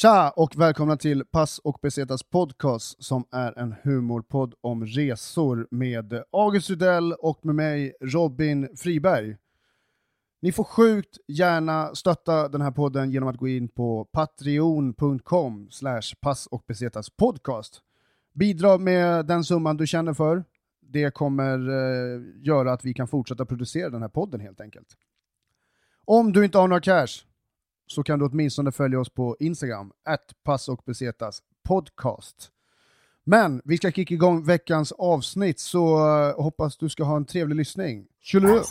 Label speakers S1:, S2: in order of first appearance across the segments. S1: Tja och välkomna till Pass och Pesetas podcast som är en humorpodd om resor med August Rydell och med mig Robin Friberg. Ni får sjukt gärna stötta den här podden genom att gå in på patreon.com slash pass och pesetas podcast. Bidra med den summan du känner för. Det kommer eh, göra att vi kan fortsätta producera den här podden helt enkelt. Om du inte har några cash, så kan du åtminstone följa oss på Instagram, att pass och besetas podcast. Men vi ska kicka igång veckans avsnitt, så eh, hoppas du ska ha en trevlig lyssning. Tjolilu!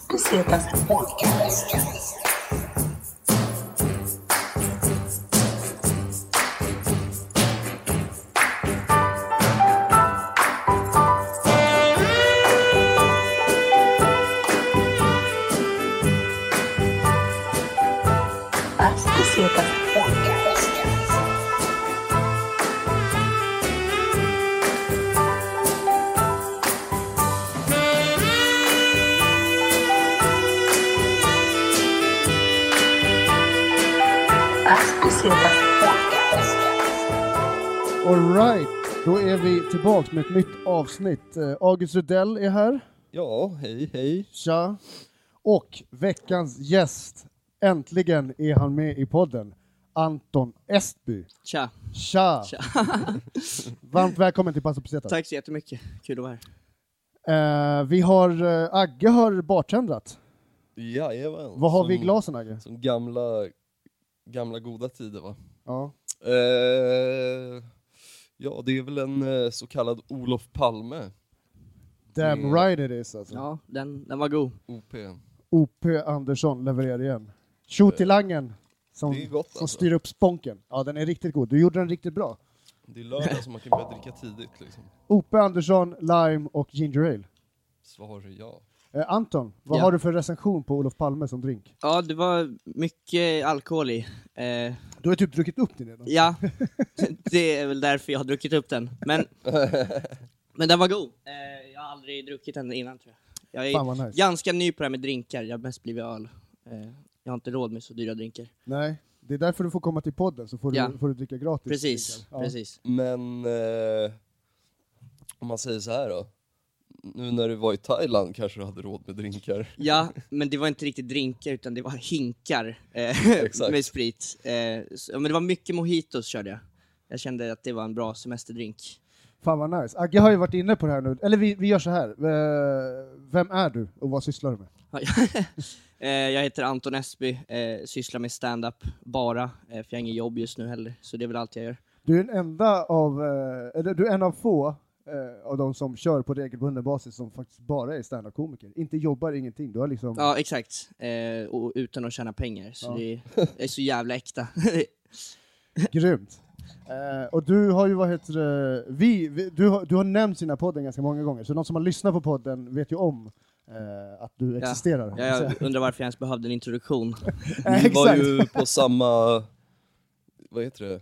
S2: Pass Pesetas Podcast. Pass Pesetas Podcast.
S1: Alright, då är vi tillbaka med ett nytt avsnitt. Eh, August Rudell är här.
S3: Ja, hej hej.
S1: Tja! Och veckans gäst, äntligen är han med i podden, Anton Estby.
S4: Tja,
S1: Tja!
S4: Tja.
S1: Varmt välkommen till Pass och besetas.
S4: tack så jättemycket. Kul att vara här.
S1: Eh, vi har, eh, Agge har bartendrat.
S3: Jajamän.
S1: Vad har
S3: som,
S1: vi i glasen Agge?
S3: Som gamla, gamla goda tider va?
S1: Ja.
S3: Eh, ja, det är väl en eh, så kallad Olof Palme,
S1: Damn
S3: Mm.
S1: right it is alltså.
S4: Ja, den, den var god.
S3: OP.
S1: OP Andersson levererar igen. Tjotilangen som,
S3: Det är gott,
S1: som
S3: alltså.
S1: styr upp sponken. Ja, den är riktigt god. Du gjorde den riktigt bra.
S3: Det är lördag så man kan börja dricka tidigt liksom.
S1: OP Andersson, lime och ginger ale.
S3: Svar ja.
S1: Eh, Anton, vad
S4: Ja.
S1: har du för recension på Olof Palme som drink?
S4: Ja, det var mycket alkohol i. Eh,
S1: Du har typ druckit upp din redan.
S4: ja, det är väl därför jag har druckit upp den. Men, men den var god. Eh, jag har aldrig druckit den innan tror jag. Jag är
S1: Fan vad nice.
S4: ganska ny på det här med drinkar. Jag har mest blivit öl. Eh, jag har inte råd med så dyra drinkar.
S1: Nej, det är därför du får komma till podden så får du,
S4: Ja.
S1: får du dricka gratis.
S4: Precis,
S1: drinkar. Ja.
S4: precis.
S3: Men eh, om man säger så här då. Nu när du var i Thailand kanske du hade råd med drinkar.
S4: Ja, men det var inte riktigt drinkar utan det var hinkar eh,
S3: Exakt.
S4: med sprit. Eh, så, men det var mycket mojitos körde jag. Jag kände att det var en bra semesterdrink.
S1: Fan vad nice. Agge har ju varit inne på det här nu. Eller vi, vi gör så här. Eh, Vem är du och vad sysslar du med?
S4: Ja, eh, jag heter Anton Esby, eh, sysslar med stand-up bara, eh, för jag har inget jobb just nu heller, så det är väl allt jag gör.
S1: Du är den enda av, eh, eller du är en av få eh, av de som kör på regelbunden basis som faktiskt bara är standup-komiker. Inte jobbar, ingenting. Du har liksom,
S4: Ja, exakt. Eh, och utan att tjäna pengar, så
S1: Ja.
S4: det är, är så jävla äkta.
S1: grymt. Eh, och du har ju, vad heter det, vi, vi, du, har, du har nämnt sina podden ganska många gånger, så de som har lyssnat på podden vet ju om eh, att du existerar.
S4: jag undrar varför jag ens behövde en introduktion.
S1: Eh,
S3: Vi var
S1: exakt.
S3: ju på samma, vad heter det,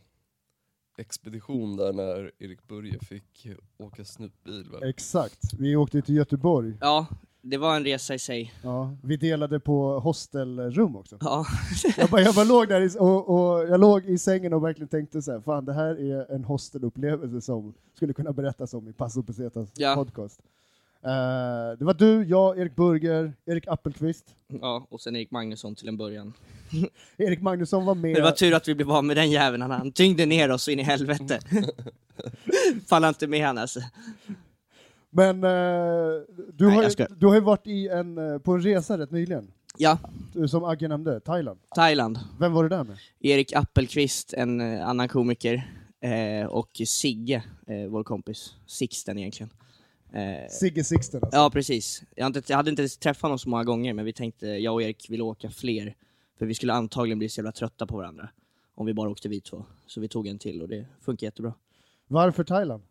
S3: expedition där när Erik Börje fick åka snutbil väl?
S1: Exakt. Vi åkte ju till Göteborg.
S4: Ja, det var en resa i sig.
S1: Ja, vi delade på hostelrum också.
S4: Ja,
S1: Jag bara, jag bara låg där i, och, och jag låg i sängen och verkligen tänkte så här, fan det här är en hostelupplevelse som skulle kunna berättas om i Passo Pesetas
S4: Ja.
S1: podcast. Eh, det var du, jag, Erik Burger, Erik Appelqvist,
S4: ja och sen Erik Magnusson till en början.
S1: Erik Magnusson var med.
S4: Men det var tur att vi blev av med den jäveln, han- han tyngde ner oss in i helvete. Faller inte med han alltså.
S1: Men eh, du,
S4: Nej,
S1: har
S4: jag
S1: ju,
S4: ska-
S1: du har ju varit i en, eh, på en resa rätt nyligen,
S4: Ja,
S1: eh, som Agge nämnde, Thailand.
S4: Thailand.
S1: Vem var du där med?
S4: Erik Appelqvist, en eh, annan komiker, eh, och Sigge, eh, vår kompis. Sixten egentligen. Eh,
S1: Sigge Sixten alltså.
S4: ja, precis. Jag, har inte, jag hade inte ens träffat honom så många gånger, men vi tänkte, jag och Erik ville åka fler. För vi skulle antagligen bli så jävla trötta på varandra om vi bara åkte vi två. Så vi tog en till och det funkar jättebra.
S1: Varför Thailand?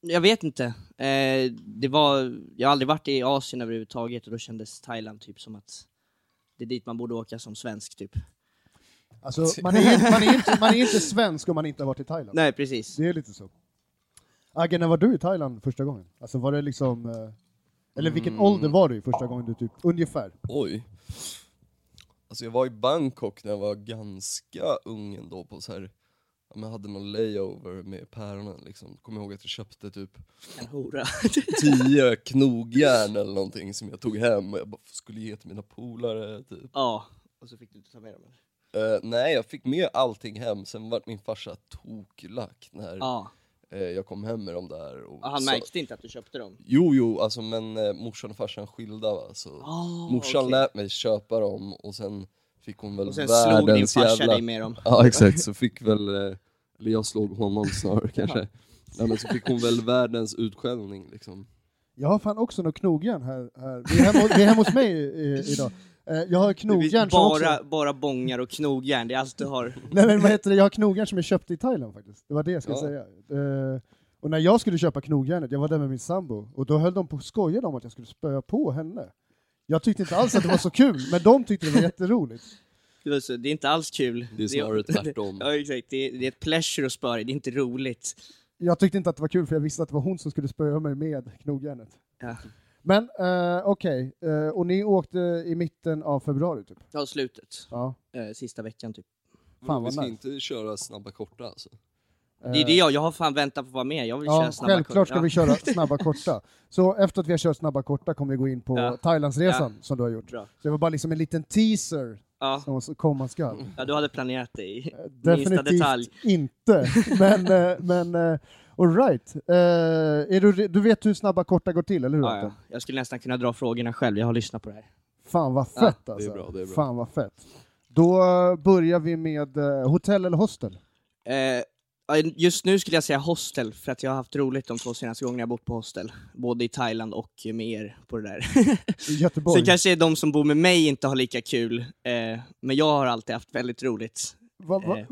S4: Jag vet inte. Eh, det var, jag har aldrig varit i Asien överhuvudtaget och då kändes Thailand typ som att det är dit man borde åka som svensk typ.
S1: Alltså, man, är, ju- man, är ju inte, man är ju inte svensk om man inte har varit i Thailand.
S4: Nej, precis.
S1: Det är lite så. Agge, när var du i Thailand första gången? Alltså var det liksom... eh, Eller vilken ålder var du i första gången du typ, ungefär?
S3: Oj. Alltså jag var i Bangkok när jag var ganska ung ändå på så här ja, men jag hade någon layover med päronen liksom. Kommer ihåg att jag köpte typ
S4: En hora.
S3: tio knogjärn eller någonting som jag tog hem och jag bara skulle ge till mina polare typ.
S4: ja, och så fick du inte ta med dem. eller?
S3: Eh, nej, jag fick med allting hem, sen vart min farsa toklack när
S4: Ja,
S3: eh, jag kom hem med dem där. Och
S4: och han
S3: sa-
S4: märkte inte att du köpte dem.
S3: Jo, jo, alltså men eh, morsan och farsan skilda va, så
S4: Oh,
S3: morsan lät mig köpa dem och sen fick hon väl
S4: Och sen
S3: världens
S4: slog din farsa
S3: jävla...
S4: dig med dem.
S3: Ja exakt, så fick väl, eh, eller jag slog honom snarare kanske. Ja, men så fick hon väl världens utskällning liksom.
S1: Jag har fan också något knogjärn här. här. Vi, är hemma, vi är hemma hos mig i, idag. Eh, Jag har knogjärn som också...
S4: bara, bara bångar och knogjärn, det är allt du har.
S1: Nej men vad heter det, jag har knogjärn som jag köpte i Thailand faktiskt. Det var det jag skulle
S3: Ja.
S1: säga. Eh, och när jag skulle köpa knogjärnet, jag var där med min sambo, och då höll de på och skojade om att jag skulle spöa på henne. Jag tyckte inte alls att det var så kul, men de tyckte det var jätteroligt.
S4: Det var så- det är inte alls kul.
S3: Det är snarare tvärtom.
S4: Ja, exakt. Det är, det är ett pleasure att spöa dig, det är inte roligt.
S1: Jag tyckte inte att det var kul, för jag visste att det var hon som skulle spöa mig med knogjärnet.
S4: Ja.
S1: Men eh, okej, Eh, och ni åkte i mitten av februari typ?
S4: Ja, slutet.
S1: Ja.
S4: Eh, sista veckan typ.
S1: Fan,
S3: Vi
S1: vad
S3: ska
S1: nice.
S3: inte köra snabba korta alltså.
S4: Det är det jag, jag har fan väntat på att vara med. Jag vill
S1: Eh, Ja,
S4: köra snabba
S1: självklart ska
S4: kort.
S1: vi köra snabba korta. Så efter att vi har kört snabba korta kommer vi gå in på
S4: Ja.
S1: Thailandsresan som du har gjort.
S4: Bra.
S1: Det var bara liksom en liten teaser
S4: Ja. Ja.
S1: som så- komma skall.
S4: ja, du hade planerat det i Mm. minsta
S1: Definitivt
S4: detalj.
S1: inte. Men, eh, men eh, all right. Eh, är du, re- du vet hur snabba korta går till, eller hur?
S4: Ja,
S1: Anton?
S4: ja. Jag skulle nästan kunna dra frågorna själv, jag har lyssnat på det här.
S1: Fan vad
S4: Ja,
S1: fett
S3: är
S1: alltså.
S3: bra, det är bra.
S1: Fan vad fett. Då eh, börjar vi med eh, hotell eller hostel?
S4: Eh, ja, just nu skulle jag säga hostel, för att jag har haft roligt de två senaste gångerna jag bott på hostel. Både i Thailand och med er på det där.
S1: I Göteborg.
S4: Sen kanske de som bor med mig inte har lika kul, eh, men jag har alltid haft väldigt roligt.
S1: Va, va,
S4: Eh,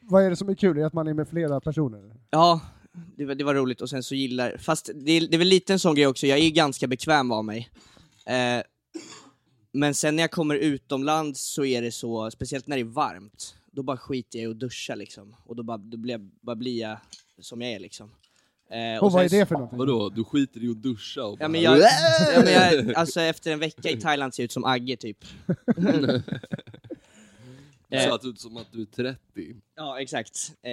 S1: vad är det som är kul? Är det att man är med flera personer?
S4: Ja, det var, det var roligt och sen så gillar, fast det, är- det är väl lite en sån grej också, jag är ganska bekväm av mig. Eh, men sen när jag kommer utomlands så är det så, speciellt när det är varmt, då bara skiter jag i att duscha liksom. Och då bara, då blir, jag, bara blir jag som jag är liksom. Eh,
S1: Och, vad är
S4: sen
S1: det
S4: så-
S1: för någonting?
S3: Vadå, du skiter i att duscha och
S4: Ja
S3: bara-
S4: men jag, ja, men jag alltså efter en vecka i Thailand ser jag ut som Agge typ.
S3: Du
S4: eh,
S3: satt ut som att du är 30.
S4: ja exakt. Eh,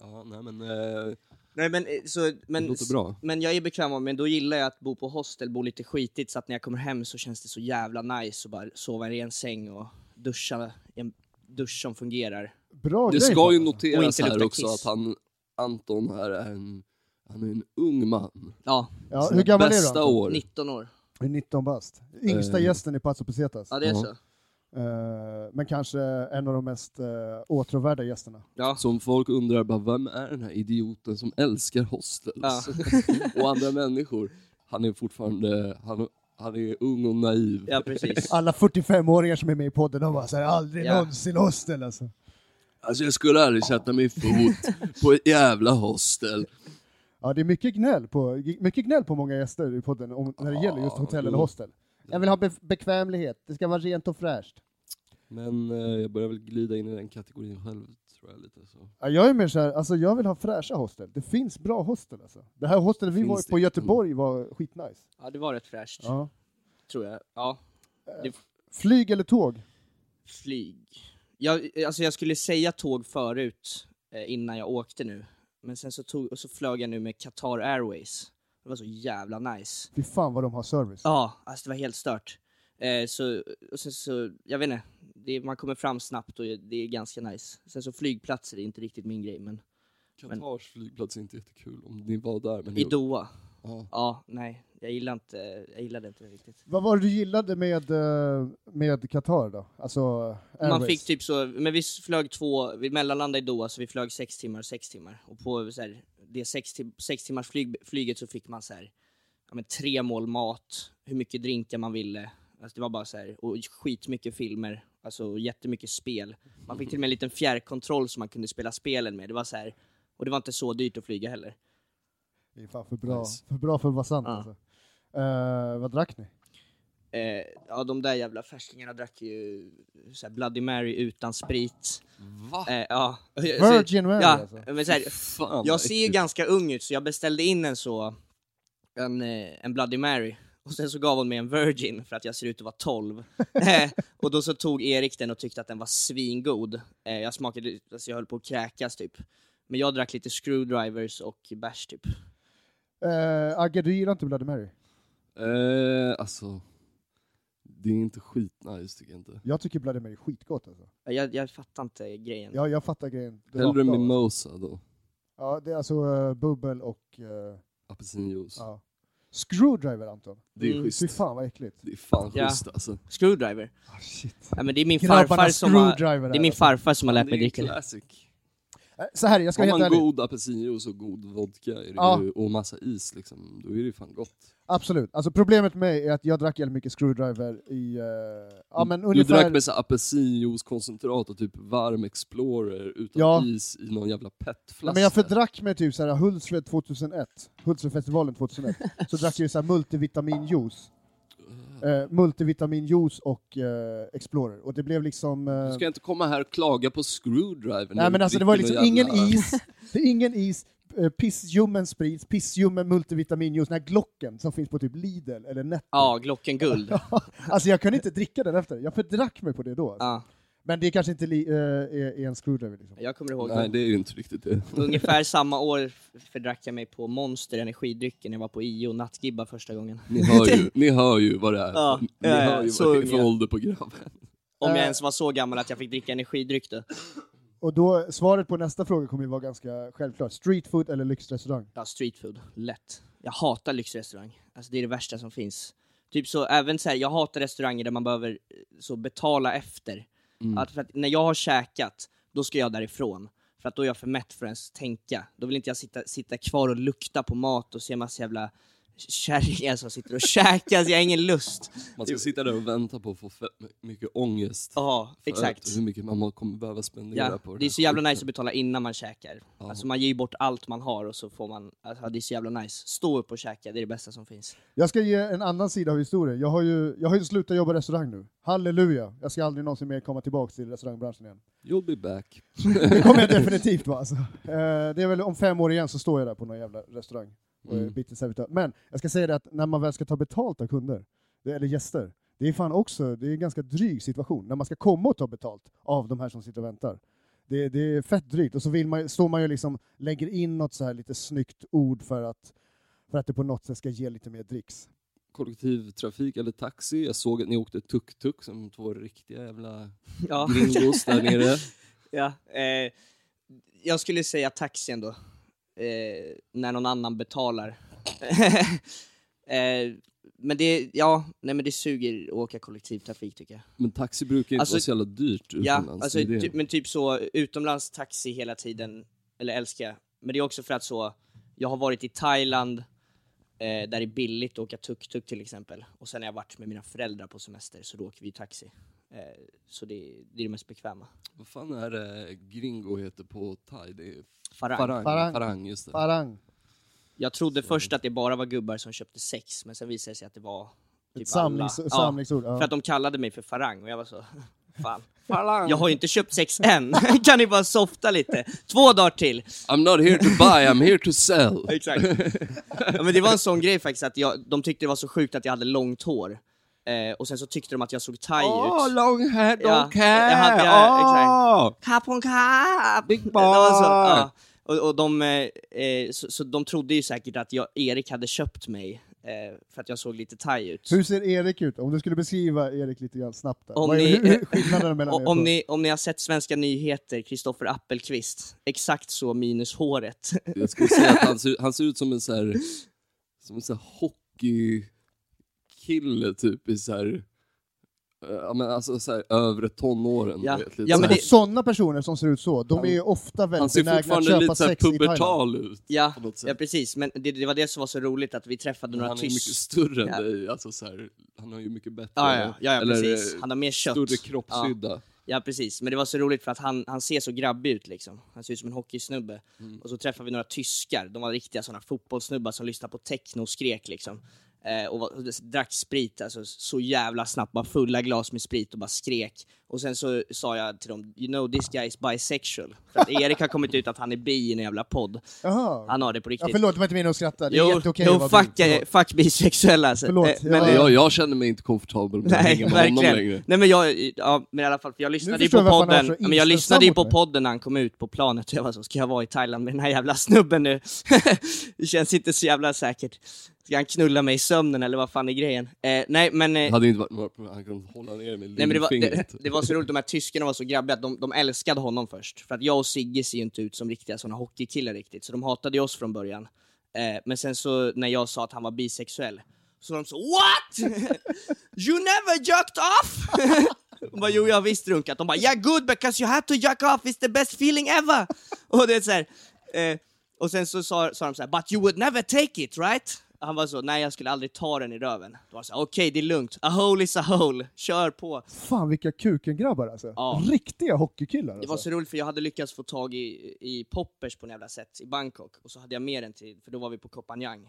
S3: Ja, nej men eh,
S4: nej men eh, så, men
S3: det låter bra.
S4: Men jag är bekväm av men då gillar jag att bo på hostel, bo lite skitigt så att när jag kommer hem så känns det så jävla nice att bara sova i en ren säng och duscha i en dusch som fungerar.
S1: Bra
S3: Det
S1: grej,
S3: ska ju
S1: fan.
S4: Och
S3: noteras
S4: inte
S3: här
S4: lukta
S3: också att
S4: kiss.
S3: han, Anton här är en, han är en ung man.
S4: Ja,
S1: Ja,
S3: Sina
S1: hur gammal är du?
S3: bästa
S1: Anton?
S3: år.
S4: 19 år.
S1: Jag är 19 bast. Yngsta
S3: Eh.
S1: gästen i Pazzo Pesetas.
S4: Ja det är
S3: Ja.
S4: så.
S1: Eh, men kanske en av de mest eh, åtråvärda gästerna.
S4: Ja.
S3: Som folk undrar bara, vem är den här idioten som älskar hostels
S4: Ja.
S3: och andra människor? Han är fortfarande, han, han är ung och naiv.
S4: ja precis.
S1: Alla 45-åringar som är med i podden, de bara såhär, aldrig
S4: Ja.
S1: någonsin hostel alltså.
S3: Alltså jag skulle aldrig sätta min fot på ett jävla hostel.
S1: Ja, det är mycket gnäll på, mycket gnäll på många gäster i podden om, när det gäller just hotell eller
S3: jo.
S1: hostel. Jag vill ha be- bekvämlighet, det ska vara rent och fräscht.
S3: Men eh, jag börjar väl glida in i den kategorin själv tror jag lite så.
S1: Ja, jag är mer såhär, alltså jag vill ha fräscha hostel. Det finns bra hostel alltså. Det här hostelet vi
S3: Finns
S1: var
S3: det?
S1: på i Göteborg var skitnice.
S4: Ja det var rätt fräscht,
S1: Ja.
S4: tror jag. Ja,
S1: Flyg eller tåg?
S4: flyg. Jag, alltså jag skulle säga tåg förut, eh, innan jag åkte nu. Men sen så, tog, och så flög jag nu med Qatar Airways. Det var så jävla nice.
S1: Fy fan vad de har service.
S4: Ja, alltså det var helt stört. Eh, så, och sen så, jag vet inte, det, man kommer fram snabbt och det är ganska nice. Sen så flygplatser är inte riktigt min grej, men
S3: Katars flygplats är inte jättekul om ni var där. Men
S4: i
S3: ni-
S4: Doha,
S3: Ja.
S4: ja, nej, jag gillar inte, jag gillade inte det riktigt.
S1: Vad var det du gillade med, eh, med Qatar då? Alltså, Airways.
S4: Man fick typ så, men vi flög två, vi mellanlandade i Doha så vi flög sex timmar, sex timmar. Och på så här, det sex, tim- sex timmars flyg, flyget så fick man så här, ja, men tre mål mat, hur mycket drinkar man ville. Alltså det var bara så här, och skitmycket filmer, alltså och jättemycket spel. Man fick till och med en liten fjärrkontroll som man kunde spela spelen med. Det var så här, och det var inte så dyrt att flyga heller.
S1: Det är fan för bra,
S3: Nice.
S1: för, bra för att vara sant
S4: Ja.
S1: alltså. Eh, vad drack ni?
S4: Eh, ja, de där jävla färskingarna drack ju så här, Bloody Mary utan sprit.
S3: Va?
S4: Eh, ja.
S1: Virgin Mary
S4: ja,
S1: alltså.
S4: men så här,
S3: Fan, vad
S4: Jag ser ju
S3: äckligt.
S4: ganska ung ut så jag beställde in en så, en, eh, en Bloody Mary. Och sen så gav hon mig en virgin för att jag ser ut att vara 12. Eh, och då så tog Erik den och tyckte att den var svingod. Eh, jag smakade, alltså jag höll på att kräkas typ. Men jag drack lite screwdrivers och bärs typ.
S1: Eh, Agge, du gillar inte Bloody Mary?
S3: Eh, alltså, det är inte skitnice tycker jag inte.
S1: Jag tycker Bloody Mary är skitgott alltså.
S4: Eh, Jag, jag fattar inte grejen.
S1: Jag, jag fattar grejen. Det
S3: Hellre
S1: rakt av.
S3: mimosa då,
S1: Ja, det är alltså eh, bubbel och... eh,
S3: apelsinjuice.
S1: ja. Screwdriver Anton.
S3: Det är
S4: Mm.
S3: schysst.
S1: Fy fan vad äckligt.
S3: Det är fan
S4: Ja.
S3: schysst alltså.
S4: Screwdriver?
S1: Ah, shit.
S4: Nej men det är min farfar
S1: Grabbarnas
S4: som har,
S1: screwdriver
S4: det är
S1: här,
S4: min
S1: alltså.
S4: farfar som har lärt
S3: det
S4: mig
S3: är ju
S4: dricka det.
S3: classic.
S1: Eh, Så här, jag ska vara
S3: Har
S1: helt
S3: man
S1: ärlig.
S3: god apelsinjuice och god vodka är det
S1: Ja.
S3: ju, och massa is liksom, då är det ju fan gott.
S1: Absolut. Alltså problemet med mig är att jag drack jävligt mycket screwdriver i... eh, ja men
S3: Du- Du
S1: ungefär...
S3: drack med så här apelsinjuicekoncentrat och typ varm Explorer utan
S1: Ja.
S3: is i någon jävla petflaska.
S1: Ja, men jag fördrack mig typ såhär Hultsfred 2001, Hultsfredfestivalen 2001, så drack jag ju såhär multivitaminjuice. Eh, multivitaminjuice och eh, Explorer. Och det blev liksom... Eh,
S3: Du ska inte komma här och klaga på screwdriver. när
S1: nej men
S3: du
S1: alltså det var
S3: dricker
S1: liksom
S3: någon
S1: ingen
S3: jävla-
S1: is, det är ingen is, eh, pissljummen sprit, pissljummen multivitaminjuice, den här Glocken som finns på typ Lidl eller Netto.
S4: Ja, Glocken Guld.
S1: Alltså jag kunde inte dricka den efter, jag fördrack mig på det då.
S4: Ja,
S1: Men det kanske inte li, eh, är, är en screwdriver liksom.
S4: jag kommer ihåg
S3: Nej, det är ju inte riktigt det.
S4: Ungefär samma år fördrack jag mig på Monster energidrycken när jag var på IO nattgibba första gången.
S3: Ni hör ju, ni hör ju vad det är.
S4: Ja,
S3: ni
S4: ja, ja,
S3: hör ju
S4: så
S3: vad det är för
S4: unga.
S3: ålder på grabben.
S4: Om
S1: Äh.
S4: jag ens var så gammal att jag fick dricka energidryck då.
S1: Och då, svaret på nästa fråga kommer ju vara ganska självklart. Street food eller lyxrestaurang?
S4: Ja, street food. Lätt. Jag hatar lyxrestaurang. Alltså det är det värsta som finns. Typ så, även så här, jag hatar restauranger där man behöver eh, så betala efter. Att för att när jag har käkat, då ska jag därifrån. För att då är jag för mätt för att ens tänka. Då vill inte jag sitta, sitta kvar och lukta på mat och se massa jävla kärringar som sitter och käkar, så jag har ingen lust.
S3: Man ska sitta där och vänta på att få fe- mycket ångest.
S4: Ja,
S3: för
S4: exakt.
S3: Hur mycket man kommer behöva spendera
S4: Ja,
S3: på
S4: det är
S3: här
S4: så jävla
S3: skiten.
S4: nice att betala innan man käkar. Alltså man ger ju bort allt man har och så får man, alltså det är så jävla nice. Stå upp och käka, det är det bästa som finns.
S1: Jag ska ge en annan sida av historien. Jag har ju, jag har ju slutat jobba i restaurang nu. Halleluja! Jag ska aldrig någonsin mer komma tillbaka till restaurangbranschen igen.
S3: You'll be back.
S1: Det kommer jag definitivt vara alltså. Eh, Det är väl om fem år igen så står jag där på någon jävla restaurang och är
S3: Mm.
S1: bitter servitör. Men jag ska säga det att när man väl ska ta betalt av kunder, det- eller gäster, det är fan också, det är en ganska dryg situation när man ska komma och ta betalt av de här som sitter och väntar. Det, det är fett drygt och så vill man, står man ju liksom, lägger in något så här lite snyggt ord för att, för att det på något sätt ska ge lite mer dricks.
S3: Kollektivtrafik eller taxi. Jag såg att ni åkte tuk-tuk som två riktiga jävla
S4: Ja,
S3: gringos där nere.
S4: ja. Eh, jag skulle säga taxin då. Eh, när någon annan betalar. eh, men det, ja, nej men det suger att åka kollektivtrafik tycker jag.
S3: Men taxi brukar ju inte
S4: Alltså-
S3: vara så jävla dyrt
S4: Ja,
S3: utomlands.
S4: alltså,
S3: det är det.
S4: ty, men typ så utomlands taxi hela tiden, eller älskar jag. Men det är också för att så, jag har varit i Thailand, eh, där det är billigt att åka tuk-tuk till exempel. Och sen har jag varit med mina föräldrar på semester, så då åker vi taxi. Eh, så det, det är det mest bekväma.
S3: Vad fan är det gringo heter på thai? Det är
S4: Farang.
S3: farang.
S1: Farang.
S3: Farang. just det.
S1: Farang,
S4: Jag trodde först att det bara var gubbar som köpte sex, men sen visade det sig att det var typ
S1: ett samlings,
S4: alla.
S1: samlingsord.
S4: Ja,
S1: Ja.
S4: för att de kallade mig för farang och jag var så, fan.
S3: Farang.
S4: Jag har ju inte köpt sex än, kan ni bara softa lite? Två dagar till!
S3: I'm not here to buy, I'm here to sell.
S4: Exakt. ja, men det var en sån grej faktiskt, att jag, de tyckte det var så sjukt att jag hade långt hår. Eh, och sen så tyckte de att jag såg thai
S3: Åh,
S4: ut.
S3: long hair,
S4: Ja,
S3: long hair!
S4: jag hade- ja,
S3: Åh!
S4: Kap on kap!
S3: Big
S4: Det var så,
S3: bar.
S4: ja. och, och de, eh, eh, så, så de trodde ju säkert att jag, Erik hade köpt mig eh, för att jag såg lite thai ut.
S1: Hur ser Erik ut? Om du skulle beskriva Erik lite grann snabbt. Där.
S4: Om
S1: Vad är
S4: ni-
S1: hur- skillnaden mellan er
S4: Och, om,
S1: två?
S4: ni, om ni har sett Svenska nyheter, Kristoffer Appelqvist, exakt så minus håret.
S3: Jag skulle säga att han ser, han ser ut som en så här, som en så här hockeykille typ i så här, eh, ja men alltså så här övre tonåren. du
S4: Ja.
S3: Vet, lite
S4: Ja,
S3: så
S4: men
S3: här.
S1: Och sådana Alltså, personer som ser ut så, de är ju ofta
S3: han
S1: väldigt
S3: ser
S1: benägna att köpa
S3: fortfarande lite så här
S1: sex i Thailand.
S3: pubertal ut.
S4: Ja,
S3: På något sätt.
S4: ja precis, men det, det var det som var så roligt att vi träffade några
S3: Han är ju mycket
S4: tyskar.
S3: större än
S4: Ja.
S3: dig, alltså så här, han har ju mycket bättre,
S4: Ja, ja, ja, ja
S3: eller
S4: precis.
S3: eh,
S4: Han har mer kött.
S3: större kroppshydda.
S4: Ja precis, men det var så roligt för att han, han ser så grabbig ut liksom. Han ser ut som en hockeysnubbe. Och så träffade vi några tyskar, de var riktiga sådana fotbollssnubbar som lyssnade på techno och skrek liksom. eh, och var- och drack sprit, alltså så jävla snabbt, bara fulla glas med sprit och bara skrek. Och sen så sa jag till dem, you know this guy is bisexual. För att Erik har kommit ut att han är bi i en jävla podd.
S1: Jaha.
S4: Han har det på
S1: ja,
S4: riktigt.
S1: förlåt, det var inte meningen att skratta. Det är
S4: jo,
S1: jätteokej
S4: jo
S1: att vara
S4: fuck,
S1: bi.
S4: eh,
S1: Förlåt.
S4: fuck bisexuella alltså.
S1: Förlåt,
S4: Eh,
S1: jag-
S4: men-
S1: Ja.
S3: Jag, jag känner mig inte komfortabel med att
S4: Nej,
S3: hänga med honom längre.
S4: verkligen. Nej men jag, ja, men i alla fall, för jag lyssnade ju
S1: förstår
S4: på
S1: jag varför han
S4: podden,
S1: var så
S4: men jag lyssnade ju
S1: inställsam
S4: på
S1: mot
S4: podden när han kom ut på planet och jag var så, ska jag vara i Thailand med den här jävla snubben nu? det känns inte så jävla säkert. Ska han knulla mig i sömnen eller vad fan är grejen? Eh, nej men, eh,
S3: Det hade inte varit några problem, han kunde hålla ner mig
S4: nej, men det, var, det,
S3: lillfingret.
S4: det var så roligt, de här tyskarna var så grabbiga att de, de älskade honom först. För att jag och Sigge ser ju inte ut som riktiga sådana hockeykillar riktigt, så de hatade ju oss från början. Eh, men sen så när jag sa att han var bisexuell, så var de så What? you never jerked off? De bara, jo jag har visst runkat. De bara, yeah good because you had to jerk off, it's the best feeling ever! Och det är så här, eh, och sen så sa, sa de så här, but you would never take it right? Och han var så, nej jag skulle aldrig ta den i röven. Då var det så här, okej det är lugnt, a hole is a hole, kör på.
S1: Fan vilka kukengrabbar alltså.
S4: Ja.
S1: Riktiga hockeykillar
S4: Det var
S1: alltså.
S4: så roligt för jag hade lyckats få tag i, i poppers på något jävla sätt i Bangkok och så hade jag med den till, för då var vi på Koh Phangan. Eh,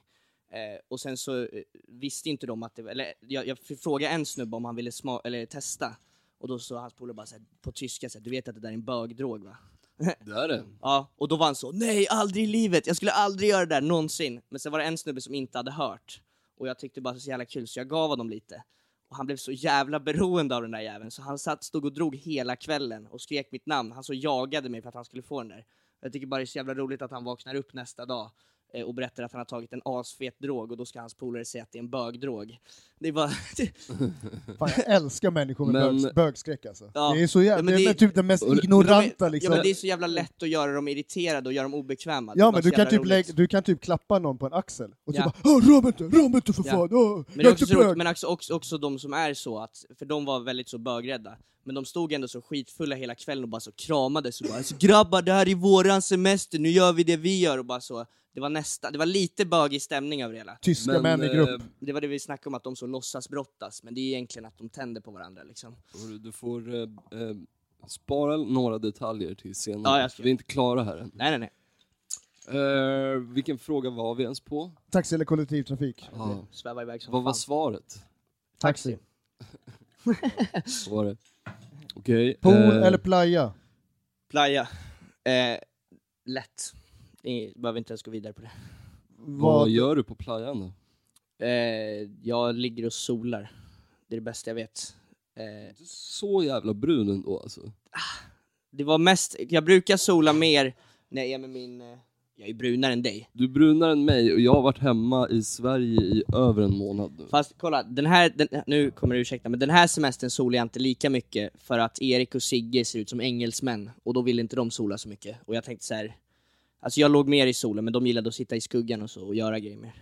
S4: och sen så eh, visste inte de att det eller jag, jag frågade en snubbe om han ville sma, eller testa och då sa hans polare bara så här, på tyska så här, du vet att det där är en bögdrog va?
S3: Det är det.
S4: Ja, och då var han så, nej aldrig i livet, jag skulle aldrig göra det där någonsin. Men sen var det en snubbe som inte hade hört och jag tyckte bara det var så jävla kul så jag gav honom lite. Och han blev så jävla beroende av den där jäveln så han satt, stod och drog hela kvällen och skrek mitt namn. Han så jagade mig för att han skulle få den där. Jag tycker bara det är så jävla roligt att han vaknar upp nästa dag eh, och berättar att han har tagit en asfet drog och då ska hans polare säga att det är en bögdrog. Det är bara...
S1: Fan, jag älskar människor med
S3: Men-
S1: bögs, bögskräck alltså.
S4: Ja.
S1: Det är så jävla,
S4: Ja, men
S1: det är
S4: det-
S1: typ den mest
S3: Och det-
S1: ignoranta liksom.
S4: Ja men det är så jävla lätt att göra dem irriterade och göra dem obekväma. Det är
S1: Ja
S4: bara
S1: men
S4: så
S1: du
S4: jävla
S1: kan, typ
S4: roligt.
S1: lägg, du kan typ klappa någon på en axel och typ
S4: Ja.
S1: bara "Åh, ”Rör mig inte, rör mig inte för
S4: Ja.
S1: fan, åh, jag
S4: Men det
S1: är
S4: är också,
S1: inte
S4: så roligt,
S1: bög!”
S4: men också, också, också de som är så att, för de var väldigt så bögrädda, men de stod ändå så skitfulla hela kvällen och bara så kramades och bara alltså, “grabbar det här är våran semester, nu gör vi det vi gör” och bara så. Det var nästa, det var lite bögig stämning över det hela.
S1: Tyska
S3: Men,
S1: män i grupp.
S3: eh,
S4: Det var det vi snackade om, att de så låtsas brottas, men det är egentligen att de tänder på varandra liksom.
S3: Du- Du får eh, eh, spara några detaljer till senare.
S4: Ja, jag ska.
S3: Vi är inte klara här än.
S4: Nej nej nej.
S3: Eh, vilken fråga var vi ens på?
S1: Taxi eller kollektivtrafik?
S3: Ja.
S4: Svävar iväg som
S3: Vad var
S4: fan.
S3: svaret?
S1: Taxi.
S3: Så var det. Okej.
S1: Pool
S3: eh,
S1: eller playa?
S4: Playa. Eh, lätt. Ingen- Behöver inte ens gå vidare på det.
S3: Vad gör du på playan då?
S4: Eh, jag ligger och solar. Det är det bästa jag vet. Eh,
S3: Du är så jävla brun ändå alltså.
S4: Det var mest, jag brukar sola mer när jag är med min, eh, jag är brunare än dig.
S3: Du är brunare än mig och jag har varit hemma i Sverige i över en månad nu.
S4: Fast kolla, den här, den, nu kommer du ursäkta, men den här semestern solar jag inte lika mycket för att Erik och Sigge ser ut som engelsmän och då vill inte de sola så mycket. Och jag tänkte så här. alltså jag låg mer i solen men de gillade att sitta i skuggan och så och göra grejer mer.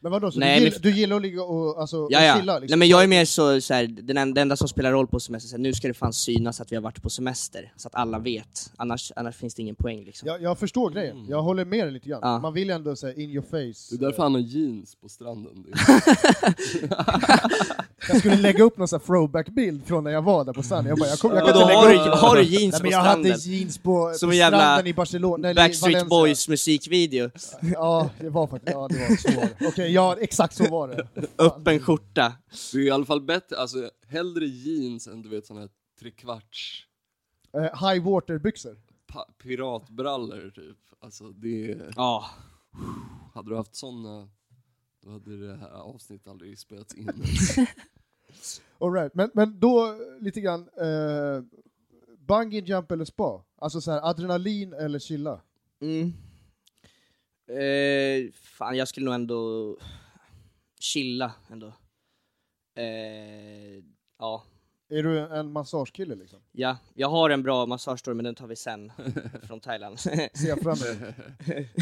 S1: Men vadå, så
S4: Nej,
S1: du,
S4: men-
S1: gill, du gillar att ligga och, alltså,
S4: Ja, ja.
S1: och chilla? Liksom.
S4: Nej men jag är mer så, så här, den, en- det enda som spelar roll på semester, så här, nu ska det fan synas att vi har varit på semester, så att alla vet. Annars, annars finns det ingen poäng liksom.
S1: jag, jag förstår grejen, jag håller med dig lite grann.
S4: Mm. Ja.
S1: Man vill ändå säga in your
S3: Det är
S1: face.
S3: därför han har jeans på stranden. Det är-
S1: Jag skulle lägga upp någon sån här throwback-bild från när jag var där på stranden. Jag bara, jag kommer jag
S4: Och då
S1: kommer inte
S4: har
S1: lägga
S4: du,
S1: upp
S4: har du
S1: Nej,
S4: jeans på
S1: men jag
S4: stranden.
S1: hade jeans på,
S4: Som
S1: på
S4: en jävla
S1: stranden i Barcelona, eller i
S4: Backstreet
S1: Valencia.
S4: Boys musikvideo.
S1: Ja, det var faktiskt, ja det var så var det. Okej, ja exakt så var det.
S4: Upp en skjorta.
S3: Det är i alla fall bättre, alltså hellre jeans än du vet såna här trekvarts
S1: Eh, high water-byxor.
S3: pa- piratbrallor typ. Alltså det,
S4: Ja.
S3: hade du haft såna då hade det här avsnittet aldrig spelats in.
S1: All right. men, men då lite grann, eh, bungee jump eller spa? Alltså så här, adrenalin eller chilla?
S4: Mm. Eh, fan, jag skulle nog ändå chilla ändå. Eh, ja.
S1: Är du en massagekille liksom?
S4: ja, jag har en bra massagestol men den tar vi sen från Thailand. Eh,
S1: Ser jag fram emot.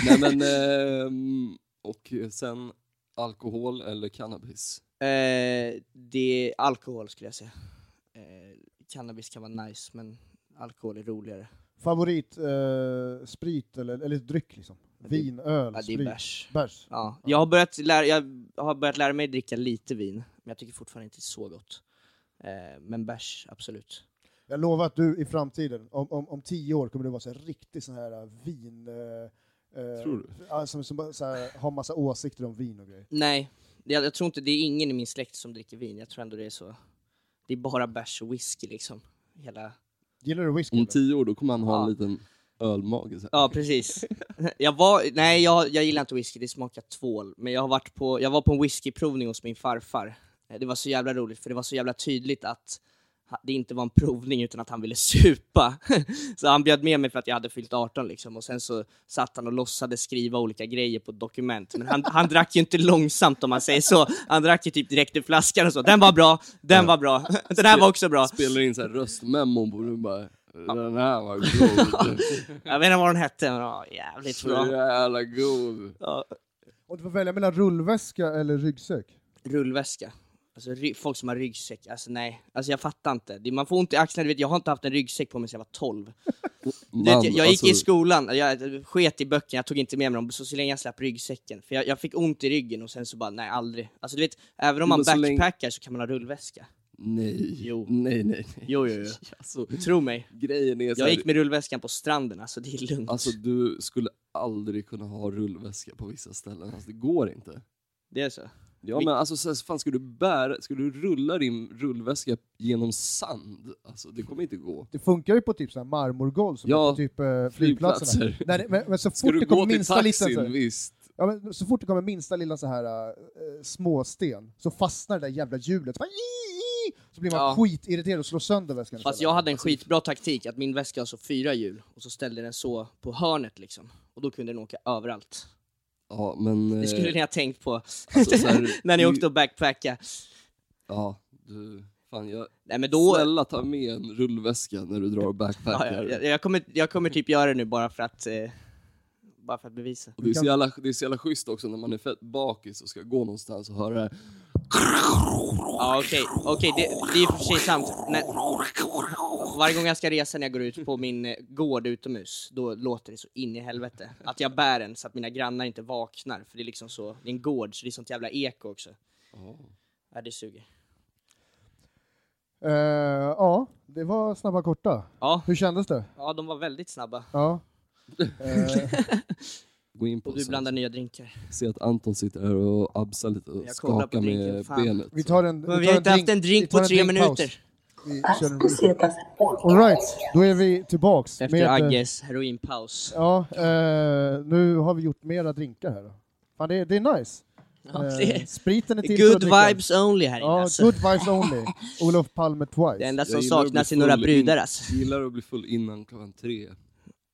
S3: Nej men, ehm, och sen alkohol eller cannabis.
S4: eh, det är alkohol skulle jag säga. Eh, cannabis kan vara nice men alkohol är roligare.
S1: Favorit, eh, sprit eller, eller dryck liksom? Vin, öl,
S4: Ja, det är
S1: sprit?
S4: bärs.
S1: Bärs.
S4: Ja, jag har, börjat lära, jag har börjat lära mig dricka lite vin, men jag tycker fortfarande inte det är så gott. Eh, men bärs, absolut.
S1: Jag lovar att du i framtiden, om, om, om tio år, kommer du vara så här riktig sån här eh, vin... Eh, eh,
S3: Tror du?
S1: ja, Som, som bara så här, har massa åsikter om vin och grejer.
S4: Nej, Jag, jag tror inte, det är ingen i min släkt som dricker vin. Jag tror ändå det är så. Det är bara bärs och whisky liksom. Hela...
S1: Gillar du whisky?
S3: Om
S1: eller?
S3: tio år då kommer han ha en
S4: Ja.
S3: liten ölmage. Så här.
S4: Ja, precis. Jag var, nej, jag, jag gillar inte whisky, det smakar tvål. Men jag, har varit på, jag var på en whiskyprovning hos min farfar. Eh, Det var så jävla roligt, för det var så jävla tydligt att ha- det inte var en provning utan att han ville supa. Så han bjöd med mig för att jag hade fyllt 18 liksom, och sen så satt han och låtsades skriva olika grejer på ett dokument. Men han, han drack ju inte långsamt om man säger så. Han drack ju typ direkt ur flaskan och så. Den var bra, den var bra, den här var också bra.
S3: Spelar in så här röstmemon på och bara Den här var god.
S4: Jag vet inte vad den hette, men den var jävligt
S3: Så
S4: bra.
S3: jävla god.
S4: Ja.
S1: Om du får välja mellan rullväska eller ryggsäck?
S4: rullväska. Alltså ry- folk som har ryggsäck, alltså nej. Alltså jag fattar inte. Det- Man får ont i axlarna, du vet jag har inte haft en ryggsäck på mig sedan jag var 12. Du vet,
S3: Man,
S4: jag, jag gick
S3: alltså,
S4: i skolan, jag sket i böckerna, jag tog inte med mig dem, så, så länge jag slapp ryggsäcken. För jag, jag fick ont i ryggen och sen så bara, nej aldrig. Alltså du vet, även om
S3: Men
S4: man
S3: så länge-
S4: backpackar så kan man ha rullväska.
S3: Nej.
S4: Jo.
S3: Nej, nej, nej.
S4: Jo, jo, jo.
S3: Alltså,
S4: Tro mig.
S3: grejen är så
S4: Jag
S3: här,
S4: gick med rullväskan på stranden, alltså det är lugnt.
S3: Alltså du skulle aldrig kunna ha rullväska på vissa ställen. Alltså, det går inte.
S4: Det är så.
S3: Ja men alltså så här, fan ska du bära, ska du rulla din rullväska genom sand? Alltså det kommer inte gå.
S1: Det funkar ju på typ så här marmorgolv som
S3: Ja,
S1: är på typ eh, flygplatserna.
S3: Flygplatser.
S1: Nej, men, men så
S3: Ska
S1: fort
S3: du
S1: det
S3: gå
S1: kommer
S3: till
S1: minsta liten så
S3: taxin,
S1: här,
S3: visst.
S1: ja, men så fort det kommer minsta lilla så här eh, småsten så fastnar det där jävla hjulet. Bara, "Ii, ii", Så blir man
S4: Ja.
S1: skitirriterad och slår sönder väskan.
S4: Fast jag hade en
S3: Alltså,
S4: skitbra taktik, att min väska har så fyra hjul, och så ställde den så på hörnet liksom. Och då kunde den åka överallt.
S3: Ja men...
S4: Det skulle
S3: eh,
S4: ni ha tänkt på.
S3: alltså, så här,
S4: när ni
S3: du-
S4: åkte och backpacka.
S3: Ja, du... Fan jag...
S4: Nej men då...
S3: Snälla ta med en rullväska när du drar och
S4: Ja,
S3: backpackar.
S4: ja, jag, jag, kommer, jag kommer typ göra det nu bara för att, eh, bara för att bevisa.
S3: Och det, är så jävla, det är så jävla schysst också när man är fett bakis och ska gå någonstans och höra det här.
S4: Ja okej, okej det, det är i och för sig sant. När- varje gång jag ska resa när jag går ut på min eh, gård utomhus, då låter det så in i helvete. Att jag bär den så att mina grannar inte vaknar, för det är liksom så, det är en gård så det är sånt jävla eko också. Ja det suger.
S1: Eh, ja, det var snabba korta.
S4: Ja,
S1: Hur kändes det?
S4: ja de var väldigt snabba.
S1: Ja. Eh,
S3: Gå in på
S4: Och du
S3: sen.
S4: blandar nya drinkar.
S3: Se att Anton sitter här och absar lite och
S4: Jag kollar på
S3: skakar
S4: drinken,
S3: med
S4: fan.
S3: benet.
S1: vi tar en,
S4: Men vi
S1: tar
S4: har inte haft en
S1: vi
S4: drink
S1: tar
S4: på tre
S1: drinkpaus.
S4: minuter.
S1: Vi kör en-
S2: Asbestas
S1: All
S2: podcast.
S1: right, då är vi tillbaks.
S4: Efter
S1: med, eh,
S4: Agges heroinpaus.
S1: Ja, eh, nu har vi gjort mera drinkar här. Då. Fan, det, det är nice.
S4: Ja,
S1: Eh,
S4: det-
S1: spriten är till för att
S4: Good
S1: dricka.
S4: vibes only här inne
S1: Ja,
S4: alltså.
S1: good vibes only. Olof Palme
S4: Det
S1: twice.
S4: enda som
S3: Jag gillar att
S4: saknas
S3: bli
S4: är några
S3: full
S4: brudar
S3: in-
S4: alltså.
S3: Gillar att bli full innan klockan tre.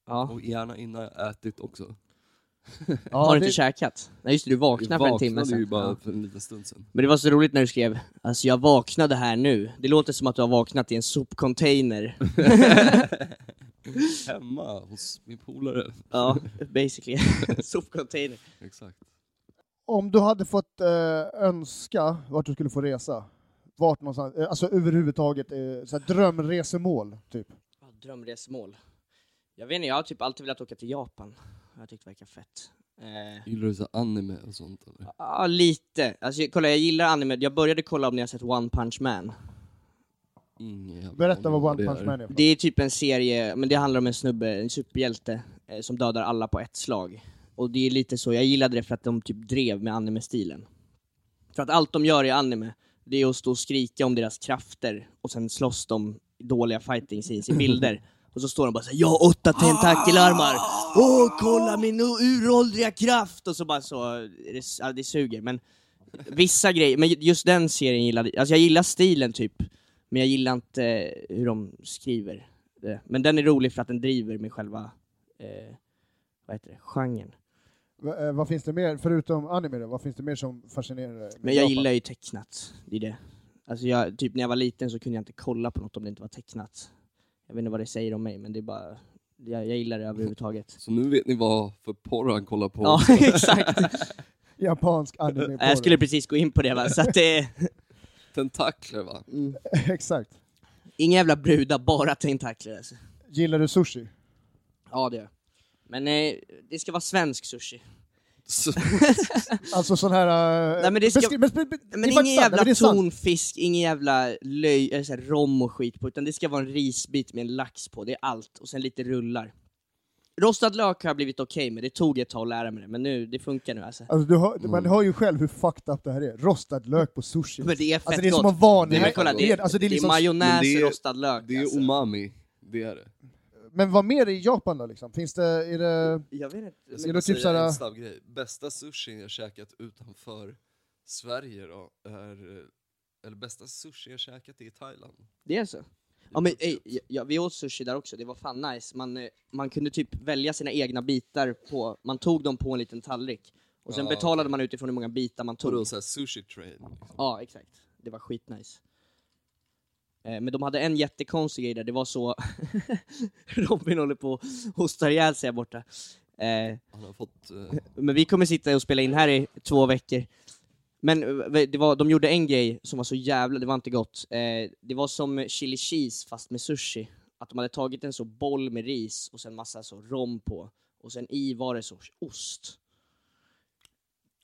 S4: Ja.
S3: Och gärna innan jag ätit också.
S1: Ja,
S4: Har du
S1: det-
S4: inte käkat? Nej just det, du vaknade för en timme
S3: ju
S4: sedan.
S3: bara
S4: Ja.
S3: för en liten stund sen.
S4: Men det var så roligt när du skrev Alltså jag vaknade här nu. Det låter som att du har vaknat i en sopcontainer.
S3: Hemma hos min polare.
S4: ja, basically. sopcontainer.
S3: Exakt.
S1: Om du hade fått eh, önska vart du skulle få resa, vart någonstans, eh, alltså överhuvudtaget, eh, så här drömresemål, typ.
S4: Ja, Drömresmål. Jag vet inte, jag har typ alltid velat åka till Japan. Jag tyckte det verkar fett. Eh,
S3: Gillar du så här anime och sånt eller?
S4: Ja, lite. Alltså, kolla, jag gillar anime. Jag började kolla om ni har sett One Punch Man.
S3: Ingen jävla
S1: Berätta
S3: aning om
S1: vad One
S3: det
S1: Punch
S3: är.
S1: Man är. för
S4: Det är typ en serie, men det handlar om en snubbe, en superhjälte, eh, som dödar alla på ett slag. Och det är lite så, jag gillade det för att de typ drev med anime-stilen. För att allt de gör i anime, det är att stå och skrika om deras krafter och sen slåss de i dåliga fighting scenes i bilder. Och så står de bara såhär, jag har åtta tentakelarmar, åh kolla min u- uråldriga kraft! Och så bara så, det, ja, det suger. Men vissa grejer, men just den serien gillade alltså jag gillar stilen typ, men jag gillar inte eh, hur de skriver det. Men den är rolig för att den driver med själva, eh, vad heter det, genren.
S1: Va- eh, vad finns det mer, förutom anime då, vad finns det mer som fascinerar dig? med
S4: Men jag
S1: Japan?
S4: gillar ju tecknat, det är det. Alltså jag, typ när jag var liten så kunde jag inte kolla på något om det inte var tecknat. Jag vet inte vad det säger om mig, men det är bara, jag, jag gillar det överhuvudtaget.
S3: Så nu vet ni vad för porr han kollar på.
S4: Ja, exakt.
S1: Japansk anime.
S4: Eh, Jag skulle precis gå in på det va, så att det är
S3: Tentakler va?
S1: Exakt.
S4: inga jävla brudar, bara tentakler alltså.
S1: Gillar du sushi?
S4: Ja, det gör jag. Men eh, det ska vara svensk sushi.
S3: Så,
S1: Alltså sån här... eh,
S4: Nej, men det ska-
S1: beskri- bes- be- be- det är faktiskt
S4: Men ingen
S1: sant,
S4: jävla
S1: men det är sant.
S4: tonfisk, ingen jävla löj, eh, eller så här, rom och skit på, utan det ska vara en risbit med en lax på, det är allt. Och sen lite rullar. Rostad lök har jag blivit okej med, det tog ett tag att lära mig det, men nu, det funkar nu alltså.
S1: Alltså, du hör, Man hör ju själv hur fucked up det här är. Rostad lök på sushi.
S4: Men det är fett
S1: alltså, det är
S4: gott.
S1: som en vanlig...
S4: Nej, men kolla, det, är,
S1: alltså,
S4: det är
S1: liksom-
S4: majonnäs,
S3: Men det är-
S4: rostad lök.
S3: Det är
S4: alltså.
S3: umami, det är det.
S1: Men vad mer i Japan då liksom? Finns det, är det...
S4: Jag vet inte.
S3: Jag
S1: Ska du
S3: skulle
S1: typ
S3: säga
S1: såhär-
S3: en snabb grej. Bästa sushin jag käkat utanför Sverige då, är... eh, Eller bästa sushi jag käkat i Thailand.
S4: Det är så? Ja men ey, ja, ja, vi åt sushi där också, det var fan nice. Man, eh, man kunde typ välja sina egna bitar på, man tog dem på en liten tallrik. Och sen
S3: Ja,
S4: betalade
S3: okej.
S4: man utifrån hur många bitar man
S3: Tog
S4: tog.
S3: de såhär sushi train? Liksom.
S4: Ja, exakt. Det var skitnice. Eh, Men de hade en jättekonstig grej där, det var så... Robin håller på och hostar ihjäl sig här borta. Eh,
S3: Han har fått... Eh,
S4: men vi kommer sitta och spela in här i två veckor. Men eh, det var, de gjorde en grej som var så jävla, det var inte gott. Eh, det var som chili cheese fast med sushi. Att de hade tagit en så boll med ris och sen massa så rom på. Och sen i var det så ost.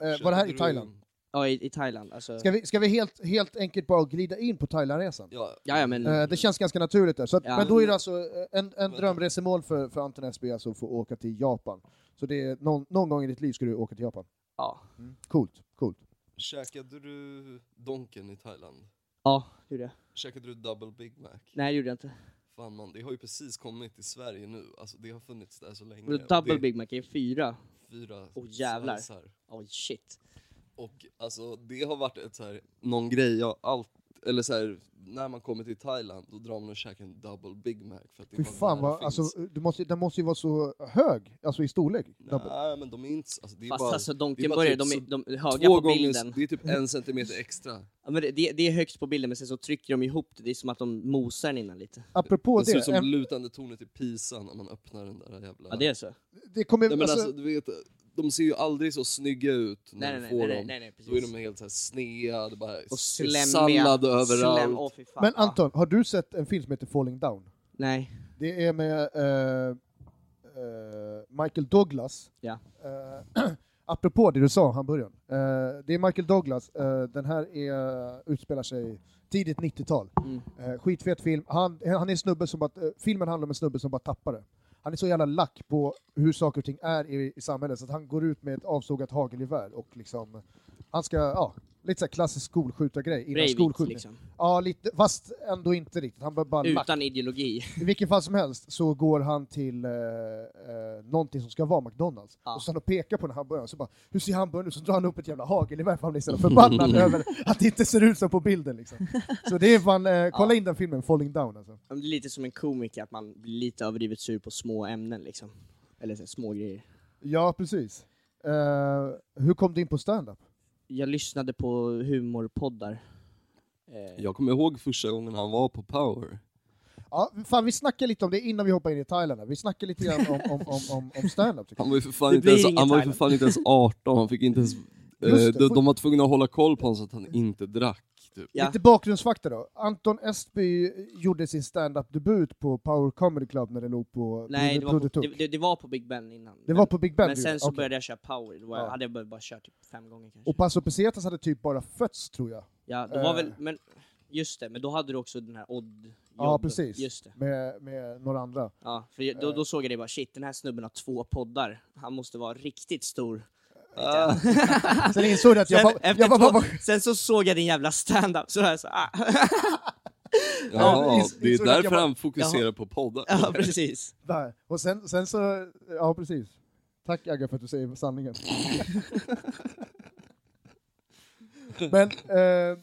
S1: Eh, var det här i
S3: köpte du-
S1: Thailand?
S4: Ja, i, i Thailand. Alltså,
S1: Ska vi, ska vi helt, helt enkelt bara glida in på Thailandresan?
S3: Ja,
S4: ja, ja, men...
S1: Eh, det känns ganska naturligt där. Så att,
S4: Ja.
S1: Men då är det alltså eh, en, en drömresemål för, för Anton Esby alltså att få åka till Japan. Så det är, någon, någon gång i ditt liv ska du åka till Japan.
S4: ja.
S3: Mm.
S1: Coolt, coolt.
S3: käkade du Donken i Thailand?
S4: ja, det gjorde jag.
S3: Käkade du Double Big Mac?
S4: Nej, det gjorde jag inte.
S3: Fan man, det har ju precis kommit till Sverige nu. Alltså det har funnits där så länge.
S4: Men Double
S3: Eh, det är
S4: Big Mac är fyra.
S3: Fyra
S4: Åh, jävlar.
S3: slicer.
S4: Oj shit.
S3: Och alltså det har varit ett så här, någon grej jag allt, eller så här, när man kommer till Thailand då drar man och käkar en double Big Mac för att det
S1: Fy
S3: bara
S1: fan,
S3: där
S1: vad,
S3: det
S1: alltså,
S3: finns.
S1: du måste, den måste ju vara så hög, alltså i storlek. Double.
S3: Nej men de är inte, så- alltså, det är
S4: Fast
S3: bara,
S4: alltså
S3: det är bara
S4: Donkenburgare,
S3: typ
S4: de,
S3: så-
S4: är- de är höga
S3: två
S4: på
S3: gånger,
S4: bilden.
S3: det är typ en centimeter extra.
S4: Ja, men det, det, det är högst på bilden men sen så trycker de ihop det, det är som att de mosar den innan lite.
S1: Apropå
S3: det ser
S1: det,
S3: ut som
S1: en,
S3: lutande tornet i Pisa när man öppnar den där jävla...
S4: Ja det är så.
S1: det kommer...
S3: Nej men
S1: alltså,
S3: alltså du vet, de ser ju aldrig så snygga ut när
S4: Nej,
S3: du
S4: nej,
S3: får
S4: nej, nej,
S3: dem.
S4: nej, nej, precis.
S3: Då är de helt såhär sneda, det bara
S4: Och slemmiga.
S3: sallad överallt.
S4: Slem, åh, fy fan.
S1: men
S4: Ja.
S1: Anton, har du sett en film som heter Falling Down?
S4: Nej.
S1: Det är med eh, eh, Michael Douglas.
S4: Ja.
S1: Eh, apropå det du sa, han början. Eh, det är Michael Douglas. Eh, den här är, utspelar sig tidigt 90-tal.
S4: Mm.
S1: Eh, skitfet film. Han, han är en snubbe som bara, eh, filmen handlar om en snubbe som bara tappar det. Han är så jävla lack på hur saker och ting är i, i samhället så att han går ut med ett avsågat hagelgevär och liksom, han ska, ja, lite så här klassisk skolskjutargrej innan
S4: Breivik
S1: skolskjutning.
S4: liksom.
S1: Ja, lite, fast ändå inte riktigt. Han var bara lack.
S4: Utan ideologi.
S1: I vilket fall som helst så går han till eh, eh, någonting som ska vara McDonalds.
S4: Ja.
S1: Och så han och pekar på den här hamburgaren så bara ”Hur ser hamburgaren ut?” Så drar han upp ett jävla hagelgevär för han blir så jävla liksom, förbannad
S4: Mm.
S1: över att det inte ser ut som på bilden. Liksom. Så det är fan, eh, kolla in den filmen, Falling Down alltså.
S4: Ja, men Det är lite som en komiker, att man blir lite överdrivet sur på små ämnen liksom. Eller så, här, små grejer.
S1: Ja, precis. Eh, hur kom du in på stand-up?
S4: Jag lyssnade på humorpoddar. Eh,
S3: Jag kommer ihåg första gången han var på Power.
S1: Ja, fan, vi snackar lite om det innan vi hoppar in i Thailand. här. Vi snackar lite grann om, om, om, om, om stand-up. tycker jag.
S3: Han var ju för fan,
S4: Det
S3: inte
S4: blir
S3: ens,
S4: ingen
S3: han var ju för
S4: Thailand.
S3: fan inte ens 18, han fick inte ens... eh,
S1: det,
S3: de,
S1: får-
S3: de var tvungna att hålla koll på honom så att han inte drack. Typ.
S4: Ja.
S1: Lite bakgrundsfakta då. Anton Estby gjorde sin stand-up-debut på Power Comedy Club när det låg på
S4: Nej, det var, på,
S1: Brodertuck.
S4: det, det, det var på Big Ben innan.
S1: Det var på Big Ben?
S4: Men
S1: du
S4: sen
S1: gjorde?
S4: så
S1: Okej.
S4: började jag köra power, då var jag,
S1: Ja.
S4: hade jag bara, bara kört typ fem gånger kanske.
S1: Och Paso Pesetas hade typ bara fötts, tror jag.
S4: ja, då var
S1: eh.
S4: väl, men, just det, men då hade du också den här odd
S1: Ja, precis. Eh.
S4: Just det.
S1: Med, med några andra.
S4: Ja, för jag- då, då såg jag det bara, shit den här snubben har två poddar, han måste vara riktigt stor.
S1: Sen insåg Eh, jag att jag
S4: Sen,
S1: var...
S4: efter
S1: Jag var,
S4: två,
S1: var, var
S4: sen så såg jag din jävla stand-up, så jag så, ah.
S1: men
S3: Ja,
S1: ins-
S3: det är
S1: insåg att jag
S3: därför
S1: bara-
S3: han fokuserar på poddar.
S4: ja precis.
S1: där. Och sen, sen så... Ja, precis. Tack Agge för att du säger sanningen. Men... Eh, eh,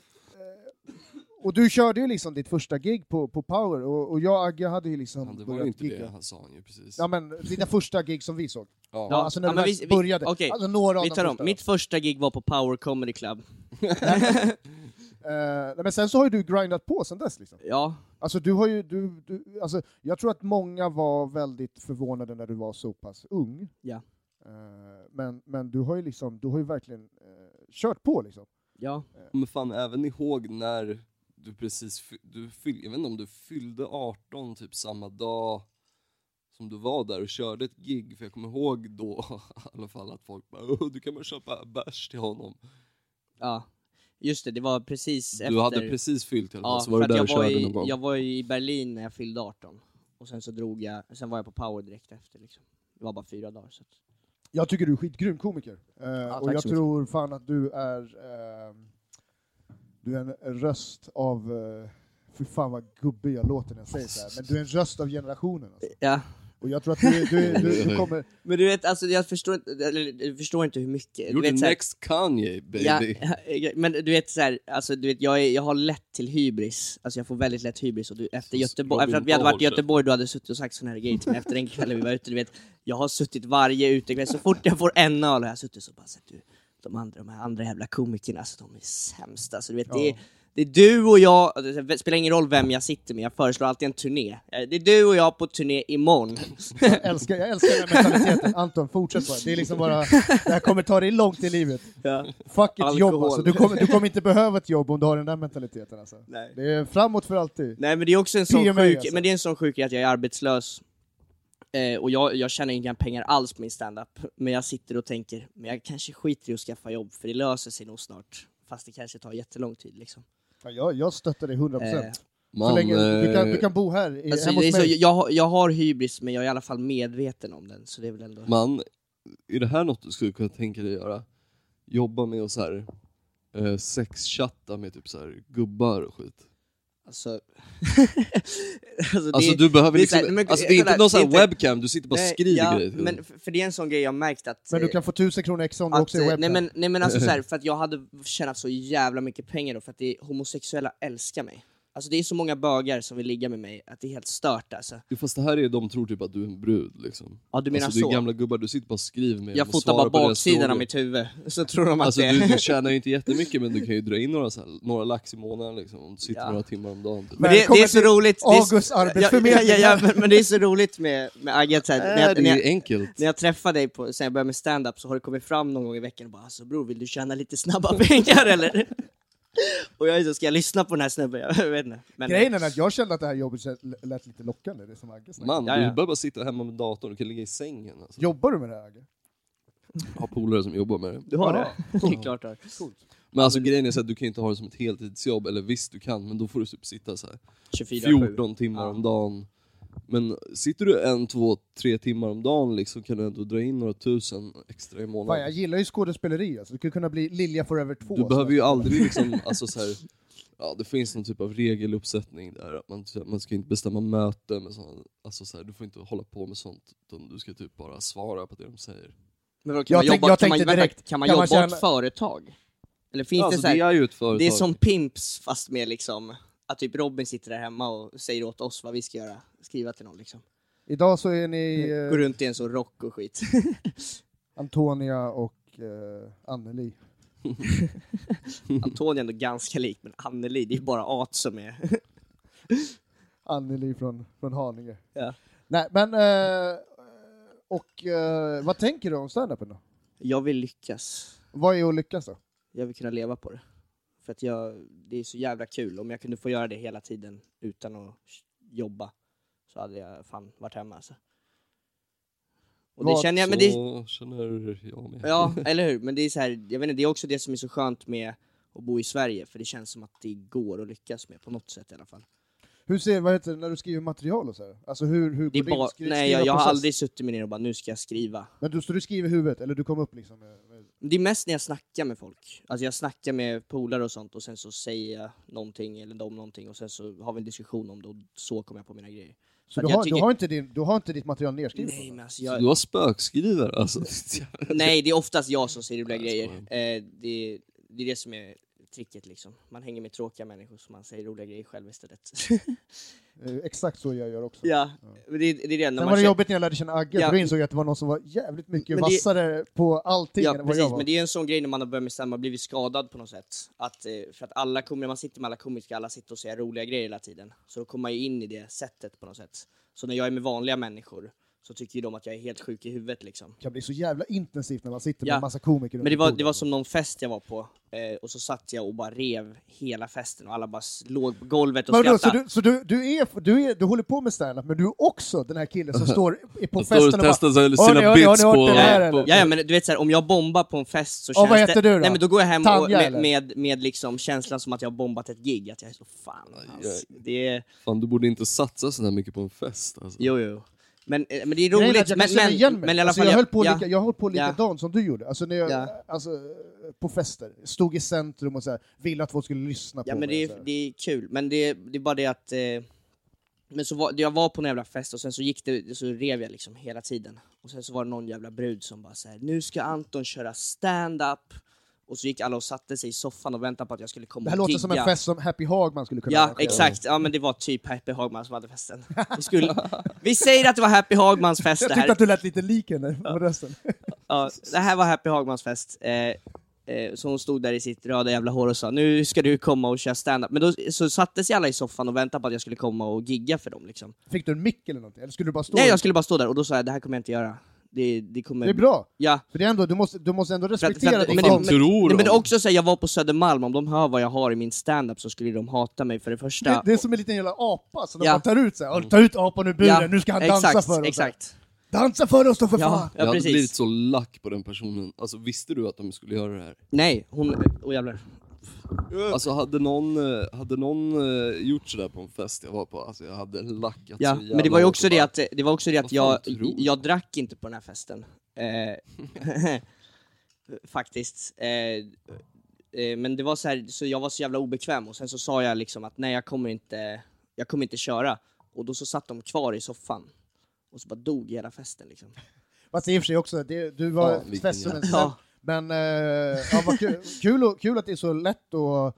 S1: och du körde ju liksom ditt första gig på, på Power, och, och jag och Agge hade ju liksom
S3: Han, det var ju
S1: börjat
S3: inte det
S1: gigga.
S3: han sa han ju precis.
S1: Ja men, dina första gig som vi såg.
S3: Ja.
S1: Ja, alltså när
S4: Ja,
S1: du
S4: men
S1: väl
S4: vi- vi-
S1: började.
S4: okej.
S1: Alltså några av
S4: Vi
S1: de
S4: tar om,
S1: första.
S4: mitt första gig var på Power Comedy Club.
S1: Eh, nej, men sen så har ju du grindat på sen dess liksom.
S4: Ja,
S1: Alltså, du har ju, du, du, alltså, jag tror att många var väldigt förvånade när du var så pass ung.
S4: Ja.
S1: Eh, Men, men du har ju liksom, du har ju verkligen eh, kört på liksom.
S4: ja.
S3: Men fan, även ihåg när du precis, fy- du fyll, jag vet inte om du fyllde 18 typ samma dag som du var där och körde ett gig, för jag kommer ihåg då i alla fall att folk bara "Åh, du kan bara köpa bärs till honom.
S4: ja. Just det, det var precis efter...
S3: Du hade precis fyllt i alla fall,
S4: Ja,
S3: så var du
S4: för att
S3: där Typ. och
S4: jag, var
S3: körde
S4: i,
S3: någon gång.
S4: jag var ju i Berlin när jag fyllde 18. Och sen så drog jag, sen var jag på Power direkt efter liksom. Det var bara fyra dagar. Så att...
S1: Jag tycker du är skitgrym komiker. Eh, och
S4: tack
S1: jag
S4: så
S1: tror fan att du är... Eh, du är en röst av... Eh, fy fan vad gubbig jag låter när jag säger så här. Men du är en röst av generationen. Alltså.
S4: Ja.
S1: Och jag tror att du, du, du, du kommer...
S4: Men du vet, alltså, jag förstår inte, eller, jag förstår inte hur mycket.
S3: You're
S4: du vet,
S3: the
S4: så här-
S3: next Kanye baby.
S4: Ja, ja, men du vet så här, alltså, du vet, jag, är, jag har lätt till hybris, alltså jag får väldigt lätt hybris och du, efter,
S3: Så
S4: Göteborg,
S3: Robin
S4: efter att vi hade varit i
S3: Ahlstedt.
S4: Göteborg du hade suttit och sagt sådana här grejer till mig efter den kvällen vi var ute, du vet, jag har suttit varje utekväll, så fort jag får en öl har jag suttit så bara sett du, de andra, de här andra jävla komikerna, alltså de är sämst alltså, du vet, det, är, det är du och jag, det spelar ingen roll vem jag sitter med, jag föreslår alltid en turné. Eh, Det är du och jag på turné imorgon.
S1: Jag älskar, jag älskar den här mentaliteten. Anton, fortsätt bara. Det är liksom bara... Det här kommer ta dig långt i livet.
S4: ja.
S1: Fuck ett
S4: Alkohol.
S1: jobb alltså. Du kommer, du kommer inte behöva ett jobb om du har den där mentaliteten alltså.
S4: Nej.
S1: Det är framåt för alltid.
S4: Nej men det är också en sån
S1: PMA,
S4: sjuk,
S1: alltså.
S4: men det är en sån sjuk grej att jag är arbetslös eh, och jag, jag tjänar inga pengar alls på min standup, men jag sitter och tänker, men jag kanske skiter i att skaffa jobb för det löser sig nog snart. Fast det kanske tar jättelång tid liksom.
S1: Fan, Jag, jag stöttar dig 100%.
S4: Eh,
S1: procent.
S3: Man,
S1: Så länge, du, kan, du
S3: eh,
S1: kan bo här, i,
S4: Alltså,
S1: hemma
S4: det är
S1: hos
S4: så,
S1: mig.
S4: jag, har- jag har hybris men jag är i alla fall medveten om den, så det är väl ändå...
S3: man, är det här något du skulle kunna tänka dig göra? Jobba med och så här eh, sexchatta med typ så här gubbar och skit.
S4: Alltså... alltså, det-
S3: Alltså du behöver
S4: det är
S3: liksom,
S4: så här- men-
S3: alltså det är inte
S4: kolla,
S3: någon sån här
S4: det är inte-
S3: webcam, du sitter bara och
S4: nej,
S3: skriver
S4: ja,
S3: grejer till
S4: men för, för det är en sån grej jag märkt att...
S1: Men du
S4: eh,
S1: kan få 1000 kronor extra om du
S4: Att,
S1: också är
S4: eh,
S1: webcam.
S4: nej, men, nej men alltså så här, för att jag hade tjänat så jävla mycket pengar då för att det är, homosexuella älskar mig. Alltså det är så många bögar som vill ligga med mig att det är helt stört alltså.
S3: Jo, Fast det här är, de tror typ att du är en brud liksom.
S4: Ja du menar
S3: alltså, det är
S4: så?
S3: gamla gubbar, du sitter bara och skriver med dem
S4: Jag
S3: och
S4: fotar
S3: svarar
S4: bara
S3: på deras
S4: baksidan av
S3: frågor.
S4: mitt huvud, så tror de att
S3: Alltså
S4: det
S3: du, du
S4: är...
S3: tjänar ju inte jättemycket men du kan ju dra in några, så här, några lax i månaden liksom, om du sitter
S4: Ja.
S3: några timmar om dagen. Typ.
S4: Men det, det är så roligt, det är, så-
S1: August
S4: ja, ja,
S1: arbetsförmedling.
S4: ja, ja, men, men det är så roligt med, med Agge att så här, när,
S3: Nej,
S4: jag-
S3: det
S4: när,
S3: är ju
S4: jag-
S3: enkelt.
S4: när jag träffar dig på, sen jag började med stand-up så har du kommit fram någon gång i veckan och bara alltså bror vill du tjäna lite snabba pengar eller? Och jag är så, ska jag lyssna på den här snubben? Jag vet inte. Men,
S1: Grejen är att jag kände att det här jobbet kän- lät lite lockande, det som Agge snackade.
S3: Man,
S4: Ja, ja.
S3: du behöver bara sitta hemma med datorn, du kan ligga i sängen. Alltså.
S1: Jobbar du med det här Agge?
S3: Ha polare som jobbar med det.
S4: Du har
S1: Ja.
S4: det? Det är klart du har.
S3: Men alltså grejen är så att du kan inte ha det som ett heltidsjobb, eller visst du kan, men då får du typ sitta så här
S4: 24-7.
S3: 14 timmar
S4: Ja.
S3: om dagen. Men sitter du en, två, tre timmar om dagen liksom kan du ändå dra in några tusen extra i
S1: Fan, jag
S3: månaden.
S1: gillar ju skådespeleri alltså. Du skulle kunna bli Lilja Forever 2.
S3: Du behöver ju aldrig liksom, alltså så här, ja det finns någon typ av regeluppsättning där, att man, så här, man ska inte bestämma möten med sådana, alltså så här, du får inte hålla på med sånt, utan du ska typ bara svara på det de säger.
S4: Men då kan
S1: Jag
S4: man
S1: tänk-
S4: jobba,
S1: jag
S4: kan man,
S1: tänkte
S4: vänta,
S1: direkt,
S4: kan man
S1: kan man
S4: jobba
S1: tjäna-
S4: åt företag? Eller finns
S3: Alltså
S4: det så här,
S3: det är ju ett företag.
S4: det är som Pimps fast med liksom, att typ Robin sitter där hemma och säger åt oss vad vi ska göra, skriva till någon liksom.
S1: Idag så är ni
S4: Går
S1: eh,
S4: runt i en sån rock och skit.
S1: Antonia och eh, Anneli.
S4: Antonija är ändå ganska lik, men Anneli, det är bara at som är...
S1: Anneli från, från Haninge.
S4: Ja.
S1: Nej, men... Eh, och eh, vad tänker du om standupen då?
S4: Jag vill lyckas.
S1: Vad är att lyckas då?
S4: Jag vill kunna leva på det. För att jag, det är så jävla kul. Om jag kunde få göra det hela tiden utan att jobba så hade jag fan varit hemma alltså. Och det
S1: Vad-
S4: känner jag, men det,
S3: Så känner jag med.
S4: Ja, eller hur? Men det är så här, jag vet inte, det är också det som är så skönt med att bo i Sverige, för det känns som att det går att lyckas med på något sätt i alla fall.
S1: Hur ser, vad heter det, när du skriver material och så här? Alltså hur, hur
S4: Det är
S1: går din
S4: bara,
S1: skri-
S4: nej, jag, jag har
S1: skrivarprocess?
S4: aldrig suttit mig ner och bara nu ska jag skriva.
S1: Men du, så du skriver i huvudet, eller du kom upp liksom med, med
S4: Det är mest när jag snackar med folk. Alltså jag snackar med polare och sånt och sen så säger jag någonting eller de någonting och sen så har vi en diskussion om det och så kommer jag på mina grejer.
S1: Så
S4: För
S1: du
S4: att jag
S1: har,
S4: tycker-
S1: du, har inte din, du har inte ditt material nedskrivet?
S4: Nej, men alltså
S3: Så
S4: jag,
S3: Du har spökskrivare alltså.
S4: Nej, det är oftast jag som säger roliga
S3: Nej, jag
S4: grejer. Eh, det, det är det som är tricket liksom. Man hänger med tråkiga människor så man säger roliga grejer själv istället.
S1: Eh, Exakt så jag gör också.
S4: ja, men det, det är det. När
S1: Sen
S4: man
S1: var det
S4: känner-
S1: jobbigt när jag lärde känna Agge,
S4: Ja.
S1: för då insåg jag att det var någon som var jävligt mycket
S4: Men det-
S1: vassare på allting
S4: Ja,
S1: än vad jag
S4: precis.
S1: var.
S4: Men det är en sån grej när man har börjat med stand-up, blivit skadad på något sätt. Att, eh, för att alla kommer, när man sitter med alla komiker, alla sitter och säger roliga grejer hela tiden. Så då kommer man ju in i det sättet på något sätt. Så när jag är med vanliga människor så tycker ju de att jag är helt sjuk i huvudet liksom.
S1: kan bli så jävla intensivt när man sitter med
S4: Ja.
S1: en massa komiker
S4: Men det var, det var som någon fest jag var på, eh, och så satt jag och bara rev hela festen och alla bara s- låg på golvet och
S1: men då, så
S4: skrattade.
S1: du, så du, du, är, du, är, du håller på med standup, men du är också den här killen som står i- på
S3: Jag står
S1: festen
S3: och
S1: och bara
S3: testar sina
S1: Har ni- har ni- har ni
S3: bits
S1: hört
S3: på...
S1: det här, eller?
S3: på
S4: Eh, Ja, ja, men du vet så här, om jag bombar på en fest så
S1: Ja,
S4: känns
S1: vad
S4: det...
S1: heter du då?
S4: Nej men då går jag hem och,
S1: Tanja,
S4: med,
S1: eller?
S4: med, med liksom känslan som att jag har bombat ett gig, att jag är så fan alltså, det är...
S3: fan, du borde inte satsa så här mycket på en fest alltså.
S4: Jo, jo. Men, eh, men det är
S1: Grejen är att
S4: roligt,
S1: jag kan
S4: men,
S1: känna igen
S4: men,
S1: mig.
S4: men i alla
S1: alltså,
S4: fall...
S1: jag, höll på
S4: ja,
S1: lika, jag höll på
S4: Ja.
S1: likadant som du gjorde, alltså, när jag,
S4: Ja.
S1: alltså, på fester. Stod i centrum och så här, ville att folk skulle lyssna
S4: ja
S1: på
S4: men
S1: mig.
S4: det
S1: så här.
S4: är, det är kul, men det, det är bara det att... Eh, men så var, jag var på en jävla fest och sen så gick det, så rev jag liksom hela tiden. Och sen så var det någon jävla brud som bara såhär, nu ska Anton köra stand-up. Och så gick alla och satte sig i soffan och väntade på att jag skulle komma
S1: det här
S4: och
S1: låter som
S4: gigga.
S1: en fest som Happy Hagman skulle kunna
S4: Ja,
S1: arrangera.
S4: exakt. Ja, men det var typ Happy Hagman som hade festen. Vi, skulle, vi säger att det var Happy Hagmans fest
S1: Jag
S4: det
S1: tyckte
S4: här.
S1: att du lät lite lik henne på rösten.
S4: Ja, det här var Happy Hagmans fest. Eh, eh, så hon stod där i sitt röda jävla hår och sa nu ska du komma och köra stand-up. Men då så sattes jag alla i soffan och väntade på att jag skulle komma och gigga för dem. Liksom.
S1: Fick du en mick eller någonting? Eller skulle du bara stå
S4: Nej,
S1: där?
S4: jag skulle bara stå där och då sa jag det här kommer jag inte göra. Det, det, kommer...
S1: Det är bra,
S4: Ja.
S1: för det är ändå, du, måste, du måste ändå
S4: För att- för
S1: respektera
S4: att-
S1: din
S4: men
S1: konst.
S3: Fan,
S4: det-
S3: tror
S4: Nej, men
S3: de?
S4: också så här, jag var på Södermalm, om de hör vad jag har i min stand-up så skulle de hata mig för det första.
S1: Det, det är som en liten jävla apa som de
S4: Ja. Mm.
S1: bara tar ut så här. "Ja, Ta ut apan ur buren, nu ska han dansa
S4: exakt,
S1: för oss.
S4: Exakt,
S1: Dansa för oss då för
S4: ja,
S1: fan!
S4: ja,
S3: jag hade
S4: precis.
S3: blivit så lack på den personen. Alltså visste du att de skulle göra det här?
S4: Nej, hon... Åh jävlar.
S3: Alltså hade någon, eh, hade någon eh, gjort sådär på en fest jag var på, alltså jag hade lackat
S4: Ja,
S3: så jävla
S4: men det var ju
S3: hårt
S4: också
S3: och
S4: det
S3: bara-
S4: att, det var också det att
S3: Vad
S4: jag,
S3: fan tror du?
S4: jag drack inte på den här festen. Eh, faktiskt. Eh, eh, men det var så här, så jag var så jävla obekväm och sen så sa jag liksom att nej jag kommer inte, jag kommer inte köra. Och då så satt de kvar i soffan. Och så bara dog hela festen liksom.
S1: Fast i och för sig också, det, du var
S3: Ja, vilken
S1: fest som en
S4: jävla-
S1: cell. Men eh, ja, vad kul, kul, och, kul att det är så lätt att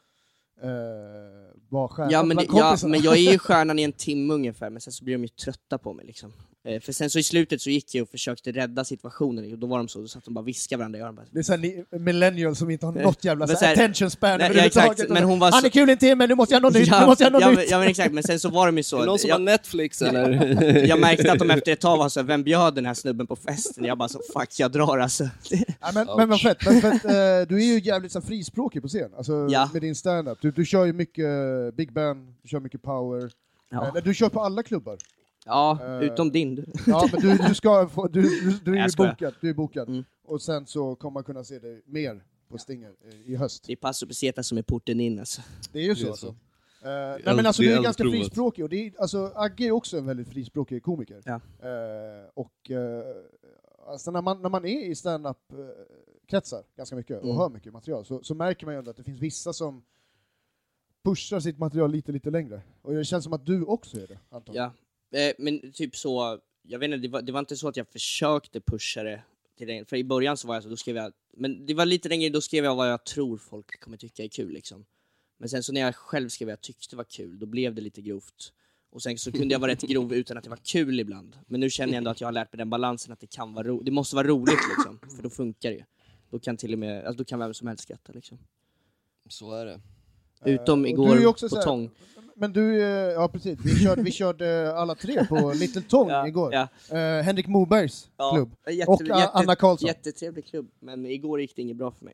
S1: eh, vara stjärna
S4: Ja men,
S1: bland
S4: det, ja
S1: kompisarna.
S4: men jag är ju stjärnan i en timme ungefär, men sen så blir de ju trötta på mig liksom. Eh, för sen så i slutet så gick jag och försökte rädda situationen, och då var de så, då satt de bara och viskade varandra i öronen. Bara,
S1: Det är såhär ni- millennials som inte har
S4: Nej,
S1: något jävla
S4: men
S1: så här,
S4: så här-
S1: attention span
S4: Nej, ja,
S1: överhuvudtaget.
S4: exakt, men hon var
S1: Han
S4: så-
S1: är kul i en timme, nu måste jag ha något nytt, nu måste jag ha
S4: ja,
S1: något
S4: men,
S1: nytt!
S4: ja men exakt, men sen så var de ju
S3: Är
S4: så.
S3: det någon som har
S4: jag,
S3: Netflix eller?
S4: jag märkte att de efter ett tag var så här, vem bjöd den här snubben på festen? Jag bara så, fuck jag drar alltså.
S1: Ja, men, men vad fett, men fett eh, du är ju jävligt så här, frispråkig på scen, alltså,
S4: Ja.
S1: med din stand-up. Du, du kör ju mycket eh, big band, du kör mycket power.
S4: Ja,
S1: Eh, Du kör på alla klubbar.
S4: ja
S1: Eh,
S4: utom din. du.
S1: Ja, men du, du, ska få, du, du, du är
S4: Jag
S1: ju
S4: skojar.
S1: bokad. Du är bokad.
S4: Mm.
S1: Och sen så kommer man kunna se dig mer på Stinger eh, i höst.
S4: Det är Passo Peseta som är porten in alltså.
S1: Det är ju så.
S3: Det är
S1: alltså.
S3: så.
S1: Eh, nej, men
S3: allt-
S1: alltså,
S3: det
S1: du
S3: är
S1: är
S3: allt
S1: ganska
S3: provet.
S1: frispråkig. Och det är, alltså, Agge är också en väldigt frispråkig komiker.
S4: Ja.
S1: Eh, och eh, alltså, när, man, när man är i standup-kretsar ganska mycket och
S4: Mm.
S1: hör mycket material så, så märker man ju ändå att det finns vissa som pushar sitt material lite, lite längre. Och det känns som att du också är det, Anton.
S4: Ja. Eh, Men typ så, jag vet inte, det var, det var inte så att jag försökte pusha det till längre. För i början så var jag så, då skrev jag, men det var lite längre, då skrev jag vad jag tror folk kommer tycka är kul liksom. Men sen så när jag själv skrev vad jag tyckte var kul, då blev det lite grovt. Och sen så kunde jag vara rätt grov utan att det var kul ibland. Men nu känner jag ändå att jag har lärt mig den balansen att det kan vara ro- det måste vara roligt liksom. För då funkar det ju. Då kan till och med, alltså då kan vem som helst skratta liksom.
S3: Så är det.
S4: Utom
S1: och
S4: igår
S1: du är ju också
S4: på
S1: så här-
S4: Tång.
S1: Men du, eh, ja precis, vi körde, vi körde eh, alla tre på Little Tång igår.
S4: Ja,
S1: Eh, Henrik Mobergs
S4: ja.
S1: klubb.
S4: Jätte-
S1: Och eh,
S4: jätte-
S1: Anna Karlsson.
S4: Jättetrevlig klubb, men igår gick det inget bra för mig.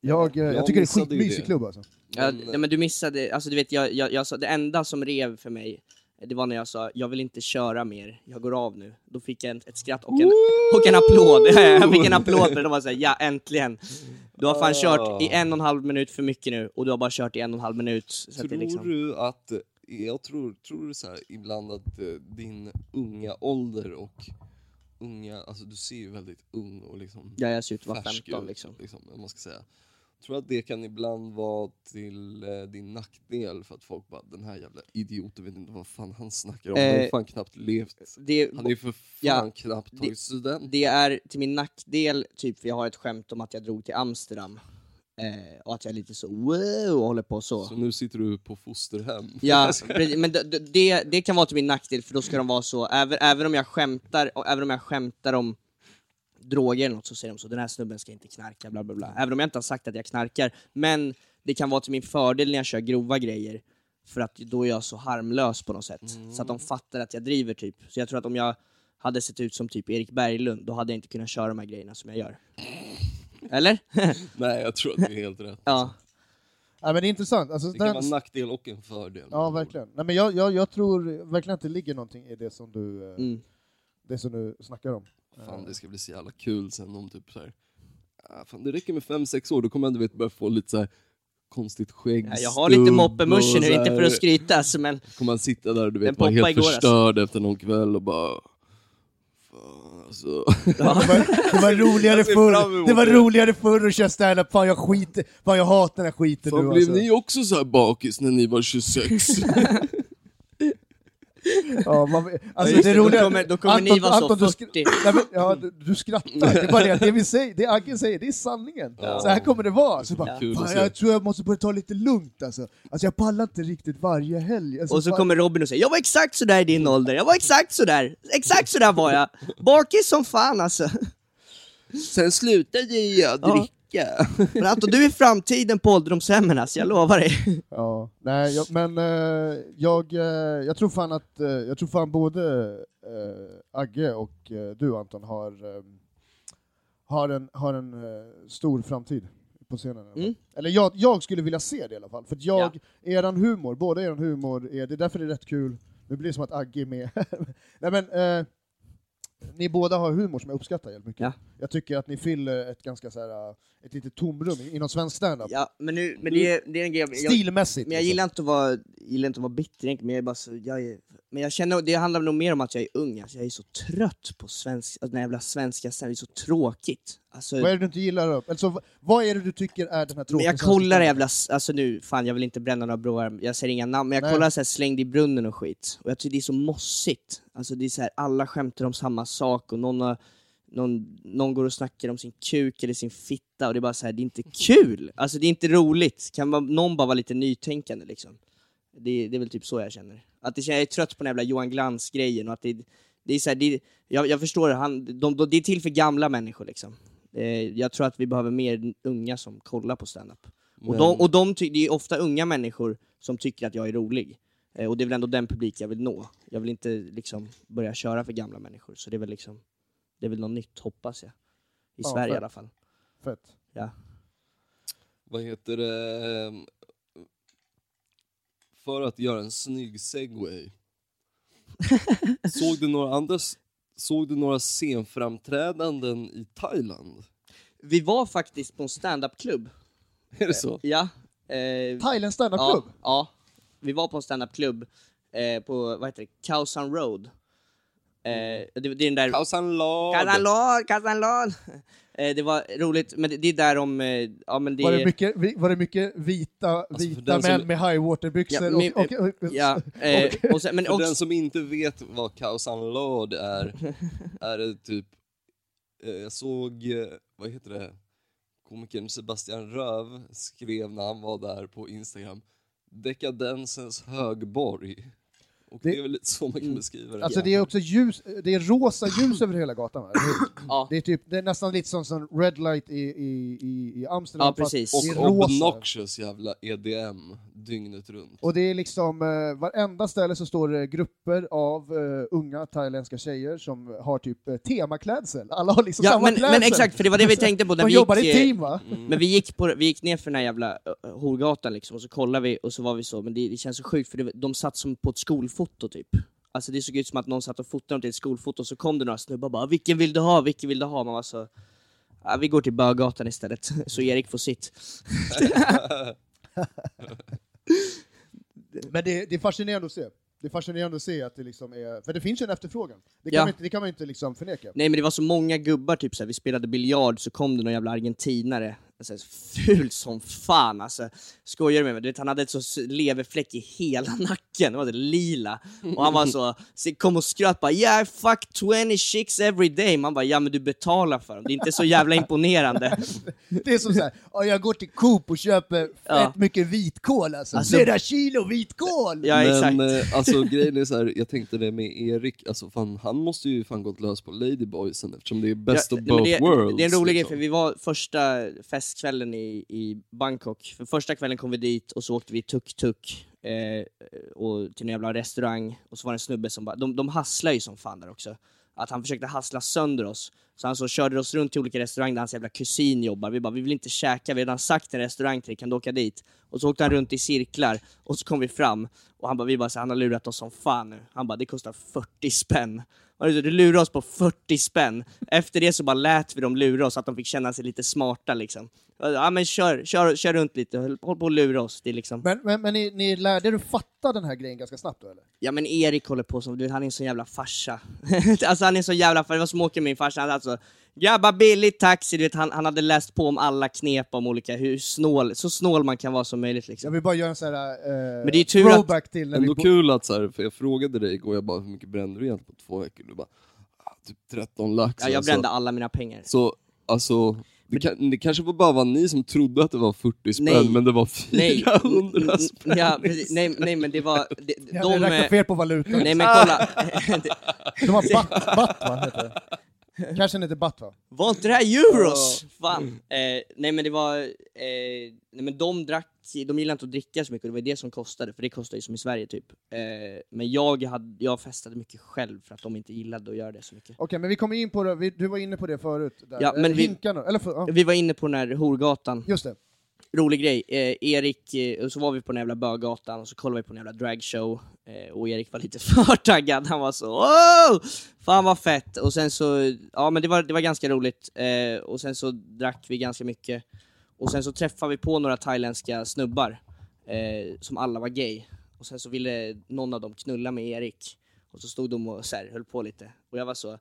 S1: Jag, eh, jag
S3: Jag
S1: tycker det är
S3: missade ju
S1: skitmysig
S3: det.
S1: klubb alltså.
S4: Ja,
S3: Men,
S4: nej, men du missade, alltså du vet, jag, jag, jag sa, det enda som rev för mig, det var när jag sa jag vill inte köra mer, jag går av nu. Då fick jag en, ett skratt och en, och en applåd. jag fick en applåd för det var såhär, ja äntligen. Du har fan
S3: Ah.
S4: kört i en och en halv minut för mycket nu och du har bara kört i en och en halv minut. Så att
S3: tror
S4: det liksom,
S3: du att, eh, jag tror, tror du så här ibland att eh, din unga ålder och unga, alltså du ser ju väldigt ung och liksom
S4: ja, jag ser ut att vara
S3: färsk
S4: 15
S3: ut,
S4: liksom.
S3: liksom om man ska säga. Tror att det kan ibland vara till eh, din nackdel för att folk bara den här jävla idioten vet inte vad fan han snackar om, han har
S4: Eh,
S3: ju fan knappt levt.
S4: Det,
S3: Han är ju för fan
S4: ja,
S3: knappt
S4: det-
S3: tagit studenten.
S4: det är till min nackdel, typ, för jag har ett skämt om att jag drog till Amsterdam. Eh, och att jag är lite så wow och håller på så.
S3: Så nu sitter du på fosterhem.
S4: Ja, precis. men d- d- det, det kan vara till min nackdel för då ska de vara så, även, även, om, jag skämtar, och även om jag skämtar om droger eller något så säger de så, den här snubben ska inte knarka, bla bla bla. Även om jag inte har sagt att jag knarkar. Men det kan vara till min fördel när jag kör grova grejer, för att då är jag så harmlös på något sätt. Så att de fattar att jag driver typ. Så jag tror att om jag hade sett ut som typ Erik Berglund, då hade jag inte kunnat köra de här grejerna som jag gör. Eller?
S3: Nej jag tror att det är helt rätt.
S4: ja.
S1: Ja, men det är intressant. Alltså,
S3: Det kan vara
S1: den,
S3: en nackdel och en fördel.
S1: ja, verkligen. Nej, men jag, jag, jag tror verkligen att det ligger någonting i det som du, eh,
S4: Mm.
S1: det som du snackar om.
S3: Fan det ska bli så jävla kul sen om typ så här. Ah, fan, det räcker med 5-6 år, då kommer jag du vet börja få lite så här konstigt skägg,
S4: Ja, Jag har lite
S3: stubb
S4: moppemuscher
S3: och
S4: nu,
S3: så
S4: inte
S3: här.
S4: för att skryta alltså, men
S3: Kommer man sitta där du
S4: Den
S3: vet vara
S4: poppade
S3: helt
S4: igår, alltså.
S3: förstörd efter någon kväll och bara Alltså,
S4: Ja.
S1: Det var, det var roligare
S3: Jag ser fram
S1: förr,
S3: emot
S1: det var
S3: det.
S1: roligare förr att köra standup, fan jag skiter, fan jag hatar den här skiten
S3: fan,
S1: nu
S3: blev
S1: alltså.
S3: ni också så här bakis när ni var 26?
S1: Ja, man, alltså
S4: just
S1: det
S4: det, då
S1: roliga-
S4: kommer- då kommer ni vara så,
S1: du skra-
S4: 40.
S1: Nej, men, ja, du, du skrattar, det är bara det, att det vi säger, det Agge säger, det är sanningen.
S3: Ja.
S1: Så här kommer det vara. Så bara,
S3: Kul att
S1: fan,
S3: se.
S1: jag tror jag måste börja ta lite lugnt alltså. Alltså jag pallar inte riktigt varje helg. Alltså,
S4: Och så
S1: fan-
S4: kommer Robin och säger jag var exakt sådär i din ålder, jag var exakt sådär, exakt sådär var jag. Bakis som fan alltså.
S3: Sen slutade jag
S4: Ja.
S3: dricka.
S4: Men Anton, du är framtiden på ålderdomshemmen alltså, jag lovar dig.
S1: Ja, nej, jag, men eh, jag, eh, jag tror fan att eh, jag tror fan både eh, Agge och eh, du Anton har, eh, har en, har en eh, stor framtid på scenen. i alla fall.
S4: Mm.
S1: Eller jag, jag skulle vilja se det i alla fall, för att jag, eran humor, båda eran humor, är, det är därför det är rätt kul, nu blir det som att Agge är med. nej men, eh, ni båda har humor som jag uppskattar jävligt mycket.
S4: Ja.
S1: Jag tycker att ni fyller ett ganska så här, eh, ett litet tomrum inom svensk standup.
S4: Ja, men, nu, men det, är- det är en grej. jag-
S1: Stilmässigt.
S4: Men jag
S1: liksom.
S4: gillar inte att vara, gillar inte att vara bitter egentligen, men jag är bara så, jag är, men jag känner, det handlar nog mer om att jag är ung, alltså. jag är så trött på svensk, alltså, den här jävla svenska scenen, det är så tråkigt. Alltså,
S1: Vad är det du inte gillar då? Alltså, v- vad är det du tycker är den här
S4: men
S1: tråkiga
S4: jag kollar jävla, s- alltså nu, fan jag vill inte bränna några broar, jag säger inga namn, men jag
S1: Nej.
S4: kollar så här slängd i brunnen och skit, och jag tycker det är så mossigt. Alltså det är så här, alla skämtar om samma sak och någon har någon, någon går och snackar om sin kuk eller sin fitta och det är bara så här, det är inte kul! Alltså det är inte roligt, kan man, någon bara vara lite nytänkande liksom. Det, det är väl typ så jag känner. Att det, kän- jag är trött på den jävla Johan Glans-grejen och att det, det är så här, det, jag, jag förstår, han, de, de, det är till för gamla människor liksom. Eh, jag tror att vi behöver mer unga som kollar på standup. Och,
S3: Men-
S4: de, och de ty, det är ofta unga människor som tycker att jag är rolig. Eh, och det är väl ändå den publik jag vill nå. Jag vill inte liksom börja köra för gamla människor, så det är väl liksom det är väl något nytt, hoppas jag. I
S1: Ja,
S4: Sverige
S1: för-
S4: i alla fall.
S1: Fett.
S4: Ja.
S3: Vad heter det? För att göra en snygg segway. Såg du några andra s- Såg du några scenframträdanden i Thailand?
S4: Vi var faktiskt på en standup-klubb.
S3: Är det så?
S4: Ja. Eh,
S1: Thailands standupklubb?
S4: Ja, ja. Vi var på en standup-klubb eh, på, vad heter det, Khao San Road. Eh, det, det är den där...
S3: Khao San Lod.
S4: Kazanlon, Kazanlon! Eh, det var roligt, men det, det är där de... Eh, ja, men det
S1: Var, det
S4: är- Alltså,
S1: mycket, vi- var det mycket vita, vita
S3: den som-
S1: män med highwaterbyxor?
S4: Ja, men-
S1: och, och, och,
S4: Ja, eh, och sen, men
S3: För
S4: också,
S3: den som inte vet vad Khao San Lod är, är det typ... eh, Jag såg, eh, vad heter det, komikern Sebastian Röv skrev när han var där på Instagram, dekadensens högborg. Och det,
S1: Det-
S3: är väl lite så man
S4: Mm.
S3: kan beskriva det.
S1: Alltså det är också ljus, det är rosa ljus över hela gatan. va?
S4: Ja.
S1: Det, är typ, det är nästan lite som, som red light i, i, i, i Amsterdam.
S4: Ja,
S1: fast
S4: precis.
S1: det är
S3: Och
S1: rosa.
S3: obnoxious jävla EDM dygnet runt.
S1: Och det är liksom, eh, varenda ställe så står det grupper av eh, unga thailändska tjejer som har typ eh, temaklädsel. Alla har liksom
S4: ja,
S1: samma
S4: men,
S1: klädsel.
S4: men exakt, för det var det vi tänkte på när
S1: De
S4: vi
S1: jobbar i
S4: gick, eh,
S1: team va?
S4: Men vi gick, på, vi gick ner för den här jävla eh, horgatan liksom, och så kollade vi och så var vi så, men det, det känns så sjukt för det, de satt som på ett skolfoto typ. Alltså det såg ut som att någon satt och fotade dem till ett skolfoto, så kom det några snubbar och bara 'Vilken vill du ha? Vilken vill du ha?' Man var så... Ja, vi går till böggatan istället, så Erik får sitt.
S1: Men det, det är fascinerande att se. Det är fascinerande att se att det liksom är, för det finns ju en efterfrågan. Det kan,
S4: Ja.
S1: man, inte, det kan man inte liksom förneka.
S4: Nej men det var så många gubbar, typ såhär, vi spelade biljard så kom det någon jävla argentinare, alltså, ful som fan alltså. Skojar du med mig? Du vet, han hade ett så s- leverfläck i hela nacken, det var det lila. Och han var så, så kom och skröt bara yeah I fuck 20 chicks every day. Man bara ja men du betalar för dem, det är inte så jävla imponerande.
S1: Det är som såhär, ja, jag går till Coop och köper fett
S4: Ja.
S1: mycket vitkål alltså.
S4: Alltså-
S1: Flera kilo vitkål!
S4: Ja exakt.
S3: Men eh, alltså grejen är så här, jag tänkte det med Erik, alltså fan, han måste ju fan gått lös på Ladyboysen eftersom det är best
S4: Ja,
S3: of
S4: nej, men
S3: both
S4: det,
S3: worlds.
S4: Det är en rolig grej,
S3: liksom.
S4: för vi var första festkvällen i, i Bangkok. För första kvällen kom vi dit och så åkte vi tuk-tuk eh, och till en jävla restaurang och så var det en snubbe som bara, de, de hasslar ju som fan där också. Att han försökte hassla sönder oss. Så han så körde oss runt till olika restauranger där hans jävla kusin jobbar. Vi bara, vi vill inte käka, vi har redan sagt en restaurang till dig, kan du åka dit? Och så åkte han runt i cirklar och så kom vi fram och han bara, vi bara, så här, han har lurat oss som fan nu. Han bara, det kostar 40 spänn. Och Du du lurar oss på 40 spänn. Efter det så bara lät vi dem lura oss, att de fick känna sig lite smarta liksom. Ja men kör, kör, kör runt lite, håll håll på att lura oss. Det är liksom...
S1: Men, men, men ni, ni lärde er att fatta den här grejen ganska snabbt då eller?
S4: Ja men Erik håller på som, du vet, han är en sån jävla farsa. alltså han är en sån jävla farsa, det var som att åka med min farsa, han alltså Grabbar billigt taxi, du vet han, han hade läst på om alla knep om olika, hur snål, så snål man kan vara som möjligt
S1: Jag
S4: liksom.
S1: vill bara göra en sån här eh,
S4: Men det är tur att-
S1: throwback till när vi
S3: Ändå
S1: bo-
S3: kul att så här, för jag frågade dig igår, jag bara hur mycket brände du egentligen på två veckor? Du bara, ah, typ 13 lax.
S4: Ja, jag
S3: alltså.
S4: brände alla mina pengar.
S3: Så, alltså, det, kan, det kanske var bara var ni som trodde att det var 40 spänn,
S4: Nej.
S3: men det var
S4: Nej, n-
S3: 400
S4: n-
S3: spänn.
S4: ja, precis. nej, nej men det var, det,
S1: Ni liksom. hade
S4: de...
S1: räknat
S4: eh,
S1: fel på valutan.
S4: Nej men kolla, Det-
S1: De har batt, batt va? Heter det. Kanske den heter batt va?
S4: var inte det här euros? Fan. Eh, nej men det var, eh, nej men de drack, de gillade inte att dricka så mycket och det var det som kostade, för det kostar ju som i Sverige typ. Eh, men jag, hade, jag festade mycket själv för att de inte gillade att göra det så mycket.
S1: Okej, men vi kommer in på det, vi, du var inne på det förut. Där.
S4: Ja,
S1: Eh,
S4: men vi-
S1: Hinkarna, eller för, ja,
S4: Vi var inne på den här horgatan,
S1: just det.
S4: rolig grej. Eh, Erik, eh, och så var vi på den jävla böggatan och så kollade vi på den jävla dragshow eh, och Erik var lite för taggad, han var så Åh! Fan vad fett! Och sen så, ja men det var, det var ganska roligt eh, och sen så drack vi ganska mycket och sen så träffade vi på några thailändska snubbar eh, som alla var gay och sen så ville någon av dem knulla med Erik och så stod de och så här, höll på lite och jag var så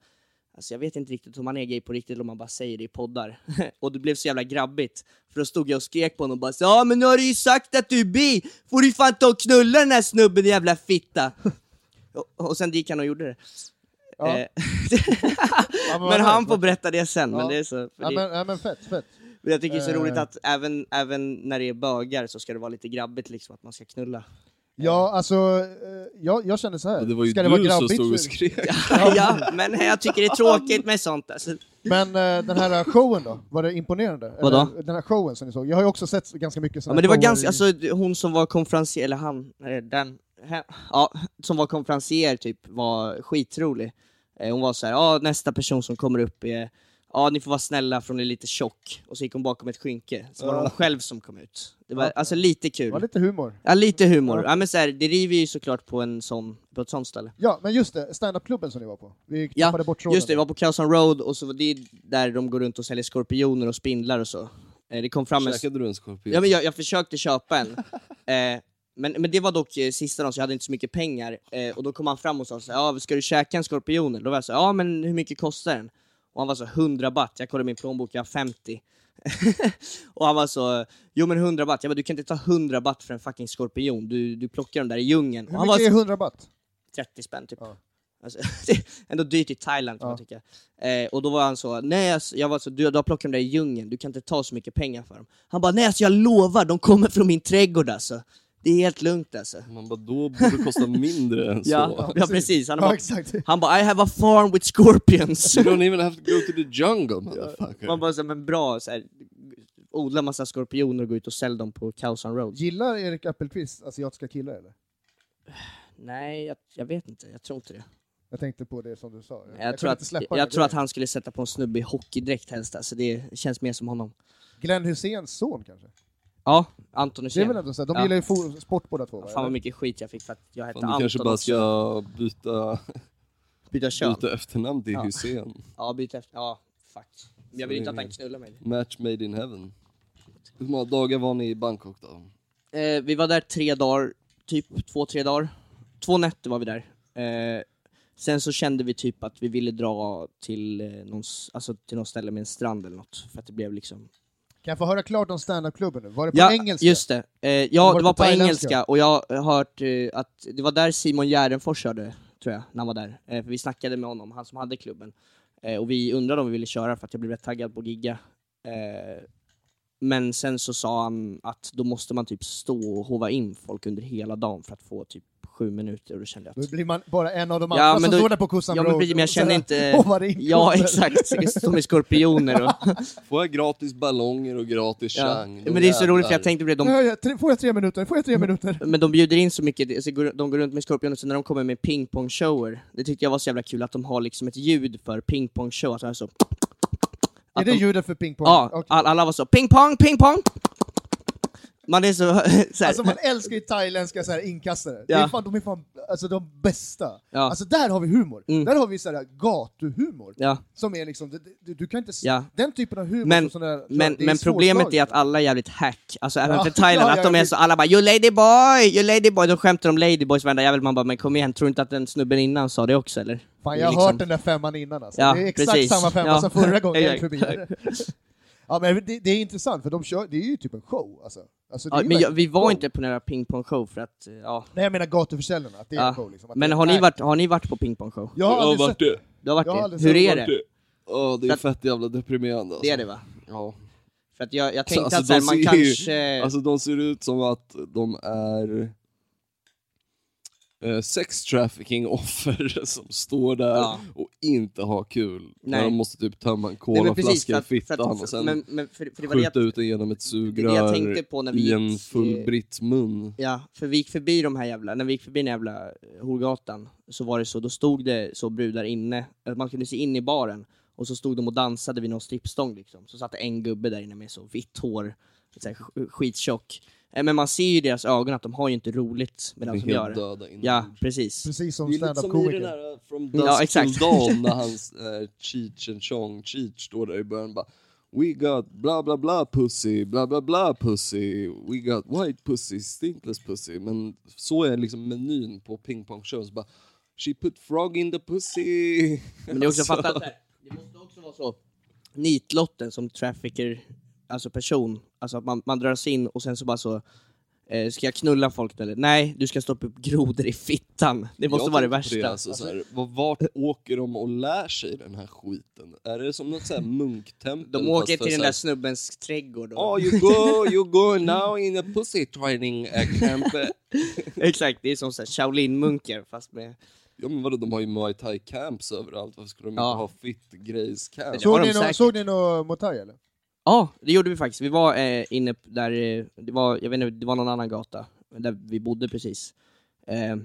S4: Alltså jag vet inte riktigt om man är gay på riktigt eller om man bara säger det i poddar. och det blev så jävla grabbigt. För då stod jag och skrek på honom och bara så, Ja men nu har du ju sagt att du är bi! Får du fan ta och knulla den här snubben jävla fitta! och, och sen gick han och gjorde det.
S1: Ja.
S4: Eh,
S1: Ja, vad
S4: men han
S1: nice.
S4: får berätta det sen.
S1: Ja.
S4: Men det är så, för
S1: Ja
S4: det,
S1: men, ja, men fett, fett.
S4: men jag tycker det är så
S1: eh.
S4: roligt att även, även när det är bögar så ska det vara lite grabbigt liksom att man ska knulla.
S1: Ja, alltså, eh, jag, jag känner så här.
S3: Ja, det var ju
S1: Ska
S3: du
S1: vara
S3: som stod och
S1: så-
S3: skrek.
S4: ja, men jag tycker det är tråkigt med sånt alltså.
S1: Men eh, den här showen då, var det imponerande?
S4: Vadå?
S1: Eller, Den här showen som ni såg, jag har ju också sett ganska mycket
S4: Ja,
S1: sådana
S4: men det var ganska, alltså d- hon som var konferencier, eller han, eh, den, he- ja, som var konferencier typ, var skitrolig. Eh, Hon var så här, ja nästa person som kommer upp är, ja ni får vara snälla för hon är lite tjock. Och så gick hon bakom ett skynke, så var det hon själv som kom ut. Det var
S1: Ja.
S4: alltså lite
S1: Det var
S4: kul.
S1: lite humor.
S4: Ja lite humor.
S1: Ja.
S4: Ja men så här, det river ju såklart på en sån, på ett sånt ställe.
S1: Ja, men just det, standupklubben som ni var på. Vi
S4: Ja,
S1: tappade bort tråden.
S4: Just det, det var på Kaosan Road och så var det där de går runt och säljer skorpioner och spindlar och så. Eh, Det kom fram en
S3: Käkade du en skorpion?
S4: Ja, men jag, jag försökte köpa en. Eh, men, men det var dock eh, sista dagen, så jag hade inte så mycket pengar. Eh, och då kom han fram och sa så här, ja, ska du käka en skorpion? Då var jag så här, ja men hur mycket kostar den? Och han var så 100 baht, jag kollade min plånbok, jag har 50. och han var så, jo men 100 baht, jag bara, du kan inte ta 100 baht för en fucking skorpion, du, du plockar dem där i djungeln. Och
S1: Hur
S4: han var
S1: mycket är
S4: så,
S1: 100 baht?
S4: 30 spänn typ.
S1: Ja.
S4: Alltså, det är ändå dyrt i Thailand kan man tycka. Eh, och då var han så, nej alltså, jag var så, du, du har plockat dem där i djungeln, du kan inte ta så mycket pengar för dem. Han bara, nej alltså jag lovar, de kommer från min trädgård alltså. Det är helt lugnt alltså.
S3: Man bara, då borde det kosta mindre än
S4: Ja,
S3: så.
S4: ja precis, han
S1: Ja,
S4: bara,
S1: exakt.
S4: han bara I have a farm with scorpions.
S3: You don't even have to go to the jungle motherfucker.
S4: Man bara så, här, men bra, så här, odla massa skorpioner och gå ut och sälj dem på Cows on Road.
S1: Gillar Erik Appelqvist asiatiska killar eller?
S4: Nej, jag, jag vet inte, jag tror inte det.
S1: Jag tänkte på det som du sa.
S4: Jag, tror,
S1: kunde inte
S4: att,
S1: släppa den här
S4: jag tror att
S1: grejen.
S4: han skulle sätta på en snubbe i hockeydräkt helst, alltså, det känns mer som honom.
S1: Glenn Husseins son kanske?
S4: Ja, Anton
S1: Det är väl
S4: Hysén.
S1: ändå så här, de
S4: Ja.
S1: gillar ju fo- sport båda två va?
S4: Fan vad
S1: Eller?
S4: mycket skit jag fick för att jag hette
S3: Fan,
S4: Anton
S3: du kanske bara
S4: också.
S3: ska byta,
S4: byta kön.
S3: byta efternamn till
S4: Ja.
S3: Hussein.
S4: Ja, byta efter. Ja, fuck. Men jag vill
S3: Så
S4: inte
S3: är
S4: att
S3: det.
S4: han knullar mig.
S3: Match made in heaven. Hur många dagar var ni i Bangkok då?
S4: Eh, vi var där tre dagar, typ två, tre dagar. Två nätter var vi där. Eh, sen så kände vi typ att vi ville dra till eh, någon, s- alltså, till någon ställe med en strand eller något. För att det blev liksom...
S1: Kan jag få höra klart om standupklubben nu? Var det på
S4: ja,
S1: engelska?
S4: just det. Eh, ja,
S1: var
S4: det var
S1: på
S4: på,
S1: thailändska.
S4: engelska och jag har hört eh, att det var där Simon Gärdenfors körde, tror jag, när han var där. Eh, för vi snackade med honom, han som hade klubben. Eh, och vi undrade om vi ville köra för att jag blev rätt taggad på att gigga. Eh, men sen så sa han att då måste man typ stå och hova in folk under hela dagen för att få typ sju minuter och då kände jag
S1: Då
S4: att...
S1: blir man bara en av de
S4: Ja,
S1: andra
S4: men
S1: som
S4: då-
S1: står där på Kossan
S4: Ja men,
S1: Road
S4: precis, men jag
S1: och så
S4: kände
S1: här,
S4: inte...
S1: "Åh, vad det är
S4: Ja
S1: inkommande."
S4: exakt, som är skorpioner och...
S3: Får jag gratis ballonger och gratis
S4: Ja.
S3: chang?
S4: Men det är så roligt för jag tänkte på det, de
S1: Nu har jag tre- Får jag tre minuter? Får jag tre minuter?
S4: Men de bjuder in så mycket, alltså, går- de går runt med Scorpion och sen när de kommer med pingpongshower, det tyckte jag var så jävla kul att de har liksom ett ljud för pingpongshow, att de är så... ah,
S1: Är
S4: Att
S1: det
S4: de,
S1: ljudet för pingpong?
S4: ja,
S1: Okej.
S4: all- alla var så pingpong, pingpong! Man är så, så här,
S1: Alltså man älskar ju thailändska så här inkastare. Det är
S4: Ja.
S1: fan, de är fan alltså, de bästa.
S4: Ja.
S1: Alltså där har vi humor.
S4: Mm.
S1: Där har vi så här gatuhumor.
S4: ja.
S1: Som är liksom, du, du, du kan inte... s-
S4: Ja.
S1: Den typen av humor
S4: Men-
S1: som sådana där,
S4: Men,
S1: Alltså, det är
S4: men problemet
S1: svårslaget.
S4: är att alla är jävligt hack, alltså även
S1: Ja,
S4: för Thailand,
S1: ja,
S4: att de
S1: ja,
S4: är
S1: det-
S4: så, alla bara 'You ladyboy, you ladyboy' De skämtar om ladyboys varenda jävel, man bara 'Men kom igen, tror du inte att den snubben innan sa det också eller?'
S1: Fan,
S4: Det är
S1: jag har
S4: liksom-
S1: hört den där femman innan alltså.
S4: Ja,
S1: Det är exakt
S4: precis.
S1: samma femma
S4: Ja.
S1: som förra gången jag gick
S4: Exakt.
S1: förbi. här. ja, men det, det är intressant, för de kör, det är ju typ en show alltså. alltså det är
S4: Ja,
S1: ju
S4: men jag,
S1: verkligen
S4: vi
S1: show.
S4: var inte på några pingpongshow för att, eh, ja.
S1: Nej, jag menar gatuförsäljarna, att det är en
S4: ja.
S1: show liksom. Att
S4: Men
S1: det,
S4: har ni,
S1: nej,
S4: varit, har ni varit på pingpongshow?
S1: Jag har aldrig sett
S3: det.
S4: Du har varit
S1: Jag har
S4: det?
S1: aldrig
S4: Hur
S1: sett-
S4: är det?
S3: Ja, det är
S4: För att-
S3: fett jävla deprimerande alltså.
S4: Det är det va?
S3: Ja.
S4: För att jag, jag tänkte
S3: Alltså,
S4: att så här,
S3: de
S4: man
S3: ser ju-
S4: kanske...
S3: Alltså de ser ut som att de är eh, sex trafficking offer som står där
S4: Ja.
S3: och inte har kul. När
S4: Nej.
S3: de måste typ tömma en
S4: Nej, men precis,
S3: colaflaska i
S4: för att- för att-
S3: fittan och sen
S4: men- men för- för det var det
S3: skjuta
S4: jag-
S3: ut den genom ett
S4: det är det jag tänkte
S3: sugrör
S4: på när vi
S3: i en
S4: gick, eh,
S3: full britts mun.
S4: Ja, för vi gick förbi de här jävla, när vi gick förbi den jävla eh, horgatan så var det så, då stod det så brudar inne, att man kunde se in i baren och så stod de och dansade vid någon strippstång liksom. Så satt det en gubbe där inne med så vitt hår, så här, sk- skittjock. Eh, Men man ser ju i deras ögon att de har ju inte roligt med
S3: De
S4: de
S3: är
S4: som gör
S3: helt
S4: det.
S3: döda inom.
S4: Ja, precis.
S1: Precis
S3: Det är
S1: som
S3: lite som i den
S1: standup-komiker.
S3: där From Dusk
S4: Ja, exakt.
S3: Till Dawn när hans eh, Cheech and Chong, Cheech står där i början och bara We got bla bla bla pussy, bla bla bla pussy, we got white pussy, stinkless pussy. Men så är liksom menyn på pingpongshows. bara She put frog in the pussy.
S4: Men det är också
S3: Alltså,
S4: fattat där. Det måste också vara så. Nitlotten som trafficker, alltså person, alltså att man, man dras in och sen så bara så eh, Ska jag knulla folk eller? Nej, du ska stoppa upp grodor i fittan. Det måste
S3: jag
S4: vara det
S3: tänkte på
S4: värsta.
S3: Det, alltså, så här, vad- vart åker de och lär sig den här skiten? Är det som något så här munktempel?
S4: De
S3: fast
S4: åker
S3: för
S4: till den
S3: så
S4: där
S3: här-
S4: snubbens trädgård. Och...
S3: Oh, you go, you go now in a pussy training eh, camp.
S4: Exakt, det är som så här Shaolin-munkar fast med...
S3: Ja men vadå, de har ju muay thai camps överallt, varför skulle de
S4: Ja.
S3: inte ha fit grejs camp?
S4: Så-
S1: Såg
S4: Ja, de
S1: ni nå-
S4: säkert.
S1: Såg ni något Motai eller?
S4: Ja, det gjorde vi faktiskt. Vi var eh, inne p- där, eh, det var, jag vet inte, det var någon annan gata där vi bodde precis. Eh,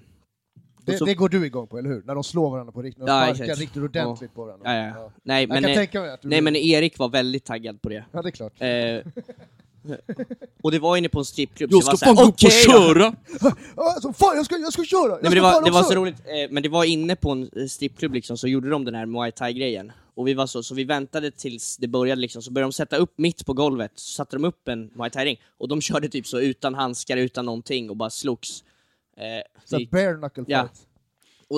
S1: Det,
S4: så-
S1: det går du igång på, eller hur? När de slår varandra på riktigt, när de
S4: Ja,
S1: sparkar
S4: exakt.
S1: riktigt ordentligt på varandra.
S4: ja, ja.
S1: Ja.
S4: Nej,
S1: Jag
S4: men,
S1: kan
S4: eh,
S1: tänka mig att du...
S4: nej, men Erik var väldigt taggad på det.
S1: Ja, det är klart.
S4: Eh, och det var inne på en strippklubb, så det var så här, "Okej då."
S1: Alltså, fan, jag ska, jag ska köra! Jag
S4: Nej, men
S1: ska
S4: det,
S1: fan
S4: var, det var
S1: också!
S4: så roligt, eh, men det var inne på en eh, strippklubb liksom, så gjorde de den här muay thai-grejen. Och vi var så, så vi väntade tills det började liksom, så började de sätta upp mitt på golvet, så satte de upp en muay thai-ring. Och de körde typ så utan handskar, utan någonting och bara slogs.
S1: Så
S4: Eh, det
S1: här
S4: gick-
S1: bare knuckle fight.
S4: Ja.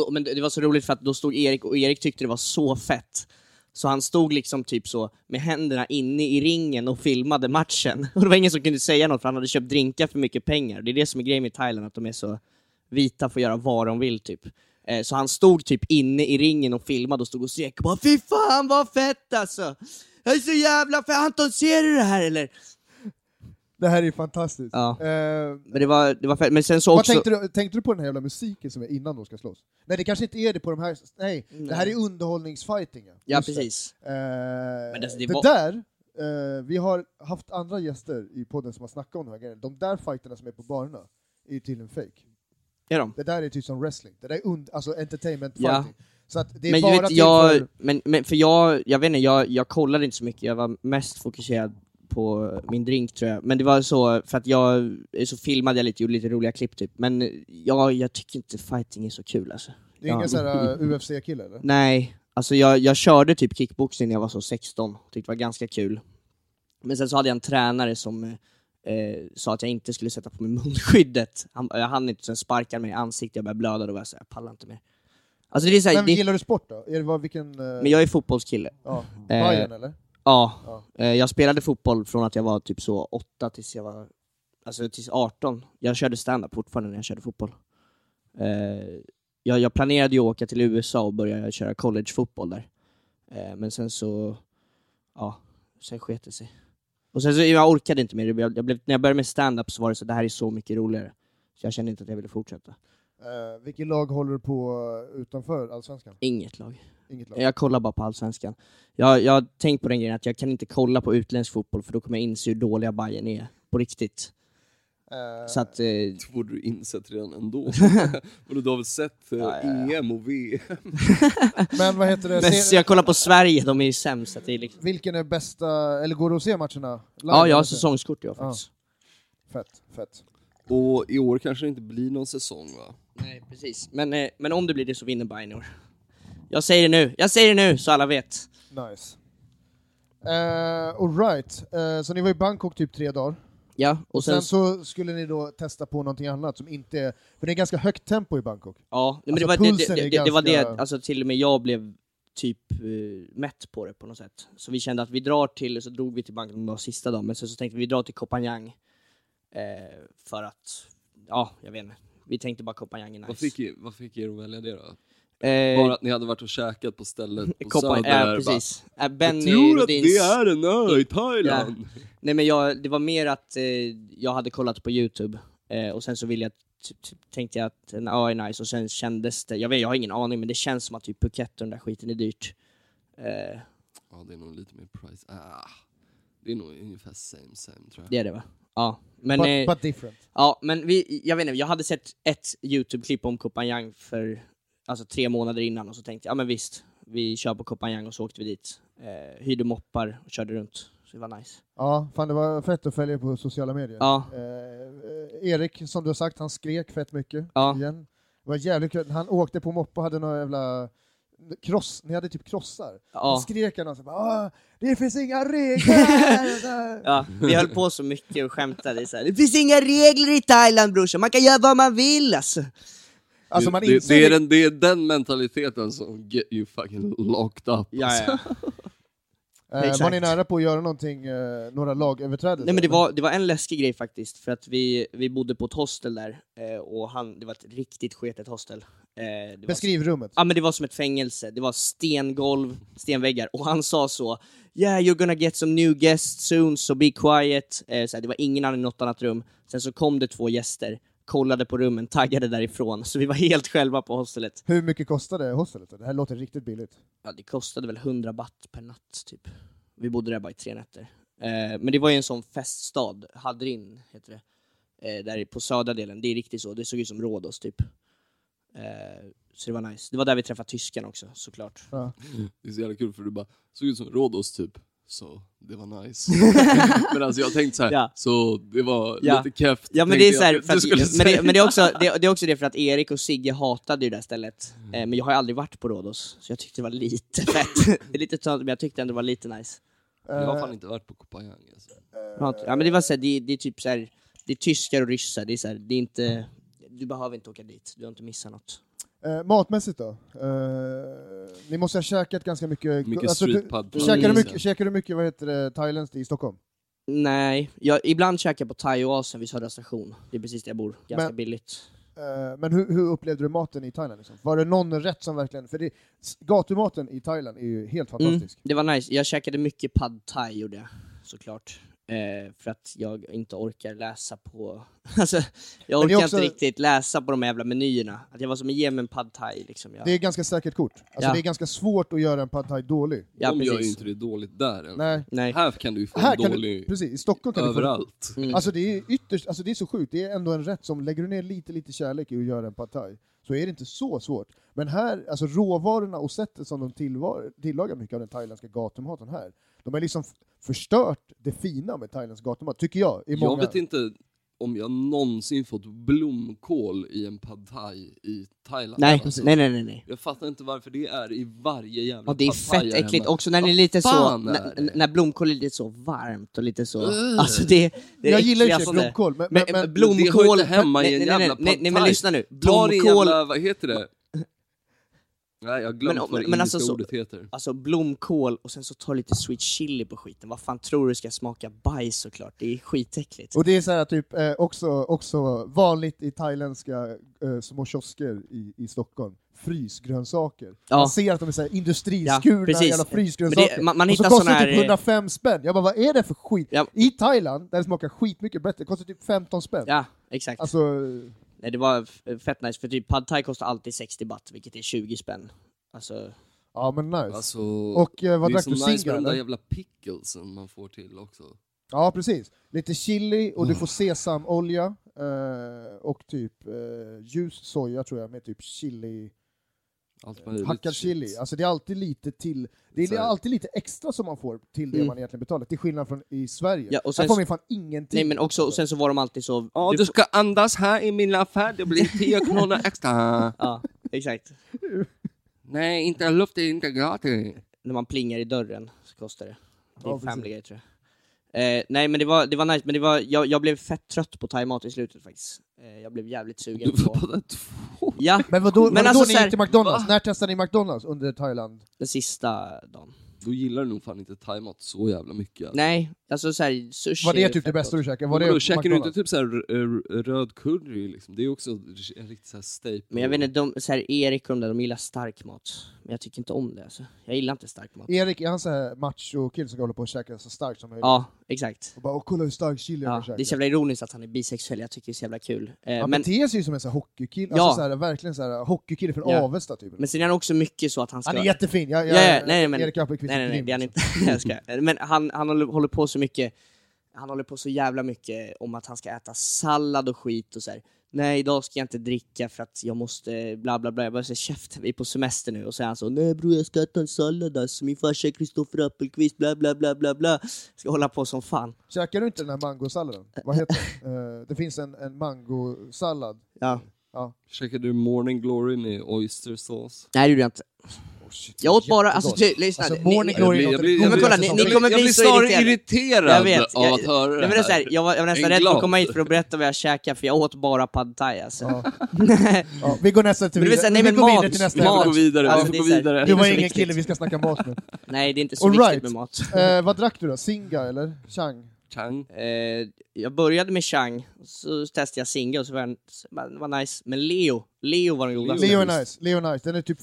S4: och, men det, det var så roligt för att då stod Erik, och Erik tyckte det var så fett. Så han stod liksom typ så med händerna inne i ringen och filmade matchen. Och det var ingen som kunde säga något för han hade köpt drinkar för mycket pengar. Det är det som är grejen med Thailand, att de är så vita får göra vad de vill typ. Eh, Så han stod typ inne i ringen och filmade och stod och skrek och bara Fy fan vad fett alltså! Jag är så jävla fett! Anton ser du det här eller?
S1: Det här är ju fantastiskt.
S4: Ja.
S1: Eh,
S4: Men det var, det var fett, men sen så
S1: vad
S4: också...
S1: tänkte du, tänkte du på den här jävla musiken som är innan de ska slåss? Nej, det kanske inte är det på de här... Nej, det här är underhållningsfighting.
S4: Ja
S1: Just det.
S4: precis.
S1: Eh,
S4: Men
S1: det
S4: alltså, det var-
S1: där, eh, vi har haft andra gäster i podden som har snackat om de här grejerna. De där fighterna som är på barerna är ju tydligen fake.
S4: Det är de.
S1: Det där är typ som wrestling. Det där är und- alltså entertainment
S4: Ja.
S1: fighting. Så att det är
S4: men
S1: bara
S4: ju vet,
S1: till
S4: jag,
S1: för...
S4: men, men för jag, jag vet inte, jag, jag kollade inte så mycket, jag var mest fokuserad på min drink tror jag. Men det var så, för att jag, så filmade jag lite, gjorde lite roliga klipp typ. Men jag, jag tycker inte fighting är så kul alltså.
S1: Det är ingen
S4: Ja.
S1: sån här eh, UFC-kille eller?
S4: Nej, alltså jag, jag körde typ kickboxing när jag var så 16, tyckte det var ganska kul. Men sen så hade jag en tränare som eh, eh, sa att jag inte skulle sätta på mig munskyddet. Han, jag hann inte, sen sparkade mig i ansiktet, jag började blöda, då var jag såhär, jag pallar inte mer. Alltså det är såhär,
S1: Men
S4: det,
S1: gillar du sport då? Är det vad, vilken... eh,
S4: men jag Eh. är fotbollskille.
S1: Ja, Bayern eller?
S4: Ja,
S1: Ja.
S4: Eh, jag spelade fotboll från att jag var typ så 8 tills jag var alltså tills 18. Jag körde stand-up fortfarande när jag körde fotboll. Eh, jag, jag planerade ju att åka till USA och börja köra collegefotboll där. Eh, men sen så, ja, sen sket det sig. Och sen så, jag orkade inte mer. Jag, jag blev, när jag började med stand-up så var det så, det här är så mycket roligare. Så jag kände inte att jag ville fortsätta.
S1: Uh, vilket lag håller du på eh, utanför Allsvenskan?
S4: Inget lag.
S1: Inget lag?
S4: Jag kollar bara på Allsvenskan. Jag, jag har tänkt på den grejen att jag kan inte kolla på utländsk fotboll för då kommer jag inse hur dåliga Bayern är på riktigt.
S1: Eh,
S4: Så att, eh,
S3: Det borde du insett redan ändå. Vadå, du har väl sett eh,
S4: Ja, ja,
S3: EM och VM?
S1: men vad heter det?
S4: men
S1: Se-
S4: så jag kollar på Sverige, de är ju sämst. Så att det är liksom...
S1: Vilken är bästa, eller går du att se matcherna? Live,
S4: Ja, alltså jag har
S1: eller?
S4: säsongskort jag faktiskt.
S1: Fett, fett.
S3: Och i år kanske det inte blir någon säsong va?
S4: Nej, precis. Men, eh, men om det blir det så vinner Bajnor. Jag säger det nu, jag säger det nu så alla vet.
S1: Nice. Uh, Alright, Eh, så ni var i Bangkok typ tre dagar.
S4: Ja, och sen,
S1: Sen så skulle ni då testa på någonting annat som inte är... För det är ganska högt tempo i Bangkok.
S4: ja, nej, men
S1: alltså,
S4: det, var,
S1: pulsen
S4: det, det,
S1: är
S4: det, det var det,
S1: ganska-
S4: alltså till och med jag blev typ eh, mätt på det på något sätt. Så vi kände att vi drar till, så drog vi till Bangkok den sista dagen, men sen så tänkte vi vi drar till Koh Phangan. Eh, för att, ja, jag vet inte. Vi tänkte bara Koh Phangan är nice.
S3: Vad fick, er- vad fick er att välja det då?
S4: Eh,
S3: Bara att ni hade varit och käkat på stället på
S4: Koh Phangan-
S3: Söder
S4: ja,
S3: där, bara,
S4: precis. Eh,
S3: Jag
S4: Benny
S3: tror att
S4: Rodins-
S3: det är en ö i Thailand!
S4: Nej men jag, det var mer att eh, jag hade kollat på youtube, eh, och sen så ville jag, t- t- tänkte jag att en AI är nice, och sen kändes det, jag vet jag har ingen aning men det känns som att typ Phuket och den där skiten är dyrt. Eh,
S3: Ja, det är nog lite mer price. Ah, det är nog ungefär same same tror jag.
S4: det är det va? Ja. Men,
S1: But,
S4: eh,
S1: but different.
S4: ja, men vi, jag vet inte, jag hade sett ett youtube-klipp om Koh Phangan för alltså, tre månader innan och så tänkte jag, ja men visst, vi kör på Koh Phangan och så åkte vi dit. Eh, hyrde moppar och körde runt, så det var nice.
S1: Ja, fan det var fett att följa på sociala medier.
S4: Ja,
S1: Eh, eh, Erik, som du har sagt, han skrek fett mycket
S4: Ja.
S1: igen. Det var jävligt kul. Han åkte på moppe och hade några jävla kross, ni hade typ krossar. Då
S4: ja.
S1: skrek han och så bara, "Ah, det finns inga regler!
S4: Ja, vi höll på så mycket och skämtade så här. Det finns inga regler i Thailand brorsan, man kan göra vad man vill alltså.
S1: alltså man
S3: det, det,
S1: insåg
S3: det, är den, det är den mentaliteten som get you fucking locked up.
S4: Ja, ja.
S1: Eh, var
S4: Exakt.
S1: ni nära på att göra någonting, eh, några lagöverträdelser?
S4: Nej men det var, det var en läskig grej faktiskt, för att vi, vi bodde på ett hostel där, eh, och han, det var ett riktigt sketet hostel. Eh, det var-
S1: Beskriv rummet.
S4: Ja men det var som ett fängelse, det var stengolv, stenväggar, och han sa så Yeah you're gonna get some new guests soon, so be quiet. Eh, så här, det var ingen annan i något annat rum. Sen så kom det två gäster, kollade på rummen, taggade därifrån, så vi var helt själva på hostelet.
S1: Hur mycket kostade hostelet? Det här låter riktigt billigt.
S4: ja, det kostade väl 100 baht per natt typ. Vi bodde där bara i tre nätter. Eh, men det var ju en sån feststad, Hadrin heter det. Eh, där på södra delen, det är riktigt så. Det såg ut som Rhodos typ. Eh, så det var nice. Det var där vi träffade tysken också såklart.
S3: Det är så jävla kul för du bara såg ut som Rhodos typ. Så det var nice. men alltså jag tänkte så här,
S4: Ja.
S3: så det var
S4: Ja.
S3: lite keft.
S4: Ja men
S3: tänkte
S4: det är, så här,
S3: jag.
S4: för
S3: Du skulle
S4: att, men, det,
S3: säga-
S4: men det, är också, det, det är också det för att Erik och Sigge hatade ju det där stället.
S3: Mm.
S4: Eh, men jag har ju aldrig varit på Rhodos, så jag tyckte det var lite fett. det är lite tönt, men jag tyckte ändå det var lite nice.
S3: Jag har
S1: Eh,
S3: fan inte varit på Koh Phangan alltså.
S4: Ja, t- ja men det var så här, det, det är typ så här, det är tyskar och ryssar, det är så här, det är inte, du behöver inte åka dit, du har inte missat något.
S1: Eh, matmässigt då? Eh, ni måste ha käkat ganska mycket... Alltså,
S3: Mycket
S1: du,
S3: street pub.
S1: du, käkar, du
S4: Mm.
S1: mycket, käkar du mycket, vad heter det, thailändskt i Stockholm?
S4: Nej, jag, ibland käkar jag på thai-oasen vid Södra station, det är precis där jag bor, ganska
S1: Men-
S4: billigt.
S1: Eh, men hur, hur upplevde du maten i Thailand? Liksom? Var det någon rätt som verkligen... För det, s- gatumaten i Thailand är ju helt
S4: Mm,
S1: fantastisk.
S4: det var nice, jag käkade mycket pad thai gjorde jag, såklart. Eh, för att jag inte orkar läsa på, alltså jag
S1: Men det är
S4: orkar
S1: också-
S4: inte riktigt läsa på de här jävla menyerna. Att jag var som, ge mig en pad thai liksom. Jag,
S1: Det är ett ganska säkert kort. Alltså
S4: Ja.
S1: det är ganska svårt att göra en pad thai dålig.
S4: ja,
S3: De gör ju
S4: precis.
S3: inte det dåligt där. än.
S1: Nej.
S4: Nej.
S3: Här kan du ju få
S1: Här
S3: en
S1: kan du,
S3: dålig
S1: precis, i Stockholm kan du få
S3: överallt.
S4: Mm.
S1: Alltså det är ytterst, alltså det är så sjukt, det är ändå en rätt som, lägger du ner lite, lite kärlek i att göra en pad thai, så är det inte så svårt. Men här, alltså råvarorna och sättet som de tillvar- tillagar mycket av den thailändska gatumaten här, de har liksom f- förstört det fina med thailändsk gatumat, tycker jag. I många...
S3: Jag vet inte om jag någonsin fått blomkål i en pad thai i Thailand.
S4: Nej,
S3: Alltså,
S4: nej, nej, nej, nej.
S3: Jag fattar inte varför det är i varje jävla
S4: Ja det är
S3: pad thai
S4: fett
S3: här
S4: äckligt,
S3: hemma.
S4: också när det är
S3: Vad
S4: lite så,
S3: fan är det?
S4: när, när blomkål är lite så varmt och lite så,
S3: Ugh.
S4: alltså det, det är
S1: jag gillar ju i och för sig
S4: äckligaste.
S1: blomkål, men, men,
S4: Men,
S1: men,
S3: blom- det hör
S4: blomkål,
S3: inte hemma i
S4: nej,
S3: en
S4: nej,
S3: jävla
S4: nej, nej,
S3: pad
S4: nej men
S3: thai.
S4: lyssna nu,
S3: Ta det
S4: blomkål,
S3: jävla, vad heter det? Nej, jag har glömt
S4: Men-
S3: vad det
S4: men alltså
S3: indiska
S4: så-
S3: ordet heter.
S4: alltså blomkål och sen så tar lite sweet chili på skiten, vad fan tror du ska smaka bajs såklart, det är skitäckligt.
S1: och det är så här typ eh, också, också vanligt i thailändska eh, små kiosker i, i Stockholm, frysgrönsaker.
S4: Ja.
S1: Man ser att de är så här industriskurna
S4: Ja, precis.
S1: jävla
S4: Men
S1: frysgrönsaker.
S4: det, man, man
S1: och så
S4: hittar
S1: kostar
S4: sådana
S1: det
S4: här,
S1: typ 105 spänn. Jag bara, vad är det för skit?
S4: Ja.
S1: I Thailand, där det smakar skitmycket bättre, kostar typ 15 spänn.
S4: ja exakt,
S1: Alltså,
S4: nej, det var f- fett nice, för typ pad thai kostar alltid 60 baht, vilket är 20 spänn. Alltså,
S1: ja men nice.
S3: Alltså,
S1: och eh, vad
S3: det är
S1: drack
S3: så
S1: du?
S3: nice
S1: Singa
S3: med de där
S1: eller?
S3: jävla picklesen man får till också.
S1: Ja precis. Lite chili och du
S4: Mm.
S1: får sesamolja eh, och typ eh, ljus soja tror jag med typ chili
S3: Allt möjligt.
S1: Hackad chili. Alltså det är alltid lite till, det är
S3: Så här.
S1: alltid lite extra som man får till det
S4: Mm.
S1: man egentligen betalar. Till skillnad från i Sverige.
S4: Ja, och
S1: Där
S4: sen
S1: får
S4: så-
S1: man ju fan ingenting.
S4: Nej men också, och sen så var de alltid så...
S3: Ja, du ska andas här i min affär, det blir 10 kronor extra.
S4: Ja, exakt.
S3: Nej, inte luft är inte gratis.
S4: När man plingar i dörren så kostar det. Det är
S1: Ja,
S4: en
S1: precis.
S4: Family Guy tror jag. Eh, nej men det var, det var nice, men det var, jag, jag blev fett trött på time-out i slutet faktiskt. Eh, jag blev jävligt sugen
S3: Du får
S4: på...
S3: bara två.
S4: Ja,
S1: Men vadå, men
S4: alltså
S1: alltså,
S4: så
S1: ni
S4: här-
S1: gick till McDonalds? När testade ni McDonalds under Thailand?
S4: den sista dagen.
S3: Då gillar du nog fan inte time-out så jävla mycket.
S4: Nej, alltså såhär sushi...
S1: Var det
S4: är
S1: typ det
S4: fett
S1: bästa
S4: gott.
S1: du käkade? Var
S3: Var
S1: det
S3: Vadå, käkar du inte
S1: McDonald's?
S3: typ såhär röd curry liksom? Det är också en riktig såhär staple.
S4: Men jag vet inte, de, så här, Erik och de där, de gillar stark mat. Men jag tycker inte om det alltså. Jag gillar inte stark mat.
S1: Erik, är han så här macho-kille som ska hålla på och käka så starkt som möjligt?
S4: Ja, exakt.
S1: Och bara, åh, kolla hur stark chili
S4: Ja,
S1: jag
S4: det
S1: käkar.
S4: är så jävla ironiskt att han är bisexuell, jag tycker det är så jävla kul. Eh,
S1: Han
S4: men,
S1: beter sig ju som en så här hockeykille,
S4: Ja.
S1: alltså så här, verkligen så här, hockeykille från
S4: Ja.
S1: Avesta typ.
S4: men sen är han också mycket så att han ska...
S1: Han är jättefin, jag, jag,
S4: Ja, ja, nej, men-
S1: Erik Appelqvist
S4: Nej, nej, nej, det är han
S1: grym,
S4: inte. jag skojar. Men han, han håller- håller på så mycket, han håller på så jävla mycket om att han ska äta sallad och skit och så här. Nej, idag ska jag inte dricka för att jag måste bla bla bla. Jag bara säger käften, vi är på semester nu. Och så är han så, nej bror jag ska äta en sallad alltså. Min farsa är Kristoffer Appelqvist, bla bla bla bla bla. Ska hålla på som fan.
S1: alltså. Käkar du inte den här mangosalladen? Vad heter den? Eh, det finns en, en mangosallad.
S4: Ja.
S3: Käkar du morning glory med oyster sauce?
S4: Nej det gjorde jag inte. jag åt bara, alltså
S1: jättegott.
S4: ty, lyssna.
S1: Alltså,
S4: ni-
S1: morning
S4: ni-
S1: glory är något av det
S4: men
S1: godaste
S4: kolla, ni-
S1: som
S4: ni
S1: finns.
S4: kommer
S3: jag
S4: bli
S3: blir
S4: så
S3: snarare
S4: irriterad.
S3: irriterad
S4: Jag vet,
S3: av
S4: jag-
S3: att höra
S4: Nej, men det är så här, jag, var, jag var nästan
S3: En
S4: rädd för att
S3: glad.
S4: komma hit för att berätta vad jag käkar för jag åt bara pad thai alltså.
S1: Ja. Ja, vi går nästa till
S4: typ- Men det vill säga, nej,
S1: vi
S4: men
S1: går vidare
S4: mat-
S1: till nästa
S3: Vi får
S4: mat-
S3: gå
S1: ämne.
S3: vidare,
S4: Ja,
S3: vi
S4: det
S3: får
S4: är
S3: gå
S4: så här-
S3: vidare.
S1: Du
S4: inte
S1: var
S4: så
S1: ingen
S4: viktigt.
S1: kille, vi ska snacka mat nu.
S4: Nej, det är inte så
S1: All
S4: viktigt
S1: right.
S4: med mat.
S1: Eh, vad drack du då? Singa eller? Chang?
S3: Chang.
S4: Eh, jag började med Chang, så testade jag Singa och så var den så var- den var nice. Men Leo, Leo var den godaste.
S1: Leo är nice, Leo är nice. Den är typ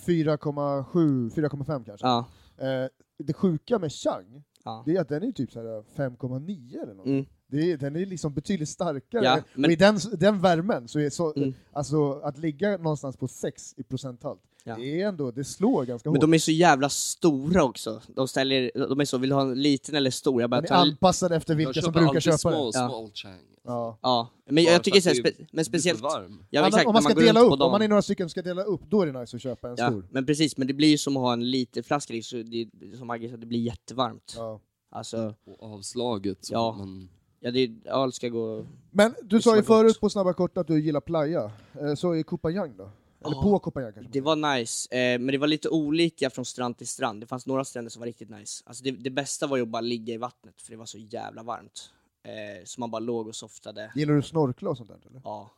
S1: 4,7, 4,5 kanske.
S4: Ja,
S1: Eh, det sjuka med Chang,
S4: ja.
S1: det är att den är typ så här 5,9 eller något.
S4: Mm.
S1: Det är, den är liksom betydligt starkare.
S4: Ja, men-
S1: Och i den, den värmen, så är så,
S4: Mm.
S1: alltså att ligga någonstans på 6 i procenthalt,
S4: Ja.
S1: det är ändå, det slår ganska
S4: Men
S1: hårt.
S4: de är så jävla stora också. De ställer, de är så, vill du ha en liten eller stor? Jag bara
S1: Den är
S4: tar en-
S1: anpassade efter vilka
S3: jag
S1: som
S3: köper
S1: brukar
S3: alltid
S1: köpa
S3: small,
S1: den.
S4: Ja.
S3: small chang.
S1: Ja.
S4: Ja, men
S3: Bara
S4: jag tycker
S3: för att
S4: såhär,
S3: det är
S4: spe, men speciellt...
S3: Lite varm.
S4: Ja,
S1: Annars-
S4: exakt,
S1: om
S4: när
S1: man ska
S4: går
S1: dela
S4: runt på
S1: upp,
S4: dem.
S1: om man är några stycken som ska dela upp, då är det nice att köpa en
S4: Ja,
S1: stor.
S4: men precis, men det blir ju som att ha en liten flaska i, så det, som Agge sa, det blir jättevarmt.
S1: Ja.
S4: Alltså,
S3: Och avslaget. Så
S4: Ja.
S3: man...
S4: ja, det, öl ska gå...
S1: Men du sa
S4: Det smakar
S1: ju
S4: gott.
S1: förut på Snabba Korta att du gillar playa, Eh, så är Kopanjang då? Eller
S4: Ja.
S1: på Kopanjang kanske?
S4: Ah. Det var nice, eh, men det var lite olika från strand till strand. Det fanns några stränder som var riktigt nice. Alltså det, det bästa var ju att bara ligga i vattnet, för det var så jävla varmt. Eh, så man bara låg och softade.
S1: Gillar du snorkla och sånt där eller?
S4: Ja.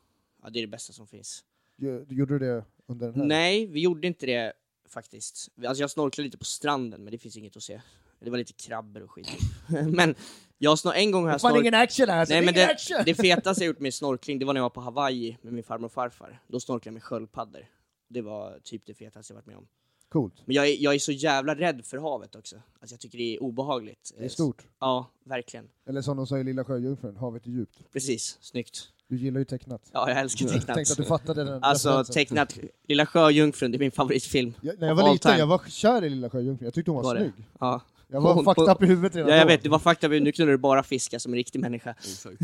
S4: ja, det är det bästa som finns.
S1: Gö- Gjorde du det under den här?
S4: Nej, vi gjorde inte det faktiskt. Alltså jag snorklade lite på stranden, men det finns inget att se. Det var lite krabbor och skit. men jag snor... en gång har jag
S1: Fan
S4: snorklat...
S1: ingen action här, så
S4: Nej,
S1: det är
S4: men
S1: ingen
S4: det,
S1: action!
S4: det fetaste jag gjort med snorkling, det var när jag var på Hawaii med min farmor och farfar. Då snorklade jag med sköldpaddor. Det var typ det fetaste jag varit med om.
S1: Coolt,
S4: Men jag är, jag är så jävla rädd för havet också. Alltså jag tycker det är obehagligt.
S1: det är stort.
S4: Ja, verkligen.
S1: Eller som de sa i Lilla Sjöjungfrun, havet är djupt.
S4: Precis, snyggt.
S1: Du gillar ju tecknat.
S4: Ja, jag älskar
S1: Tänkte att du
S4: tecknat.
S1: fattade den
S4: Alltså
S1: referensen.
S4: tecknat, Lilla Sjöjungfrun, det är min favoritfilm.
S1: jag, När jag
S4: of
S1: var
S4: all
S1: liten,
S4: time.
S1: jag var kär i Lilla Sjöjungfrun, jag tyckte hon var,
S4: Var det?
S1: snygg.
S4: Ja.
S1: Jag var
S4: Hon-
S1: fucked
S4: på-
S1: up i huvudet redan
S4: Ja, jag
S1: då.
S4: vet, det var fucked up, nu knullar du bara fiskar som en riktig människa.
S3: Exakt.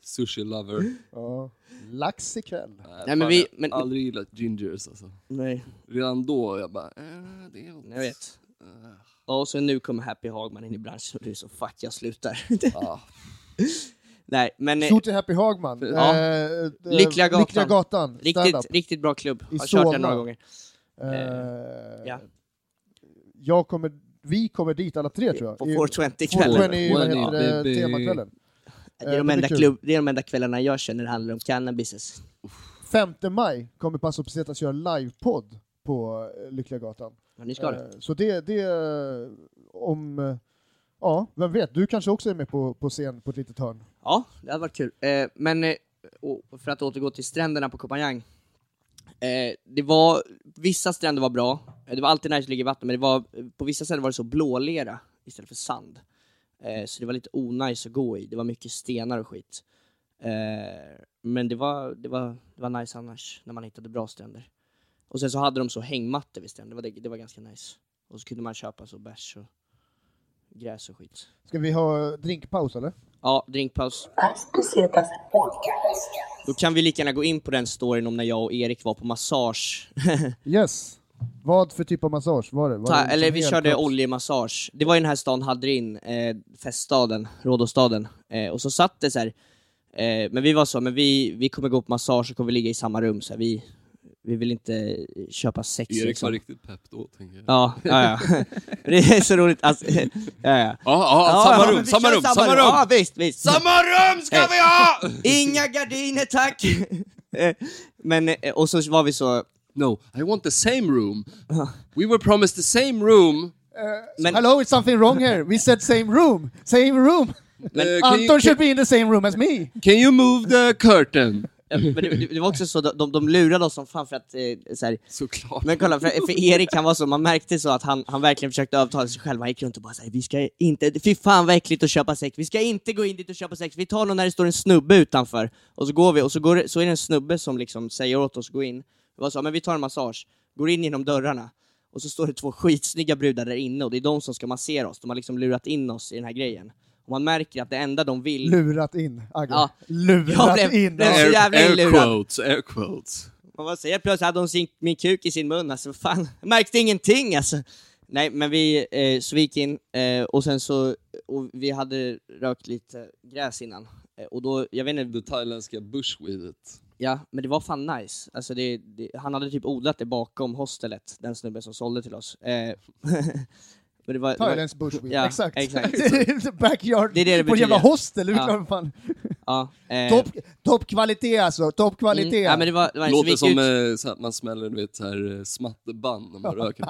S3: Sushi lover.
S1: Ja. Lax ikväll.
S3: Nej,
S4: men
S3: fan,
S4: vi-
S3: jag
S4: men-
S3: har aldrig gillat gingers alltså.
S4: Nej,
S3: Redan då, jag bara, eh, det är Ah,
S4: jag vet. Ja, och så nu kommer Happy Hagman in i branschen och du är så fuck, jag slutar.
S3: Ah,
S4: Nej, men eh,
S1: Shoot till Happy Hagman.
S4: Ja.
S1: Eh, eh,
S4: Lyckliga gatan.
S1: Lyckliga gatan.
S4: riktigt,
S1: Stand-up.
S4: riktigt bra klubb.
S1: I
S4: Har kört den några
S1: Solna.
S4: gånger.
S1: Eh,
S4: ja.
S1: jag kommer, vi kommer dit alla tre tror jag.
S4: På
S1: I-
S4: 420-kvällen.
S1: 420, vad heter
S3: 420,
S1: det,
S3: baby.
S1: temakvällen.
S4: Det är, de
S1: eh, det
S4: enda
S1: blir kul.
S4: klubb, det är de enda kvällarna jag känner det handlar om cannabis.
S1: 5 maj kommer Passo Pesetas göra livepodd på eh, Lyckliga gatan.
S4: Ja, ni ska det.
S1: Eh, Så det, det eh, om, eh, ja, vem vet, du kanske också är med på, på scen på ett litet hörn.
S4: Ja, det hade varit kul. Eh, men eh, och för att återgå till stränderna på Koh Phangan. Eh, det var, vissa stränder var bra, Eh, det var alltid nice att ligga i vatten, men det var, på vissa ställen var det så blålera istället för sand. Eh, så det var lite onajs att gå i, det var mycket stenar och skit. Eh, men det var, det, var, det var nice annars, när man hittade bra stränder. Och sen så hade de så hängmattor vid stränder, det var, det var ganska nice. Och så kunde man köpa så bärs och gräs och skit.
S1: Ska vi ha drinkpaus eller?
S4: Ja, drinkpaus.
S2: As Pesetas Podcast.
S4: Då kan vi lika gärna gå in på den storyn om när jag och Erik var på massage.
S1: Yes. Vad för typ av massage var det? Var det
S4: Ta,
S1: liksom
S4: eller vi
S1: hel
S4: körde
S1: kropps-
S4: oljemassage. Det var ju den här stan Hadrin, eh, feststaden, Rhodostaden. Eh, och så satt det så här. Eh, men vi var så, men vi, vi kommer gå på massage och kommer ligga i samma rum. Så här, vi, vi vill inte köpa sex.
S3: Erik var
S4: liksom.
S3: riktigt pepp då, tänker jag.
S4: Ja, ja, ja. Det är så roligt. Alltså, ja, ja.
S3: Ja, ja,
S4: Ja, ja,
S3: samma
S4: men
S3: rum,
S4: vi
S3: samma
S4: kör
S3: rum, samma
S4: Ja,
S3: rum!
S4: visst, visst.
S3: Samma rum ska vi ha!
S4: Inga gardiner tack! Eh, men, eh, och så var vi så,
S3: No, I want the same room. We were promised the same room.
S4: men,
S1: Hello, it's something wrong here. We said same room. Same room.
S3: Eh, can, you,
S1: Anton should be in the same room as me.
S3: can you move the curtain?
S4: ja, Eh, men det, det var också så, de, de lurade oss som fan för att, eh, så här,
S3: Såklart.
S4: Men kolla, för, för Erik han var så, man märkte så att han, han verkligen försökte övertala sig själv, han gick runt och bara såhär, vi ska inte, fy fan vad äckligt att köpa sex, vi ska inte gå in dit och köpa sex, vi tar någon när det står en snubbe utanför, och så går vi, och så, går, det- så är det en snubbe som liksom säger åt oss att gå in, vi var så, men vi tar en massage, går in genom dörrarna, och så står det två skitsnygga brudar där inne, och det är de som ska massera oss, de har liksom lurat in oss i den här grejen. Och man märker att det enda de vill...
S1: Lurat in, Agge.
S4: Ja. Jag
S1: Lurat
S4: blev-
S1: in.
S4: blev-
S1: Ja.
S4: så jävla
S3: air
S4: inlurad.
S3: quotes, air quotes.
S4: Man var så, helt plötsligt hade hon sin, min kuk i sin mun alltså, vad fan, jag märkte ingenting alltså. Nej men vi, eh, så vi gick in eh, och sen så, och vi hade rökt lite gräs innan. Eh, och då, jag vet inte,
S3: Det thailändska bushweedet.
S4: ja men det var fan nice. Alltså det, det, han hade typ odlat det bakom hostelet, den snubben som sålde till oss. Eh, men det var, det var,
S1: Thailändsk bushweed.
S4: Ja,
S1: exakt.
S4: exakt.
S1: Backyard
S4: Det är det det
S1: på en jävla
S4: betyder.
S1: hostel.
S4: Ja.
S1: Ja. Fan.
S4: ja, eh,
S1: Topp, toppkvalitet alltså. Toppkvalitet.
S4: mm, ja, men det var, det var, så vi
S3: Låter
S4: gick
S3: som
S4: ut-
S3: eh, så att man smäller du vet, så här, eh, smatterband när man röker.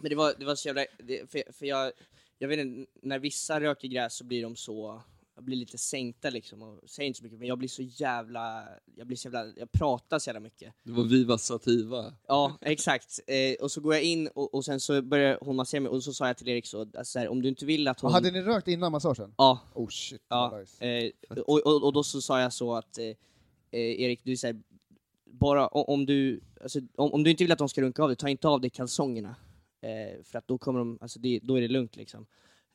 S4: Men det var, det var så jävla, det, för, för jag, jag vet inte, när vissa röker gräs så blir de så, jag blir lite sänkta liksom och säger inte så mycket, men jag blir så jävla, jag blir så jävla, jag pratar så jävla mycket.
S3: Det var Viva Sativa.
S4: Ja, exakt. Eh, och så går jag in och, och sen så börjar hon massera mig och så sa jag till Erik så, alltså, så här, om du inte vill att hon...
S1: Hade ni rökt innan massagen?
S4: Ja,
S1: Oh shit. vad
S4: ja.
S1: nice.
S4: Eh, och, och, och då så sa jag så att, eh, eh, Erik du är så här, bara o- om du, alltså, om, om du inte vill att de ska runka av dig, ta inte av dig kalsongerna. Eh, för att då kommer de, alltså det, då är det lugnt liksom.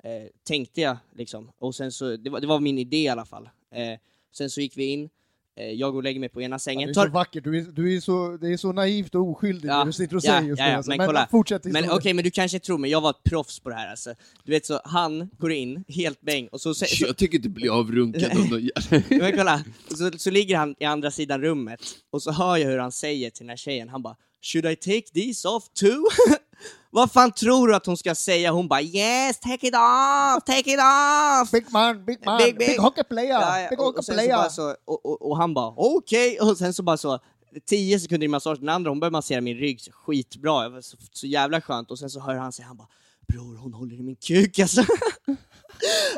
S4: Eh, tänkte jag liksom. Och sen så, det var, det var min idé i alla fall. Eh, sen så gick vi in, eh, jag går och lägger mig på ena
S1: Ja,
S4: sängen.
S1: det är
S4: tar-
S1: så vackert, du är, du är så, det är så naivt och oskyldigt
S4: Ja,
S1: det du sitter och
S4: ja,
S1: säger just
S4: ja,
S1: nu.
S4: ja,
S1: alltså.
S4: men kolla.
S1: fortsätt
S4: Men okej,
S1: historien.
S4: men du kanske tror mig, jag var ett proffs på det här alltså. Du vet så, han går in, helt bäng, och så, så, så
S3: Jag tycker du blir avrunkad av någon jävla-
S4: Men kolla, så, så ligger han i andra sidan rummet och så hör jag hur han säger till den här tjejen, han bara “Should I take these off too?” Vad fan tror du att hon ska säga? Hon bara “Yes, take it off, take it off!”
S1: Big man, big man, big,
S4: Big, big.
S1: hockey player,
S4: Ja, ja,
S1: big
S4: och,
S1: hockey
S4: och, sen så bara
S1: player.
S4: så, och, och, och han bara “Okej” och sen så bara så 10 sekunder i massagen, den andra hon började massera min rygg så skitbra, det var så, så jävla skönt och sen så hör han sig, han bara “Bror, hon håller i min kuk alltså”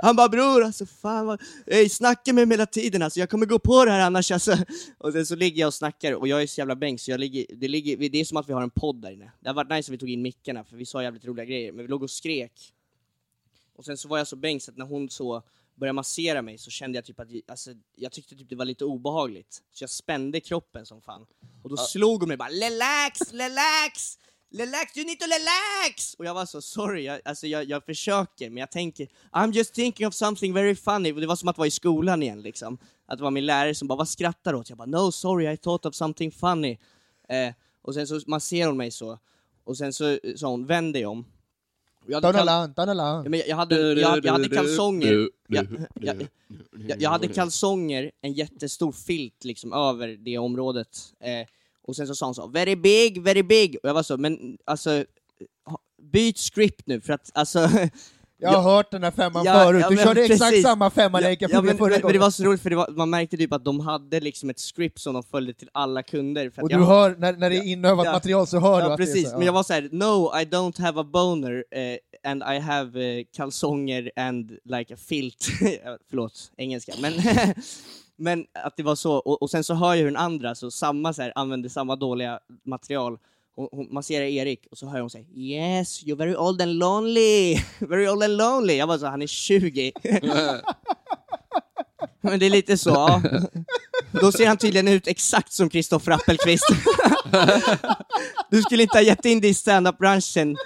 S4: Han bara bror alltså fan vad, ey, snacka med mig hela tiden alltså, jag kommer gå på det här annars alltså. Och sen så ligger jag och snackar och jag är så jävla bäng så jag ligger, det, ligger, det är som att vi har en podd där inne. Det hade varit nice om vi tog in mickarna för vi sa jävligt roliga grejer, men vi låg och skrek. Och sen så var jag så bäng så att när hon så började massera mig så kände jag typ att, alltså, jag tyckte typ det var lite obehagligt. Så jag spände kroppen som fan. Och då slog hon mig bara relax, relax! Relax, you need to relax! Och jag var så sorry, jag, alltså jag, jag försöker men jag tänker I'm just thinking of something very funny. Och det var som att vara i skolan igen liksom. Att det var min lärare som bara, vad skrattar du åt? Jag bara, no sorry I thought of something funny. Eh, och sen så masserar hon mig så. Och sen så sa hon, vänd dig om. Och jag hade kall-
S1: Donnerland, Donnerland.
S4: Ja, men jag, jag, hade, jag, jag hade kalsonger. Jag, jag, jag, jag hade kalsonger, en jättestor filt liksom över det området. Eh, och sen så sa hon så, very big, very big. Och jag var så, men alltså, ha- byt script nu för att alltså
S1: Jag har hört den här femman
S4: Ja,
S1: förut,
S4: ja,
S1: du
S4: men
S1: körde exakt
S4: precis.
S1: samma femmalek jag fick
S4: men,
S1: förra
S4: men, men det
S1: gången.
S4: var så roligt för det var, man märkte typ att de hade liksom ett script som de följde till alla kunder. För att
S1: Och du
S4: jag,
S1: hör, när, när det är inövat
S4: ja.
S1: material så hör du
S4: ja,
S1: att
S4: precis.
S1: det är så,
S4: Men jag var så här: no I don't have a boner eh, and I have eh, kalsonger and like a filt. Ja, Förlåt, engelska. Men, men att det var så, och, och sen så hör jag hur den andra, så samma så här, använder samma dåliga material. Hon, hon masserar Erik och så hör hon säga Yes, you're very old and lonely, very old and lonely. Jag bara så, han är 20. Men det är lite så, ja. Då ser han tydligen ut exakt som Kristoffer Appelqvist. Du skulle inte ha gett in dig i standup-branschen.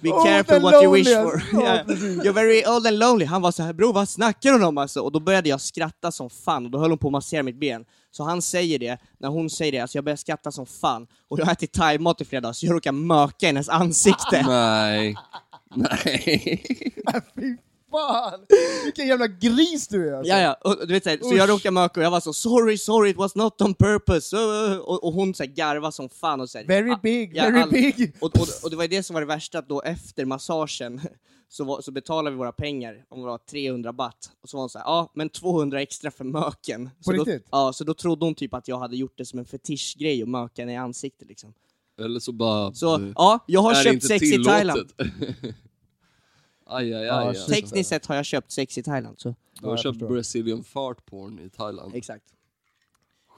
S4: Be
S1: Old
S4: careful
S1: and
S4: what you wish
S1: loneliest.
S4: for.
S1: Ja,
S4: Ja. You're very old and lonely. Han var så här, bror vad snackar du om alltså? Och då började jag skratta som fan, och då höll hon på att massera mitt ben. Så han säger det, när hon säger det, alltså jag börjar skratta som fan. Och jag har ätit thaimat i flera dagar, så jag råkar möka hennes
S3: Ah,
S4: ansikte.
S3: Nej. Nej.
S1: Fy fan! Vilken jävla gris du är! Alltså.
S4: Ja, ja. Och, du vet, så, här, så jag råkar möka och jag var så sorry, sorry, it was not on purpose. Uh, Och, och hon så här, garvar som fan och så här,
S1: Very
S4: ah,
S1: big,
S4: ja,
S1: very
S4: all-
S1: big!
S4: Och, och, och det var ju det som var det värsta, att då efter massagen så, var, så betalade vi våra pengar, om det var 300 baht, och så var hon såhär, ja men 200 extra för möken. Så
S1: På
S4: då,
S1: riktigt?
S4: Ja, så då trodde hon typ att jag hade gjort det som en fetischgrej och möka henne i ansiktet liksom.
S3: Eller så bara...
S4: Så
S3: eh,
S4: ja, jag har
S3: är det
S4: köpt
S3: inte
S4: sex i Thailand.
S3: aj, aj, aj.
S1: Ja,
S3: alltså.
S4: Tekniskt sett har jag köpt sex i Thailand. Så.
S3: Du har
S1: Ja, jag
S3: köpt
S1: förstår.
S3: Brazilian fart porn i Thailand.
S4: Exakt.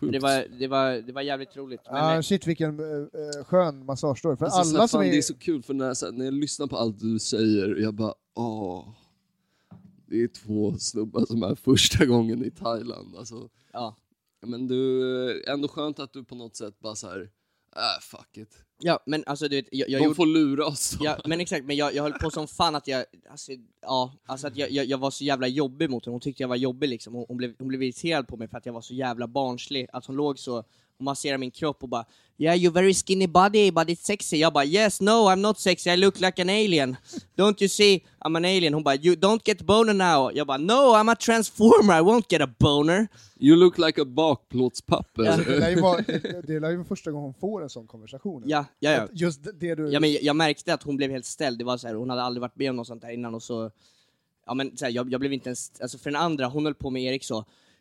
S3: Sjukt.
S4: Det var, det, var, det var jävligt roligt. Men,
S1: Ah,
S4: eh,
S1: shit vilken eh, eh, skön massagestory. För
S3: Alltså, så
S1: alla
S3: här,
S1: som
S3: fan,
S1: är...
S3: Det är så kul, för när jag, så här, när jag lyssnar på allt du säger, jag bara åh. Det är två snubbar som är första gången i Thailand. Alltså,
S4: ja.
S3: men du, eh, ändå skönt att du på något sätt bara så här, äh, fuck it.
S4: ja, men alltså du vet, jag, jag
S3: De
S4: gjorde...
S3: får lura oss.
S4: Ja, men exakt, men jag, jag höll på som fan att jag, alltså, ja, alltså att jag, jag, jag var så jävla jobbig mot henne, hon tyckte jag var jobbig liksom, hon, hon, blev, hon blev irriterad på mig för att jag var så jävla barnslig, att hon låg så och masserade min kropp och bara Yeah you're very skinny body but it's sexy, jag bara Yes no I'm not sexy, I look like an alien Don't you see I'm an alien, hon bara You don't get boner now, jag bara No I'm a transformer, I won't get a boner
S3: You look like a bakplåtspapper.
S1: Det lär ju vara, det lär ju vara första gången hon får en sån konversation.
S4: Ja, ja, ja.
S1: Att Just det du...
S4: Ja, men jag- jag märkte att hon blev helt ställd, det var så här, hon hade aldrig varit med om något sånt där innan och så... Ja men så här, jag, jag blev inte ens... Alltså för den andra, hon höll på med Erik så...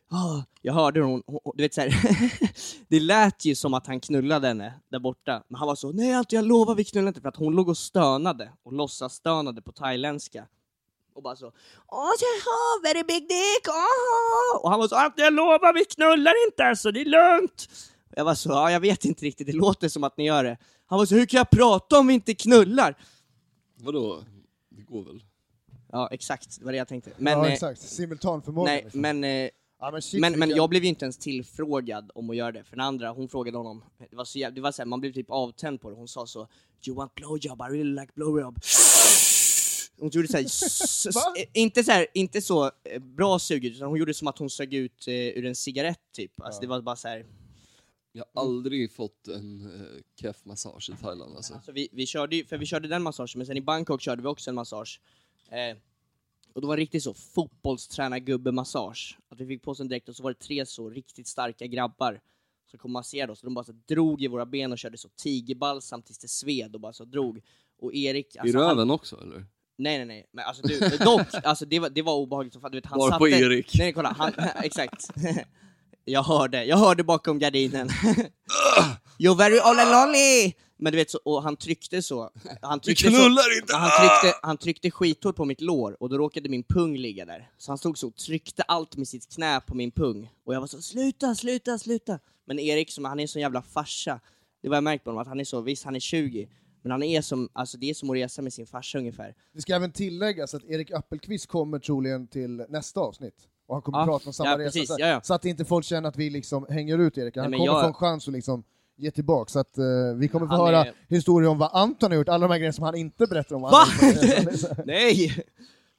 S4: "Ah", jag hörde hur hon, hon, hon- du vet så här, Det lät ju som att han knullade henne där borta, men han var så nej allt jag lovar vi knullar inte för att hon låg och stönade och låtsas stönade på thailändska. Och bara så Åh, jaha, very big dick, åh! Och han var så allt jag lovar vi knullar inte alltså, det är lugnt! Jag var så, ja jag vet inte riktigt, det låter som att ni gör det. Han var så, hur kan jag prata om vi inte knullar?
S3: Vadå? Det går väl?
S4: Ja, exakt, det var det jag tänkte. Men,
S1: ja
S4: eh,
S1: exakt. Simultanförmåga.
S4: nej,
S1: liksom.
S4: men, eh,
S1: ja, men, shit,
S4: men, men
S1: vilken-
S4: jag blev ju inte ens tillfrågad om att göra det, för den andra, hon frågade honom, det var så jävla, det var så här, man blev typ avtänd på det, hon sa så You want blowjob, I really like blowjob. Hon gjorde såhär,
S1: Va?
S4: eh, inte så här, inte så eh, bra sug utan hon gjorde som att hon sög ut eh, ur en cigarett typ. Alltså det var bara så här.
S3: Jag har
S4: Mm.
S3: aldrig fått en eh, keff massage i Thailand alltså.
S4: Alltså vi, vi, körde, ju- för vi körde den massagen, men sen i Bangkok körde vi också en massage. Eh, och då var det riktigt så fotbollstränargubbe-massage. Att vi fick på oss en dräkt och så var det tre så riktigt starka grabbar som kom och masserade oss. Och de bara så drog i våra ben och körde så tigerbalsam tills det sved och bara så drog. Och Erik...
S3: I
S4: alltså, han-
S3: röven också eller?
S4: Nej nej nej, men alltså du, dock, alltså det var, det var obehagligt som fan, du vet han
S3: Bara
S4: satte...
S3: på Erik.
S4: Nej kolla, han, exakt. jag hörde, jag hörde bakom gardinen. You're very all lonely! Men du vet, så, och han tryckte så. Han tryckte
S3: knullar
S4: så,
S3: inte!
S4: Han tryckte, han tryckte skithårt på mitt lår, och då råkade min pung ligga där. Så han stod så och tryckte allt med sitt knä på min pung. Och jag var så sluta, sluta, sluta! Men Erik, som, han är en sån jävla farsa. Det var jag märkt på honom, att han är så, visst han är 20, men han är som, alltså det är som att resa med sin farsa ungefär.
S1: Det ska även tilläggas att Erik Appelqvist kommer troligen till nästa avsnitt. Och han kommer
S4: Ja,
S1: prata om samma
S4: ja,
S1: resa.
S4: precis,
S1: så,
S4: ja, ja.
S1: så att inte folk känner att vi liksom hänger ut Erik. Han
S4: Nej, men
S1: kommer
S4: jag-
S1: få en chans att liksom ge tillbaka. Så att eh, vi kommer få
S4: Han
S1: höra
S4: är-
S1: historier om vad Anton har gjort, alla de här grejerna som han inte berättar om. vad
S4: Va?
S1: han har gjort. Så
S4: Nej!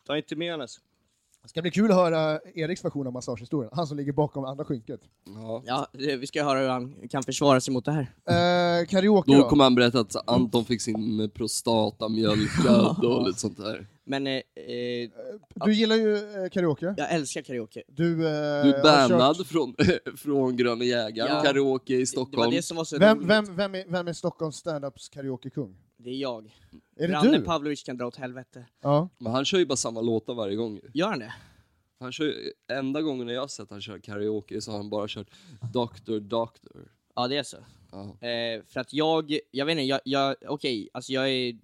S4: Ta inte med honom.
S1: Det ska bli kul att höra Eriks version av massagehistorien. Han som ligger bakom andra skynket.
S3: Ja.
S4: Ja, det- vi ska höra hur han kan försvara sig mot det här.
S1: Eh, karaoke
S3: Då
S1: då?
S3: kommer han berätta att Anton fick sin prostata mjölkad och lite sånt där.
S4: Men eh, eh,
S1: Du gillar ju eh, karaoke.
S4: jag älskar karaoke.
S1: Du, eh,
S3: Du
S1: har
S3: är
S1: kört-
S3: bannad från, från Gröna Jägaren,
S4: Ja.
S3: karaoke i
S4: Det var
S3: Stockholm.
S4: det som var så
S1: Vem,
S4: roligt.
S1: vem, vem, är, vem är Stockholms standups karaokekung?
S4: Det är jag.
S1: Är det
S4: Branne
S1: du?
S4: Pavlovic kan dra åt helvete.
S1: Ja.
S3: Men han kör ju bara samma låtar varje gång. ju.
S4: Gör han det?
S3: Han kör, ju- enda gången jag har sett han köra karaoke så har han bara kört Doctor Doctor.
S4: Ja, det är så.
S3: Ja.
S4: Eh, för att jag, jag vet inte, jag, jag okej, alltså jag är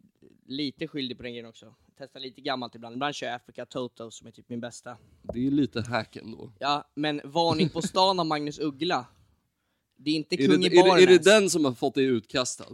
S4: lite skyldig på den grejen också. Testar lite gammalt ibland. Ibland kör jag Africa Toto som är typ min bästa.
S3: Det är lite hack ändå.
S4: Ja, men Varning på stan av Magnus Uggla. Det är inte
S3: Är
S4: kung
S3: det,
S4: i baren
S3: är, det, är det
S4: ens.
S3: den som har fått dig utkastad?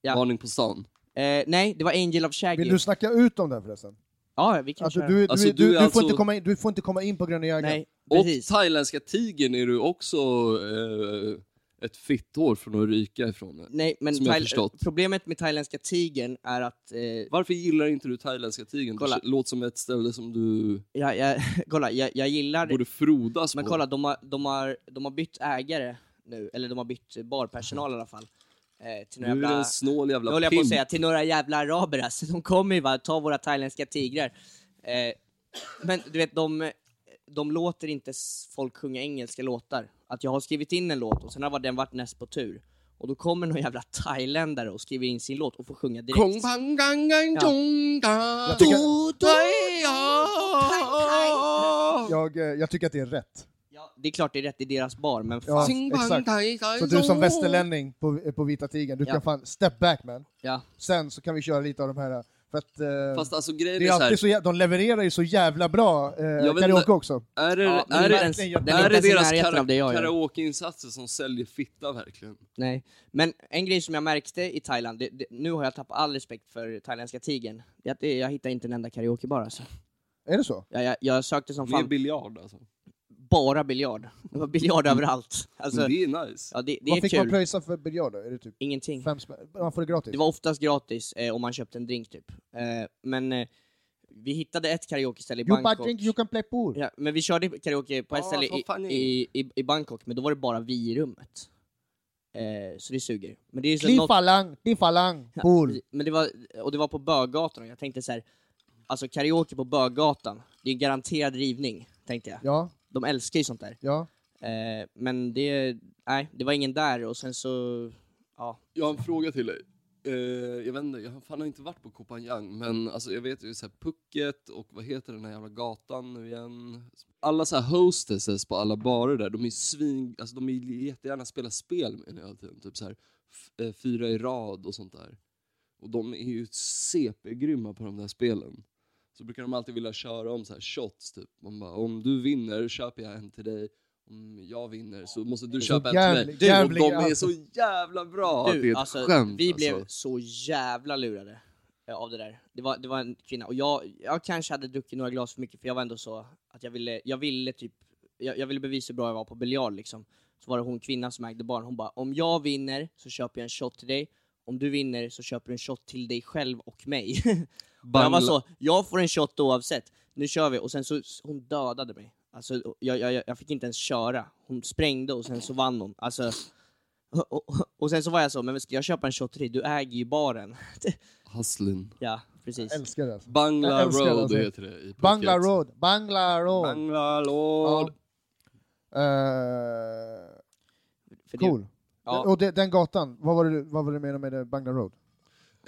S4: Ja.
S3: Varning på stan.
S4: Eh, nej, det var Angel of Shaggy.
S1: Vill du snacka ut om den förresten?
S4: Ja, vi kan
S1: Alltså,
S4: köra.
S1: du, du,
S3: Alltså,
S1: du,
S3: du är
S1: du,
S3: alltså-
S1: får inte komma in, du får inte komma in på Gröna jägaren.
S4: Nej,
S3: Och
S4: precis.
S3: thailändska tigern är du också eh, ett fitthår från att ryka ifrån det.
S4: Nej, men
S3: Som jag har
S4: thail-
S3: förstått.
S4: problemet med thailändska tigern är att... Eh,
S3: Varför gillar inte du thailändska tigern?
S4: Kolla.
S3: Det låter som ett ställe som du
S4: jag, jag, kolla, jag, jag gillar...
S3: borde frodas
S4: Men
S3: på.
S4: kolla, de har, de, har, de har bytt ägare nu, eller de har bytt barpersonal i alla fall. Eh, till
S3: Du
S4: några
S3: är
S4: jävla,
S3: en snål jävla
S4: nu håller jag på att
S3: pimp.
S4: säga, till några jävla araber alltså. De kommer ju bara ta våra thailändska tigrar. Eh, men du vet, de, de låter inte s- folk sjunga engelska låtar. Att jag har skrivit in en låt och sen har den varit näst på tur. Och då kommer någon jävla thailändare och skriver in sin låt och får sjunga direkt.
S3: Kong pang gang gang
S4: Ja.
S3: chong da.
S1: Jag tycker-
S3: Do, do, ja.
S1: Jag, eh, jag tycker att det är rätt.
S4: Ja, det är klart det är rätt i deras bar, men
S1: Ja,
S4: fan.
S3: Sing, bang,
S1: exakt.
S3: dai, dai,
S1: Så du som
S3: do.
S1: västerlänning på, eh, på Vita Tigern, du
S4: Ja.
S1: kan fan step back man.
S4: Ja.
S1: Sen så kan vi köra lite av de här, för att eh,
S3: Fast alltså
S1: det
S3: grejen
S1: är
S3: är, så här,
S1: alltid så jä- de levererar ju så jävla bra eh,
S3: vet
S1: karaoke
S3: inte-
S1: också.
S3: är det,
S4: Ja, men
S3: är
S4: den
S3: det,
S4: är inte ens- den är
S3: är
S4: inte
S3: det
S4: ens i
S3: deras
S4: närheten av det jag
S3: kara-
S4: gör.
S3: karaokeinsatser som säljer fitta verkligen?
S4: Nej, men en grej som jag märkte i Thailand, det, det, nu har jag tappat all respekt för thailändska tigern, det är att det, jag hittar inte en enda karaokebar alltså.
S1: Är det så?
S4: jag, jag, jag sökte som
S3: Det är
S4: fan
S3: biljard alltså.
S4: bara biljard. Det var biljard överallt. Alltså,
S3: Men det är nice.
S4: ja, det, det
S1: Mm. Vad
S4: är
S1: fick man
S4: kul.
S1: pröjsa för biljard då? Är det typ
S4: Ingenting.
S1: fem spänn? Man får det gratis?
S4: Det var oftast gratis eh, om man köpte en drink typ. Eh, men eh, vi hittade ett karaokeställe i
S1: You buy
S4: Bangkok.
S1: drink, you can play pool.
S4: Ja, men vi körde karaoke på ett
S3: Ah,
S4: ställe
S3: så
S4: i,
S3: funny.
S4: i, i, i Bangkok, men då var det bara vi i rummet. Eh, så det suger. Men det är ju så
S1: Kli
S4: något-
S1: falang, di falang,
S4: Ja,
S1: pool.
S4: precis. Men det var, och det var på Böggatan, och jag tänkte så här, alltså karaoke på Böggatan, det är garanterad rivning, tänkte jag.
S1: Ja,
S4: De älskar ju sånt där.
S1: ja.
S4: Eh, men det, nej, det var ingen där och sen så, ja.
S3: Jag har en fråga till dig. Eh, jag vet inte, jag har fan inte varit på Koh Phangan, men alltså, jag vet ju så här Phuket och vad heter den här jävla gatan nu igen? Alla så här hostesses på alla barer där, de är svin... Alltså de vill ju jättegärna spela spel med en hela tiden. Typ så här, f- eh, fyra i rad och sånt där. Och de är ju CP-grymma på de där spelen. Så brukar de alltid vilja köra om så här shots typ. Man bara, om du vinner köper jag en till dig. Om jag vinner så måste du
S1: Så
S3: köpa en till
S1: jävlig-
S3: mig. Du, och
S1: jävlig-
S3: de är så jävla bra att det är
S4: Du,
S3: ett
S4: alltså,
S3: skämt
S4: vi
S3: alltså.
S4: blev så jävla lurade eh, av det där. Det var, det var en kvinna, och jag, jag kanske hade druckit några glas för mycket för jag var ändå så att jag ville, jag ville typ, jag, jag ville bevisa hur bra jag var på biljard liksom. Så var det hon kvinnan som ägde barn, hon bara om jag vinner så köper jag en shot till dig, om du vinner så köper du en shot till dig själv och mig. Och jag var
S3: Bangla-
S4: så, jag får en shot oavsett, nu kör vi, och sen så, hon dödade mig. Alltså, jag, jag, jag fick inte ens köra. Hon sprängde och sen så vann hon. Alltså, och, och, och sen så var jag så, men ska jag köpa en shot till dig? Du äger ju baren.
S3: Haslin.
S4: ja, precis.
S1: Jag älskar det. Alltså. Jag
S3: Bangla
S1: älskar
S3: Road
S1: alltså.
S3: heter det i Phuket.
S1: Bangla Road, Bangla Road.
S3: Bangla
S1: Ja.
S3: Road.
S1: Eh,
S4: För det-
S1: cool.
S4: Ja.
S1: Och det, den gatan, vad var det, vad var det med, med det, Bangla Road?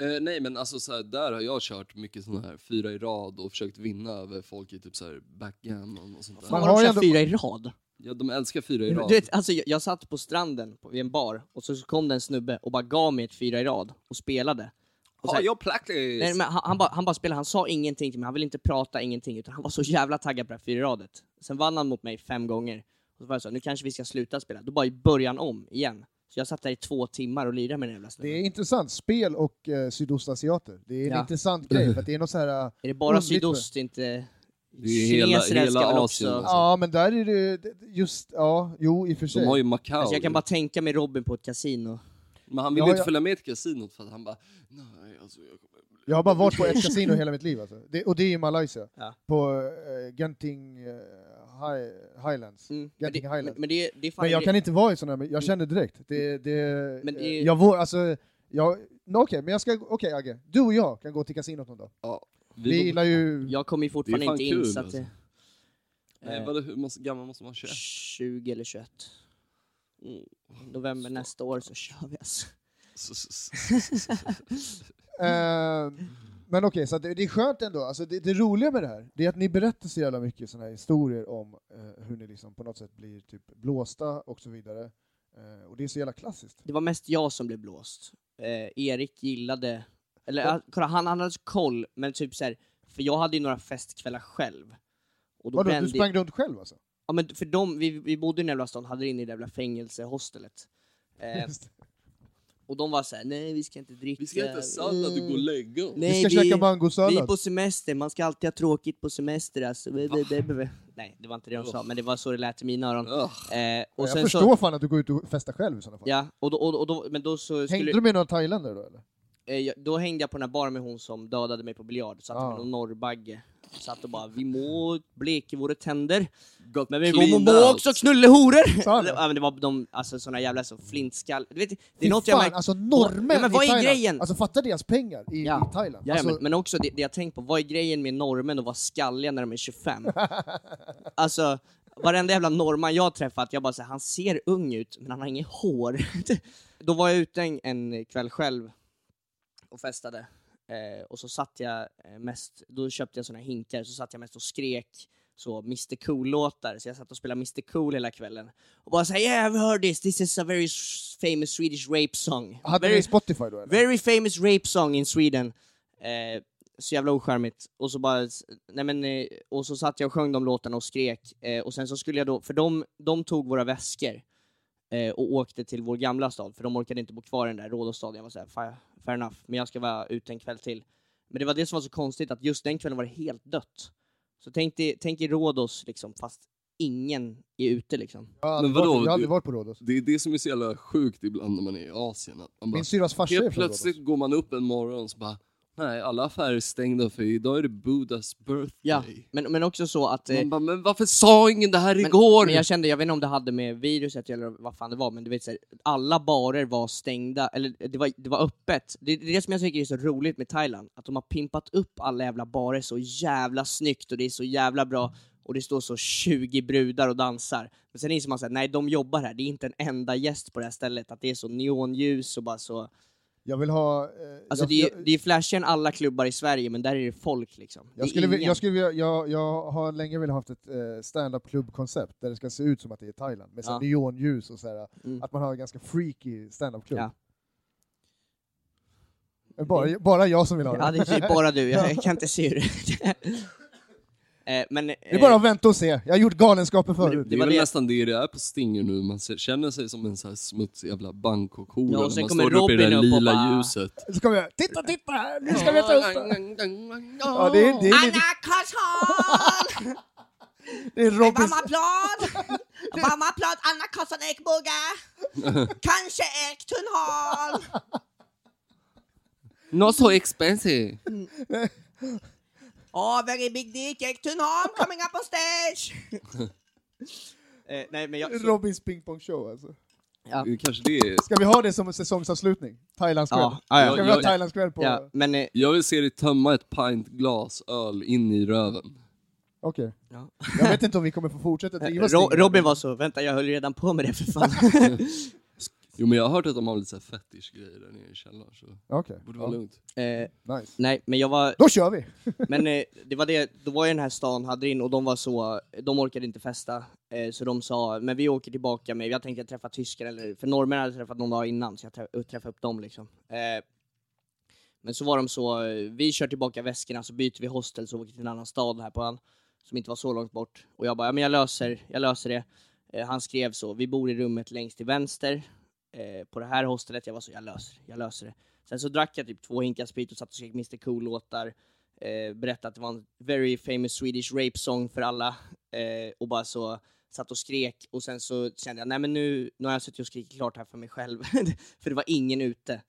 S3: Eh, nej men alltså så här, där har jag kört mycket sådana här fyra i rad och försökt vinna över folk i typ så här backgammon och sånt där.
S4: Fan,
S1: Man har
S4: har de
S1: ju
S4: kört
S1: ändå-
S4: fyra i rad?
S3: Ja, de älskar fyra i
S4: Du
S3: rad.
S4: vet, alltså, jag, jag satt på stranden på- vid en bar, och så kom det en snubbe och bara gav mig ett fyra i rad och spelade. Och
S3: Har
S4: så här,
S3: jag practice?
S4: nej, men han, han, bara, han bara spelade, han sa ingenting till mig, han ville inte prata, ingenting, utan han var så jävla taggad på det här fyra i radet. Sen vann han mot mig fem gånger, och så var jag så, nu kanske vi ska sluta spela. Då bara början om igen. Så jag satt där i två timmar och lirade med den jävla
S1: Det
S4: snubben.
S1: är intressant, spel och eh, sydostasiater. Det är en
S4: Mm. Ja. Alltså.
S1: intressant grej, för att det är något så här... eh,
S4: Är det bara
S1: underligt för-
S4: sydost, inte...
S3: Det är hela-
S4: Kineser
S3: hela
S4: älskar väl
S3: Asien,
S4: också...
S3: alltså.
S1: Ja, men där är det det- just, ja, jo i och för sig.
S3: de har ju Macau.
S4: Alltså jag kan
S3: ju.
S4: bara tänka mig Robin på ett kasino.
S3: Men han ville
S1: Ja,
S3: inte
S1: jag-
S3: följa med till kasinot för att han bara, nej alltså jag kommer...
S1: Jag har bara varit på ett kasino hela mitt liv alltså. det, och det är i Malaysia.
S4: Ja.
S1: På eh, Genting eh, Hi- Highlands.
S4: Mm. Men,
S1: Genting
S4: det, men,
S1: Highlands.
S4: men det, det är fan
S1: Men jag
S4: en
S1: kan
S4: grej-
S1: inte vara i sådana här, jag kände direkt. Det, det,
S4: Men det
S1: eh,
S4: är-
S1: Jag vår, alltså, jag, nå, okej, men jag ska, okej Agge, du och jag kan gå till kasinot någon dag.
S3: Ja, vi
S1: Vi,
S3: borde-
S1: gillar ju,
S4: Jag kommer ju fortfarande
S3: fan
S4: inte
S3: kul,
S4: in så att
S3: alltså.
S4: det...
S3: Nej, vadå, hur måste, gammal måste man köra?
S4: 20 eller 21.
S3: Mm.
S4: November nästa år så kör vi alltså.
S1: eh, men okej, så att det, det är skönt ändå. Alltså, det, det roliga med det här, det är att ni berättar så jävla mycket sådana här historier om eh, hur ni liksom på något sätt blir typ blåsta och så vidare. Eh, och det är så jävla klassiskt.
S4: Det var mest jag som blev blåst. Eh, Erik gillade... Eller ja. kolla, han, han hade koll, men typ så här, För jag hade ju några festkvällar själv. Och då
S1: Vadå, du
S4: brände-
S1: sprang runt själv alltså?
S4: Ja men för dem, vi, vi bodde i den jävla stan, hade det inne i det jävla fängelsehostelet. Eh,
S1: Just det.
S4: och de var så här: nej vi ska inte dricka. Mm.
S3: Vi ska äta sallad och gå och lägga oss.
S4: Nej,
S1: vi ska
S4: vi-
S1: käka
S4: Vi är
S1: mangosallad.
S4: på semester, man ska alltid ha tråkigt på semester alltså. Blah, blah, blah, blah. nej, det var inte det de sa, men det var så det lät i mina öron.
S3: Ugh.
S4: Eh, och
S1: jag
S4: sen
S1: förstår
S4: så,
S1: fan att du går ut och festar själv i sådana fall.
S4: Ja, och då, och, då- och då, men då så
S1: Hängde
S4: skulle,
S1: du med några thailändare då eller?
S4: eh, jag- då hängde jag på den här baren med hon som dödade mig på biljard, satt
S1: Ah.
S4: med någon norrbagge. Satt och bara, vi må bleka våra tänder,
S3: Got
S4: men vi må,
S3: cleaned
S4: må
S3: out.
S4: också knulla horor!
S1: Sa han det?
S4: Ja, men det var de, alltså såna jävla så flintskall... Du vet, det
S1: Fy
S4: är något jag
S1: fan,
S4: märkt...
S1: alltså norrmän
S4: Ja, men vad är
S1: i Thailand.
S4: grejen?
S1: Alltså fatta deras pengar i,
S4: Ja.
S1: i Thailand.
S4: Ja,
S1: alltså,
S4: men, men också det, det jag tänkt på, vad är grejen med norrmän och vara skalliga när de är 25? alltså, varenda jävla norrman jag har träffat, jag bara säger han ser ung ut, men han har inget hår. Då var jag ute en, en kväll själv och festade. Eh, och så satt jag eh, mest, då köpte jag såna här hinkar, så satt jag mest och skrek så Mr Cool-låtar, så jag satt och spelade Mr Cool hela kvällen. Och bara såhär “Yeah, I've heard this, this is a very s- famous Swedish rape song”.
S1: Hade
S4: very
S1: ni Spotify då eller?
S4: Very famous rape song in Sweden. Eh, så jävla ocharmigt. Och så bara, nej men, eh, och så satt jag och sjöng de låtarna och skrek. Eh, och sen så skulle jag då, för de, de tog våra väskor eh, och åkte till vår gamla stad, för de orkade inte bo kvar i den där Rhodos-staden. Jag var såhär, fair, fair enough, men jag ska vara ute en kväll till. Men det var det som var så konstigt, att just den kvällen var det helt dött. Så tänk dig, tänk dig Rhodos liksom, fast ingen är ute liksom.
S1: jag, har aldrig
S3: Men vadå,
S1: varit, jag har aldrig
S3: du-
S1: varit på Rhodos.
S3: Det är det som är så jävla sjukt ibland när man är i Asien. Att man bara,
S1: Min syrras farsa är
S3: helt
S1: från Rhodos.
S3: plötsligt går man upp en morgon och så bara, nej alla affärer är stängda för idag är det Buddhas birthday.
S4: Ja, men, men också så att... eh,
S3: Man bara, men varför sa ingen det här igår?
S4: Men jag kände, jag vet inte om det hade med viruset eller vad fan det var, men du vet så här, alla barer var stängda, eller det var, det var öppet. Det, det är det som jag tycker är så roligt med Thailand, att de har pimpat upp alla jävla barer så jävla snyggt och det är så jävla bra och det står så 20 brudar och dansar. Men sen inser man såhär, nej de jobbar här, det är inte en enda gäst på det här stället, att det är så neonljus och bara så.
S1: Jag vill ha... Eh,
S4: Alltså
S1: jag,
S4: det, är,
S1: jag,
S4: det är flashigare än alla klubbar i Sverige, men där är det folk liksom. Det är
S1: jag skulle, vi-
S4: ingen-
S1: jag, skulle, vilja- jag, jag har länge velat haft ett eh, stand-up klubbkoncept där det ska se ut som att det är Thailand med så här
S4: Ja.
S1: neonljus och så här,
S4: Mm.
S1: Att man har en ganska freaky stand-up klubb.
S4: Ja.
S1: Men Bara, bara jag som vill ha det.
S4: Ja, det är typ bara du. Jag kan inte se hur det Eh, Men... eh,
S1: Det är bara att vänta och se. Jag har gjort galenskaper
S4: Men
S1: förut.
S3: Det
S4: det
S3: är
S4: var
S3: väl
S4: det-
S3: nästan det det är på Stinger nu, man ser- känner sig som en sån här smutsig jävla Bangkok-hora
S4: Ja, och
S3: när
S4: sen
S3: man
S4: kommer
S3: står uppe i det
S4: Robin
S3: där
S4: upp och
S3: lila
S4: bara-
S3: ljuset.
S1: Så kommer jag, titta, titta, här, nu ska vi äta upp det. Ja, det är, det är, lite,
S4: Anna Karlsson!
S1: det är Robins...
S4: Varmaplan! Varmaplan Anna Karlsson Ekbåge! Kanske Ektunhal!
S3: Not so expensive!
S4: Oh, very big dick Ektunhal coming up on stage! eh, nej, men jag... Så,
S1: Robins pingpongshow alltså.
S3: Det är kanske det är.
S1: Ska vi ha det som en säsongsavslutning? Thailandskväll?
S4: Ja, ja, ja.
S1: Ska vi
S3: Jag-
S1: ha Thailandskväll på...
S4: ja, men... Eh,
S3: Jag vill se dig tömma ett pint glas öl in i röven.
S1: Okej.
S4: Ja.
S1: Jag vet inte om vi kommer få fortsätta driva
S4: Ro-
S1: Sting.
S4: Robin var så, vänta jag höll redan på med det för fan.
S3: Jo men jag har hört att de har lite så här fetish-grejer där nere i källaren så det
S1: Okej.
S3: borde vara lugnt.
S4: eh,
S1: Ja, nice.
S4: nej, men jag var,
S1: Då kör vi!
S4: Men eh, det var det, då var ju den här stan hade in och de var så, de orkade inte festa. Eh, så de sa, men vi åker tillbaka med, jag tänkte träffa tyskar eller, för norrmän hade jag träffat någon dag innan så jag trä- träffade upp dem liksom. Eh, men så var de så, eh, vi kör tillbaka väskorna så byter vi hostel så åker till en annan stad här på ön. Som inte var så långt bort. Och jag bara, ja men jag löser, jag löser det. Eh, han skrev så, vi bor i rummet längst till vänster. Eh, på det här hostelet, jag var så, jag löser jag löser det. Sen så drack jag typ två hinkar sprit och satt och skrek Mr Cool-låtar eh, berättade att det var en very famous Swedish rape song för alla eh, och bara så satt och skrek och sen så kände jag nej men nu, nu har jag suttit och skrikit klart här för mig själv för det var ingen ute.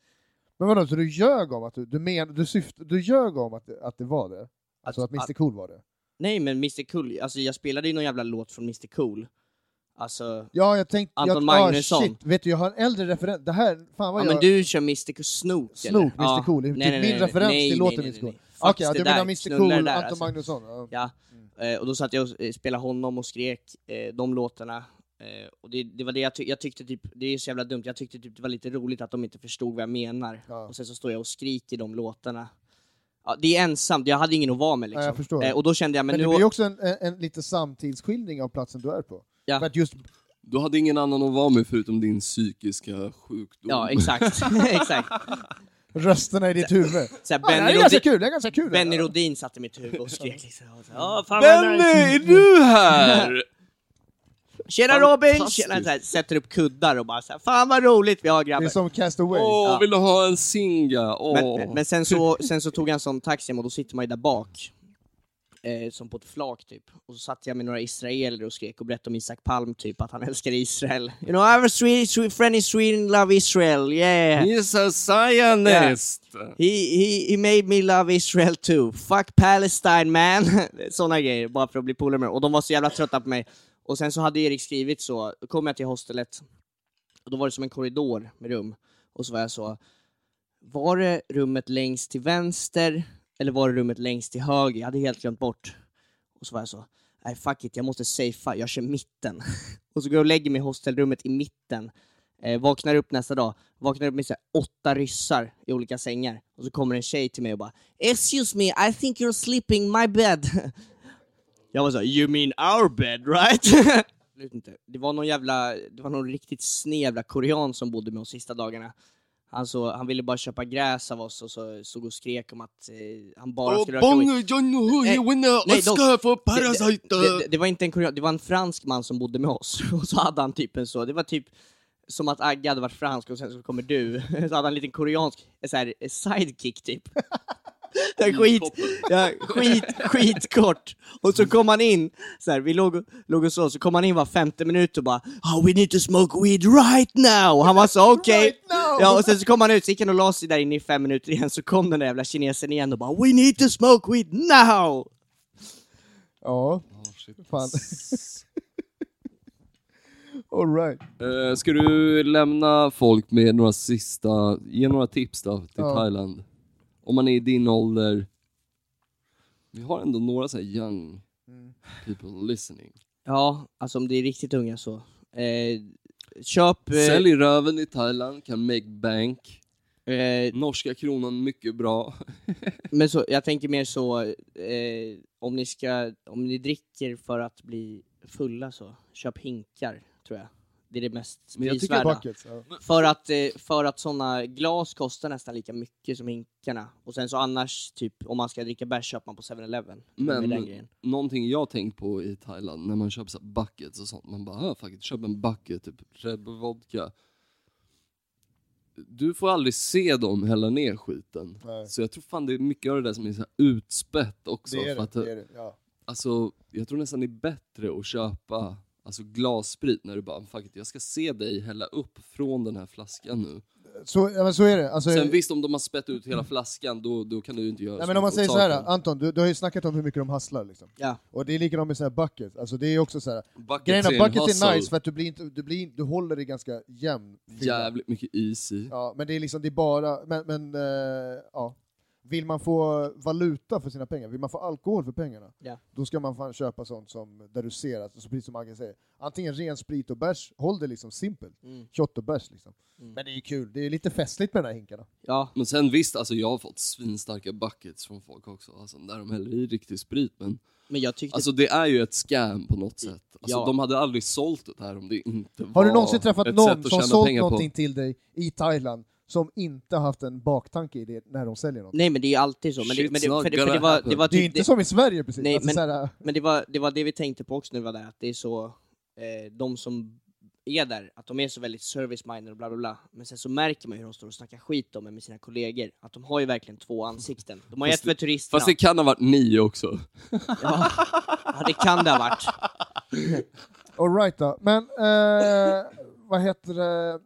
S1: Men vadå, så du ljög om att du... Du, men, du, syft, du ljög om att, det- att det var det? Alltså att, Mr Cool var det?
S4: Nej men Mr Cool, alltså jag spelade ju någon jävla låt från Mr Cool. Alltså,
S1: Ja, jag tänkte...
S4: Anton
S1: jag, ah,
S4: Magnusson.
S1: shit. Vet du, jag har en äldre referens. Det här... Fan
S4: ja
S1: vad
S4: men
S1: jag...
S4: du kör Mr Cool, Snook eller?
S1: Snook, Mr
S4: Ja.
S1: Cool. Det är typ min referens till låten Mr Cool.
S4: Fuck
S1: Okej, ja,
S4: det
S1: du
S4: där,
S1: menar Mr
S4: knulla
S1: Cool,
S4: det
S1: Anton
S4: där, alltså.
S1: Magnusson? Ja.
S4: Ja, eh, och då satt jag och eh, spelade honom och skrek eh, de låtarna. Eh, och det, det var det jag, ty- jag tyckte, typ, det är så jävla dumt, jag tyckte typ det var lite roligt att de inte förstod vad jag menar.
S1: Ja.
S4: Och sen så står jag och skriker de låtarna. Ja, det är ensamt, jag hade ingen att vara med liksom.
S1: Ja, jag förstår.
S4: Eh, och då kände jag, men,
S1: Men, det
S4: nu...
S1: blir ju också en, en, en lite samtidsskildring av platsen du är på.
S4: Ja.
S1: För att just
S3: Du hade ingen annan att vara med förutom din psykiska sjukdom.
S4: Ja, exakt. exakt.
S1: rösterna i ditt huvud.
S4: Såhär,
S1: Ja, det
S4: Benny,
S1: här är ganska
S4: Rodin,
S1: kul, det är ganska kul.
S4: Benny Rodin satt i mitt huvud och skrek liksom. Och så, "Ja, fan
S3: Benny,
S4: vad nice."
S3: är du här?
S4: Tjena Robin!
S3: Fantastiskt.
S4: Tjena, såhär, sätter upp kuddar och bara såhär, fan vad roligt vi har grabbar.
S1: Det är som Castaway.
S3: Åh,
S4: Ja.
S3: vill du ha en singa? Åh.
S4: Men, men sen, så, sen så tog jag en sån taxi hem och då sitter man ju där bak. eh, som på ett flak typ. Och så satt jag med några israeler och skrek och berättade om Isak Palm typ, att han älskar Israel. You know, I have a Swedish Swe- friend in Sweden, love Israel, yeah!
S3: He's a zionist!
S4: He, he, he made me love Israel too. Fuck Palestine man! Såna grejer, bara för att bli polare med dem. Och de var så jävla trötta på mig. Och sen så hade Erik skrivit så, då kom jag till hostelet, och då var det som en korridor med rum. Och så var jag så, var det rummet längst till vänster eller var det rummet längst till höger? Jag hade helt glömt bort. Och så var jag så, nej fuck it, jag måste safea, jag kör mitten. och så går jag och lägger mig i hostelrummet i mitten. Eh, vaknar upp nästa dag, vaknar upp med så här, åtta ryssar i olika sängar. Och så kommer en tjej till mig och bara “Excuse me, I think you're sleeping my bed”. jag var så här, “You mean our bed right?” Absolut inte. Det var någon jävla, det var någon riktigt sned jävla korean som bodde med oss sista dagarna. Han, så, han ville bara köpa gräs av oss och så stod och skrek om att eh, han bara skulle röka weed.
S3: John Ho,
S4: Nej,
S3: winner
S4: nej, de-
S3: för
S4: Det, det, det var inte en korean, det var en fransk man som bodde med oss, och så hade han typ en så, det var typ som att Agge hade varit fransk och sen så kommer du, så hade han en liten koreansk eh, så här, sidekick typ. Skit, ja, skit, skitkort. Och så kom han in, så här, vi låg, låg och så, så kom han in var femte minut och bara oh, “We need to smoke weed right now”. Och han var så okej.
S1: Right now.
S4: ja, och sen så kom han ut, så gick han och la sig där inne i fem minuter igen, så kom den där jävla kinesen igen och bara “We need to smoke weed now”.
S1: Ja, fan. All right.
S3: Eh, Ska du lämna folk med några sista, ge några tips då till
S1: Ja.
S3: Thailand? Om man är i din ålder. Vi har ändå några så här young
S1: Mm.
S3: people listening.
S4: Ja, alltså om det är riktigt unga så. Eh, köp... eh,
S3: Sälj röven i Thailand, kan make bank.
S4: Eh,
S3: Norska kronan mycket bra.
S4: men så, jag tänker mer så, eh, om, ni ska, om ni dricker för att bli fulla så, köp hinkar, tror jag. Det är det mest
S3: Men jag tycker
S4: prisvärda.
S1: Buckets. Ja.
S4: För att, eh, för att såna glas kostar nästan lika mycket som hinkarna. Och sen så annars, typ om man ska dricka bärs köper man på 7-Eleven.
S3: Men-
S4: Med den grejen.
S3: Någonting jag tänkt på i Thailand när man köper så här buckets och sånt. Man bara, ah, fuck it, köp en bucket, typ Red Bull vodka. Du får aldrig se dem hälla ner skiten.
S1: Nej.
S3: Så jag tror fan det är mycket av det där som är så här utspätt också.
S1: Det är
S3: för
S1: det.
S3: att,
S1: det, är det. Ja.
S3: Alltså, jag tror nästan det är bättre att köpa alltså, glassprit när du bara, "Ah, fuck it, jag ska se dig hälla upp från den här flaskan nu.
S1: Så, ja, men så är det. Alltså,
S3: Sen visst, om de har spätt ut hela flaskan, då, då kan du ju inte göra
S1: Nej,
S3: så
S1: men om man
S3: mycket
S1: säger
S3: åt
S1: så här,
S3: saken.
S1: Anton, du, du har ju snackat om hur mycket de hustlar. Liksom.
S4: Ja.
S1: Och det är likadant med såna här buckets. Alltså, det är också så här,
S3: Buckets
S1: grejen
S3: är
S1: är
S3: en
S1: buckets är
S3: hustle.
S1: nice för att du, blir inte, du, blir, in- du håller dig ganska jämn. fylla.
S3: Jävligt mycket is i.
S1: Ja, men det är liksom, det är bara, men, men eh, ja. Vill man få valuta för sina pengar, vill man få alkohol för pengarna,
S4: Ja.
S1: då ska man fan köpa sånt som, där du ser, alltså, så precis som Agge säger, antingen ren sprit och bärs, håll det liksom simpelt.
S4: Mm.
S1: Shot och bärs liksom. Men det är ju kul, det är lite festligt med de här hinkarna.
S4: Ja,
S3: Men sen visst, alltså jag har fått svinstarka buckets från folk också, alltså, där de häller i riktig sprit. Men
S4: men jag tyckte...
S3: alltså det är ju ett scam på något sätt. Alltså
S4: Ja.
S3: de hade aldrig sålt det här om det inte var
S1: Har du någonsin träffat
S3: ett
S1: någon
S3: sätt att
S1: som
S3: tjäna
S1: sålt
S3: pengar på.
S1: någonting till dig i Thailand som inte haft en baktanke i det när de säljer något?
S4: nej men det är ju alltid så. Men det,
S3: Shit's
S4: men det,
S3: not
S4: för det, för
S3: gonna
S4: det, var, det
S3: happen.
S4: var
S1: Det är ju
S4: typ-
S1: inte som i Sverige precis.
S4: Nej,
S1: alltså,
S4: men-
S1: så här,
S4: Men det var, det var det vi tänkte på också när vi var där, att det är så, eh, de som är där, att de är så väldigt service-minded och bla bla bla, men sen så märker man hur de står och snackar skit om en med sina kollegor, att de har ju verkligen två ansikten. De har ju ett
S3: Fast
S4: för turisterna,
S3: Fast det kan ha varit ni också.
S4: ja, det kan det ha varit.
S1: all right då. Men eh, vad heter det? Eh,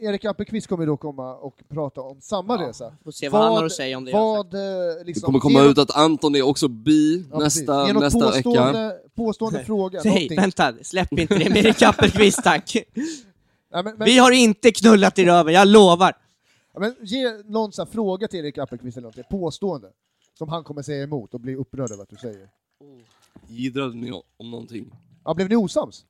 S1: Erik Appelqvist kommer ju då komma och prata om samma resa.
S4: Får se vad, han har att säga om det. jag har sagt.
S1: Vad, eh,
S3: Det
S1: liksom,
S3: kommer komma
S1: ge något-
S3: ut att Anton är också bi
S1: ja, precis.
S3: nästa,
S1: Ge något
S3: nästa
S1: påstående,
S3: vecka.
S1: Påstående fråga.
S4: Säg,
S1: någonting.
S4: vänta, släpp inte det med Erik Appelqvist tack!
S1: Nej, men, men,
S4: Vi har inte knullat i röven, jag lovar!
S1: ja, men, ge någon så här, fråga till Erik Appelqvist eller någonting, påstående, som han kommer säga emot och bli upprörd över att du säger.
S3: Jiddrade ni om- om någonting?
S1: Ja, blev ni osams?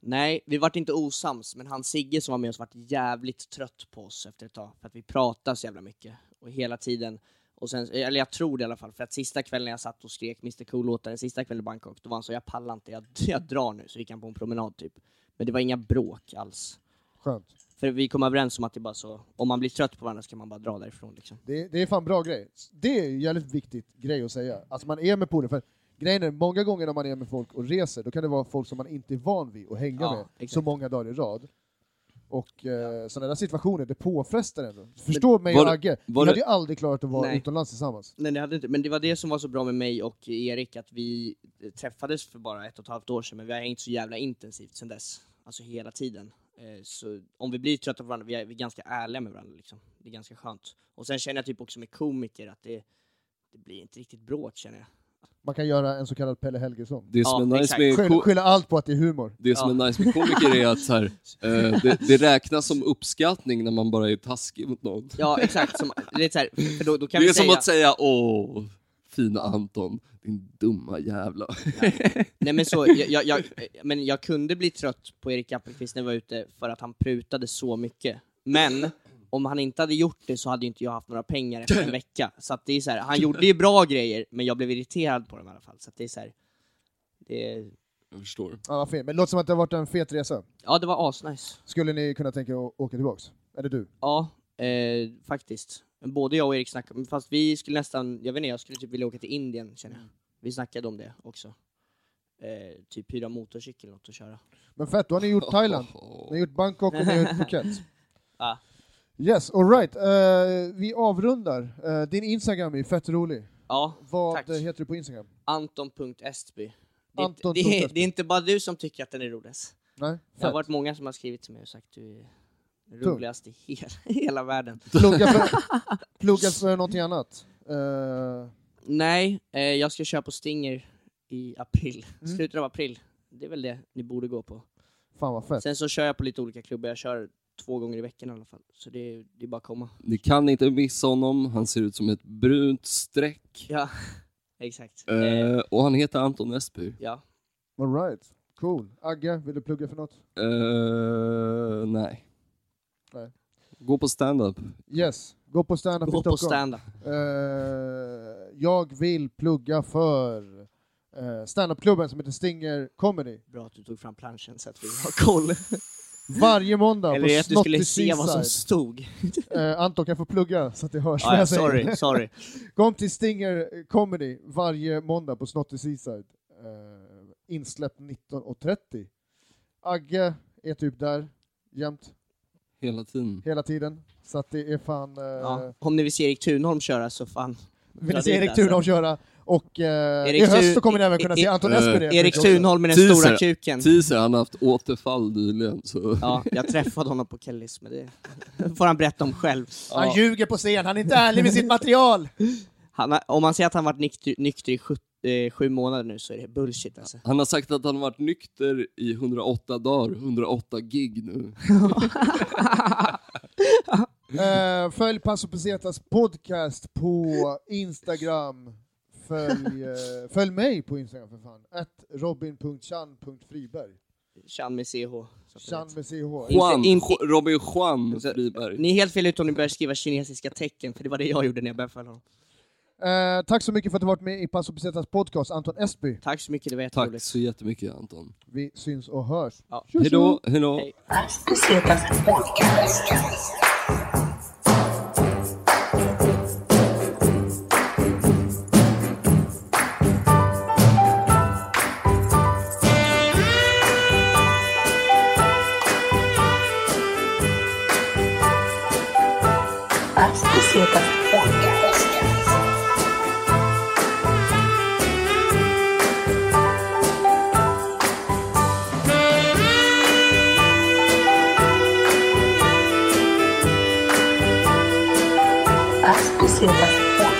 S4: Nej, vi vart inte osams, men han Sigge som var med oss vart jävligt trött på oss efter ett tag, för att vi pratade så jävla mycket. Och hela tiden. Och sen, eller jag tror det i alla fall, för att sista kvällen när jag satt och skrek Mr Cool-låtar, den sista kvällen i Bangkok, då var han så jag pallar inte, jag, jag drar nu. Så gick han på en promenad typ. Men det var inga bråk alls.
S1: Skönt.
S4: För vi kom överens om att det bara så, om man blir trött på varandra så kan man bara dra därifrån liksom.
S1: Det, det är fan bra grej. Det är ju jävligt viktigt grej att säga. Alltså man är med polare, för grejen är många gånger när man är med folk och reser, då kan det vara folk som man inte är van vid att hänga
S4: Ja,
S1: med
S4: exakt.
S1: så många dagar i rad. och eh, sådana där situationer, det påfrestar ändå. Förstå mig och
S3: var-
S1: Agge, vi
S3: var det-
S1: hade ju aldrig klarat att vara
S4: Nej.
S1: utomlands tillsammans.
S4: Nej, det hade inte. Men det var det som var så bra med mig och Erik, att vi eh, träffades för bara ett och ett halvt år sedan, men vi har hängt så jävla intensivt sedan dess. Alltså hela tiden. Eh, Så om vi blir trötta på varandra, vi är, vi är ganska ärliga med varandra liksom. Det är ganska skönt. Och sen känner jag typ också med komiker att det, det blir inte riktigt bråk känner jag.
S1: Man kan göra en så kallad Pelle Helgesson.
S3: Det som
S4: Ja,
S3: är nice
S4: exakt.
S3: med,
S1: Skylla,
S3: ko-
S1: skylla allt på att det är humor.
S3: det som är nice med komiker är att så här, eh, det, det räknas som uppskattning när man bara är taskig mot någon.
S4: Ja exakt, som, det är så här, för då, då kan
S3: det
S4: vi
S3: är som
S4: säga...
S3: att säga åh, fina Anton, din dumma jävla.
S4: Nej men så, jag, jag, jag, men jag kunde bli trött på Erik Appelqvist när jag var ute för att han prutade så mycket. Men om han inte hade gjort det så hade ju inte jag haft några pengar efter en vecka. Så att det är så här, han gjorde ju bra grejer, men jag blev irriterad på dem i alla fall. Så att det är så här, det,
S3: Jag förstår.
S1: Ja, vad fint. Men det låter som att det har varit en fet resa.
S4: ja det var asnice.
S1: Skulle ni kunna tänka er att åka tillbaks? Eller du?
S4: Ja, eh, faktiskt. Men Både jag och Erik snackade, men fast vi skulle nästan, jag vet inte, jag skulle typ vilja åka till Indien känner jag. Vi snackade om det också. Eh, typ hyra motorcykel eller något och köra.
S1: Men fett, då har ni gjort Thailand.
S3: Åh.
S1: Ni har gjort Bangkok och ni har gjort Phuket.
S4: Ah.
S1: Yes, alright. Uh, vi avrundar. Eh, din Instagram är ju fett rolig.
S4: Ja,
S1: Vad
S4: Tack.
S1: heter du på Instagram?
S4: Anton.Estby. Det, är inte-
S1: Anton
S4: det,
S1: punkt
S4: är-
S1: Estby.
S4: det är inte bara du som tycker att den är roligast.
S1: Nej?
S4: Det har
S1: Fett.
S4: varit många som har skrivit till mig och sagt du är roligast i hela, hela världen.
S1: Plugga för, plugga för någonting annat. Eh,
S4: Nej, eh, jag ska köra på Stinger i april.
S1: Mm.
S4: Slutet av april. Det är väl det ni borde gå på.
S1: fan vad fett.
S4: Sen så kör jag på lite olika klubbar. Jag kör två gånger i veckan i alla fall. Så det, är- det är bara att komma.
S3: Ni kan inte missa honom, han ser ut som ett brunt streck.
S4: Ja, exakt. Eh,
S3: Eh, och han heter Anton Esby.
S4: ja.
S1: Alright, cool. Agge, vill du plugga för något?
S3: Eh, nej.
S1: Nej.
S3: Gå på stand-up.
S1: Yes, gå på stand-up i
S4: Gå på
S1: Stockholm.
S4: stand-up.
S1: Eh, jag vill plugga för eh, standupklubben som heter Stinger Comedy.
S4: Bra att du tog fram planschen så att vi har koll.
S1: Varje måndag
S4: Eller
S1: på
S4: att du skulle
S1: Snotty
S4: se vad som
S1: Seaside.
S4: stod.
S1: Eh, Anton kan få plugga så att det hörs
S4: Ah,
S1: vad
S4: ja,
S1: jag säger.
S4: sorry, sorry.
S1: Kom till Stinger Comedy varje måndag på Snotty Seaside. Eh, insläpp 19.30. Agge är typ där jämt,
S3: Hela tiden.
S1: hela tiden. Så att det är fan... Eh,
S4: Ja. Om ni vill se Erik Tunholm köra så fan.
S1: Vill
S4: Ja,
S1: ni se
S4: det är
S1: Erik
S4: där,
S1: Thunholm köra? Och eh,
S4: Erik
S1: i höst
S4: Thun-
S1: så kommer ni även
S4: E-
S1: kunna
S4: E-
S1: se Anton
S3: Eh,
S1: Espen i
S4: Erik
S1: Erik Thunholm.
S4: Tunholm med den
S3: Teaser.
S4: stora kuken.
S3: Teaser, han har haft återfall nyligen. Så.
S4: Ja, jag träffade honom på Kellys, men det får han berätta om själv.
S1: Han ljuger på scen, han är inte ärlig med sitt material!
S4: Han, har- om man säger att han varit nykter, nykter i sju, eh, sju månader nu så är det bullshit alltså.
S3: Han har sagt att han varit nykter i 108 dagar, 108 gig nu.
S1: Eh, följ Passo Pesetas podcast på Instagram. Följ, eh, följ mig på Instagram för fan. Att robin.chan.friberg.
S4: Chan med CH. så att du
S1: Chan
S4: vet.
S1: med CH.
S3: Juan,
S4: Inte- inte-
S3: Jo- Robin Juan Friberg.
S4: Ni är helt fel ute om ni börjar skriva kinesiska tecken, för det var det jag gjorde när jag började följa honom.
S1: Eh, tack så mycket för att du varit med i Passo Pesetas podcast, Anton Esby.
S4: Tack så mycket, det var
S3: Tack
S4: jätteroligt.
S3: så jättemycket Anton.
S1: Vi syns och hörs.
S4: Ja.
S1: Tjo, tjo.
S3: Hejdå, hejdå.
S4: Hej.
S2: Pass pesetas podcast. Pass pesetas podcast. Pass pesetas podcast.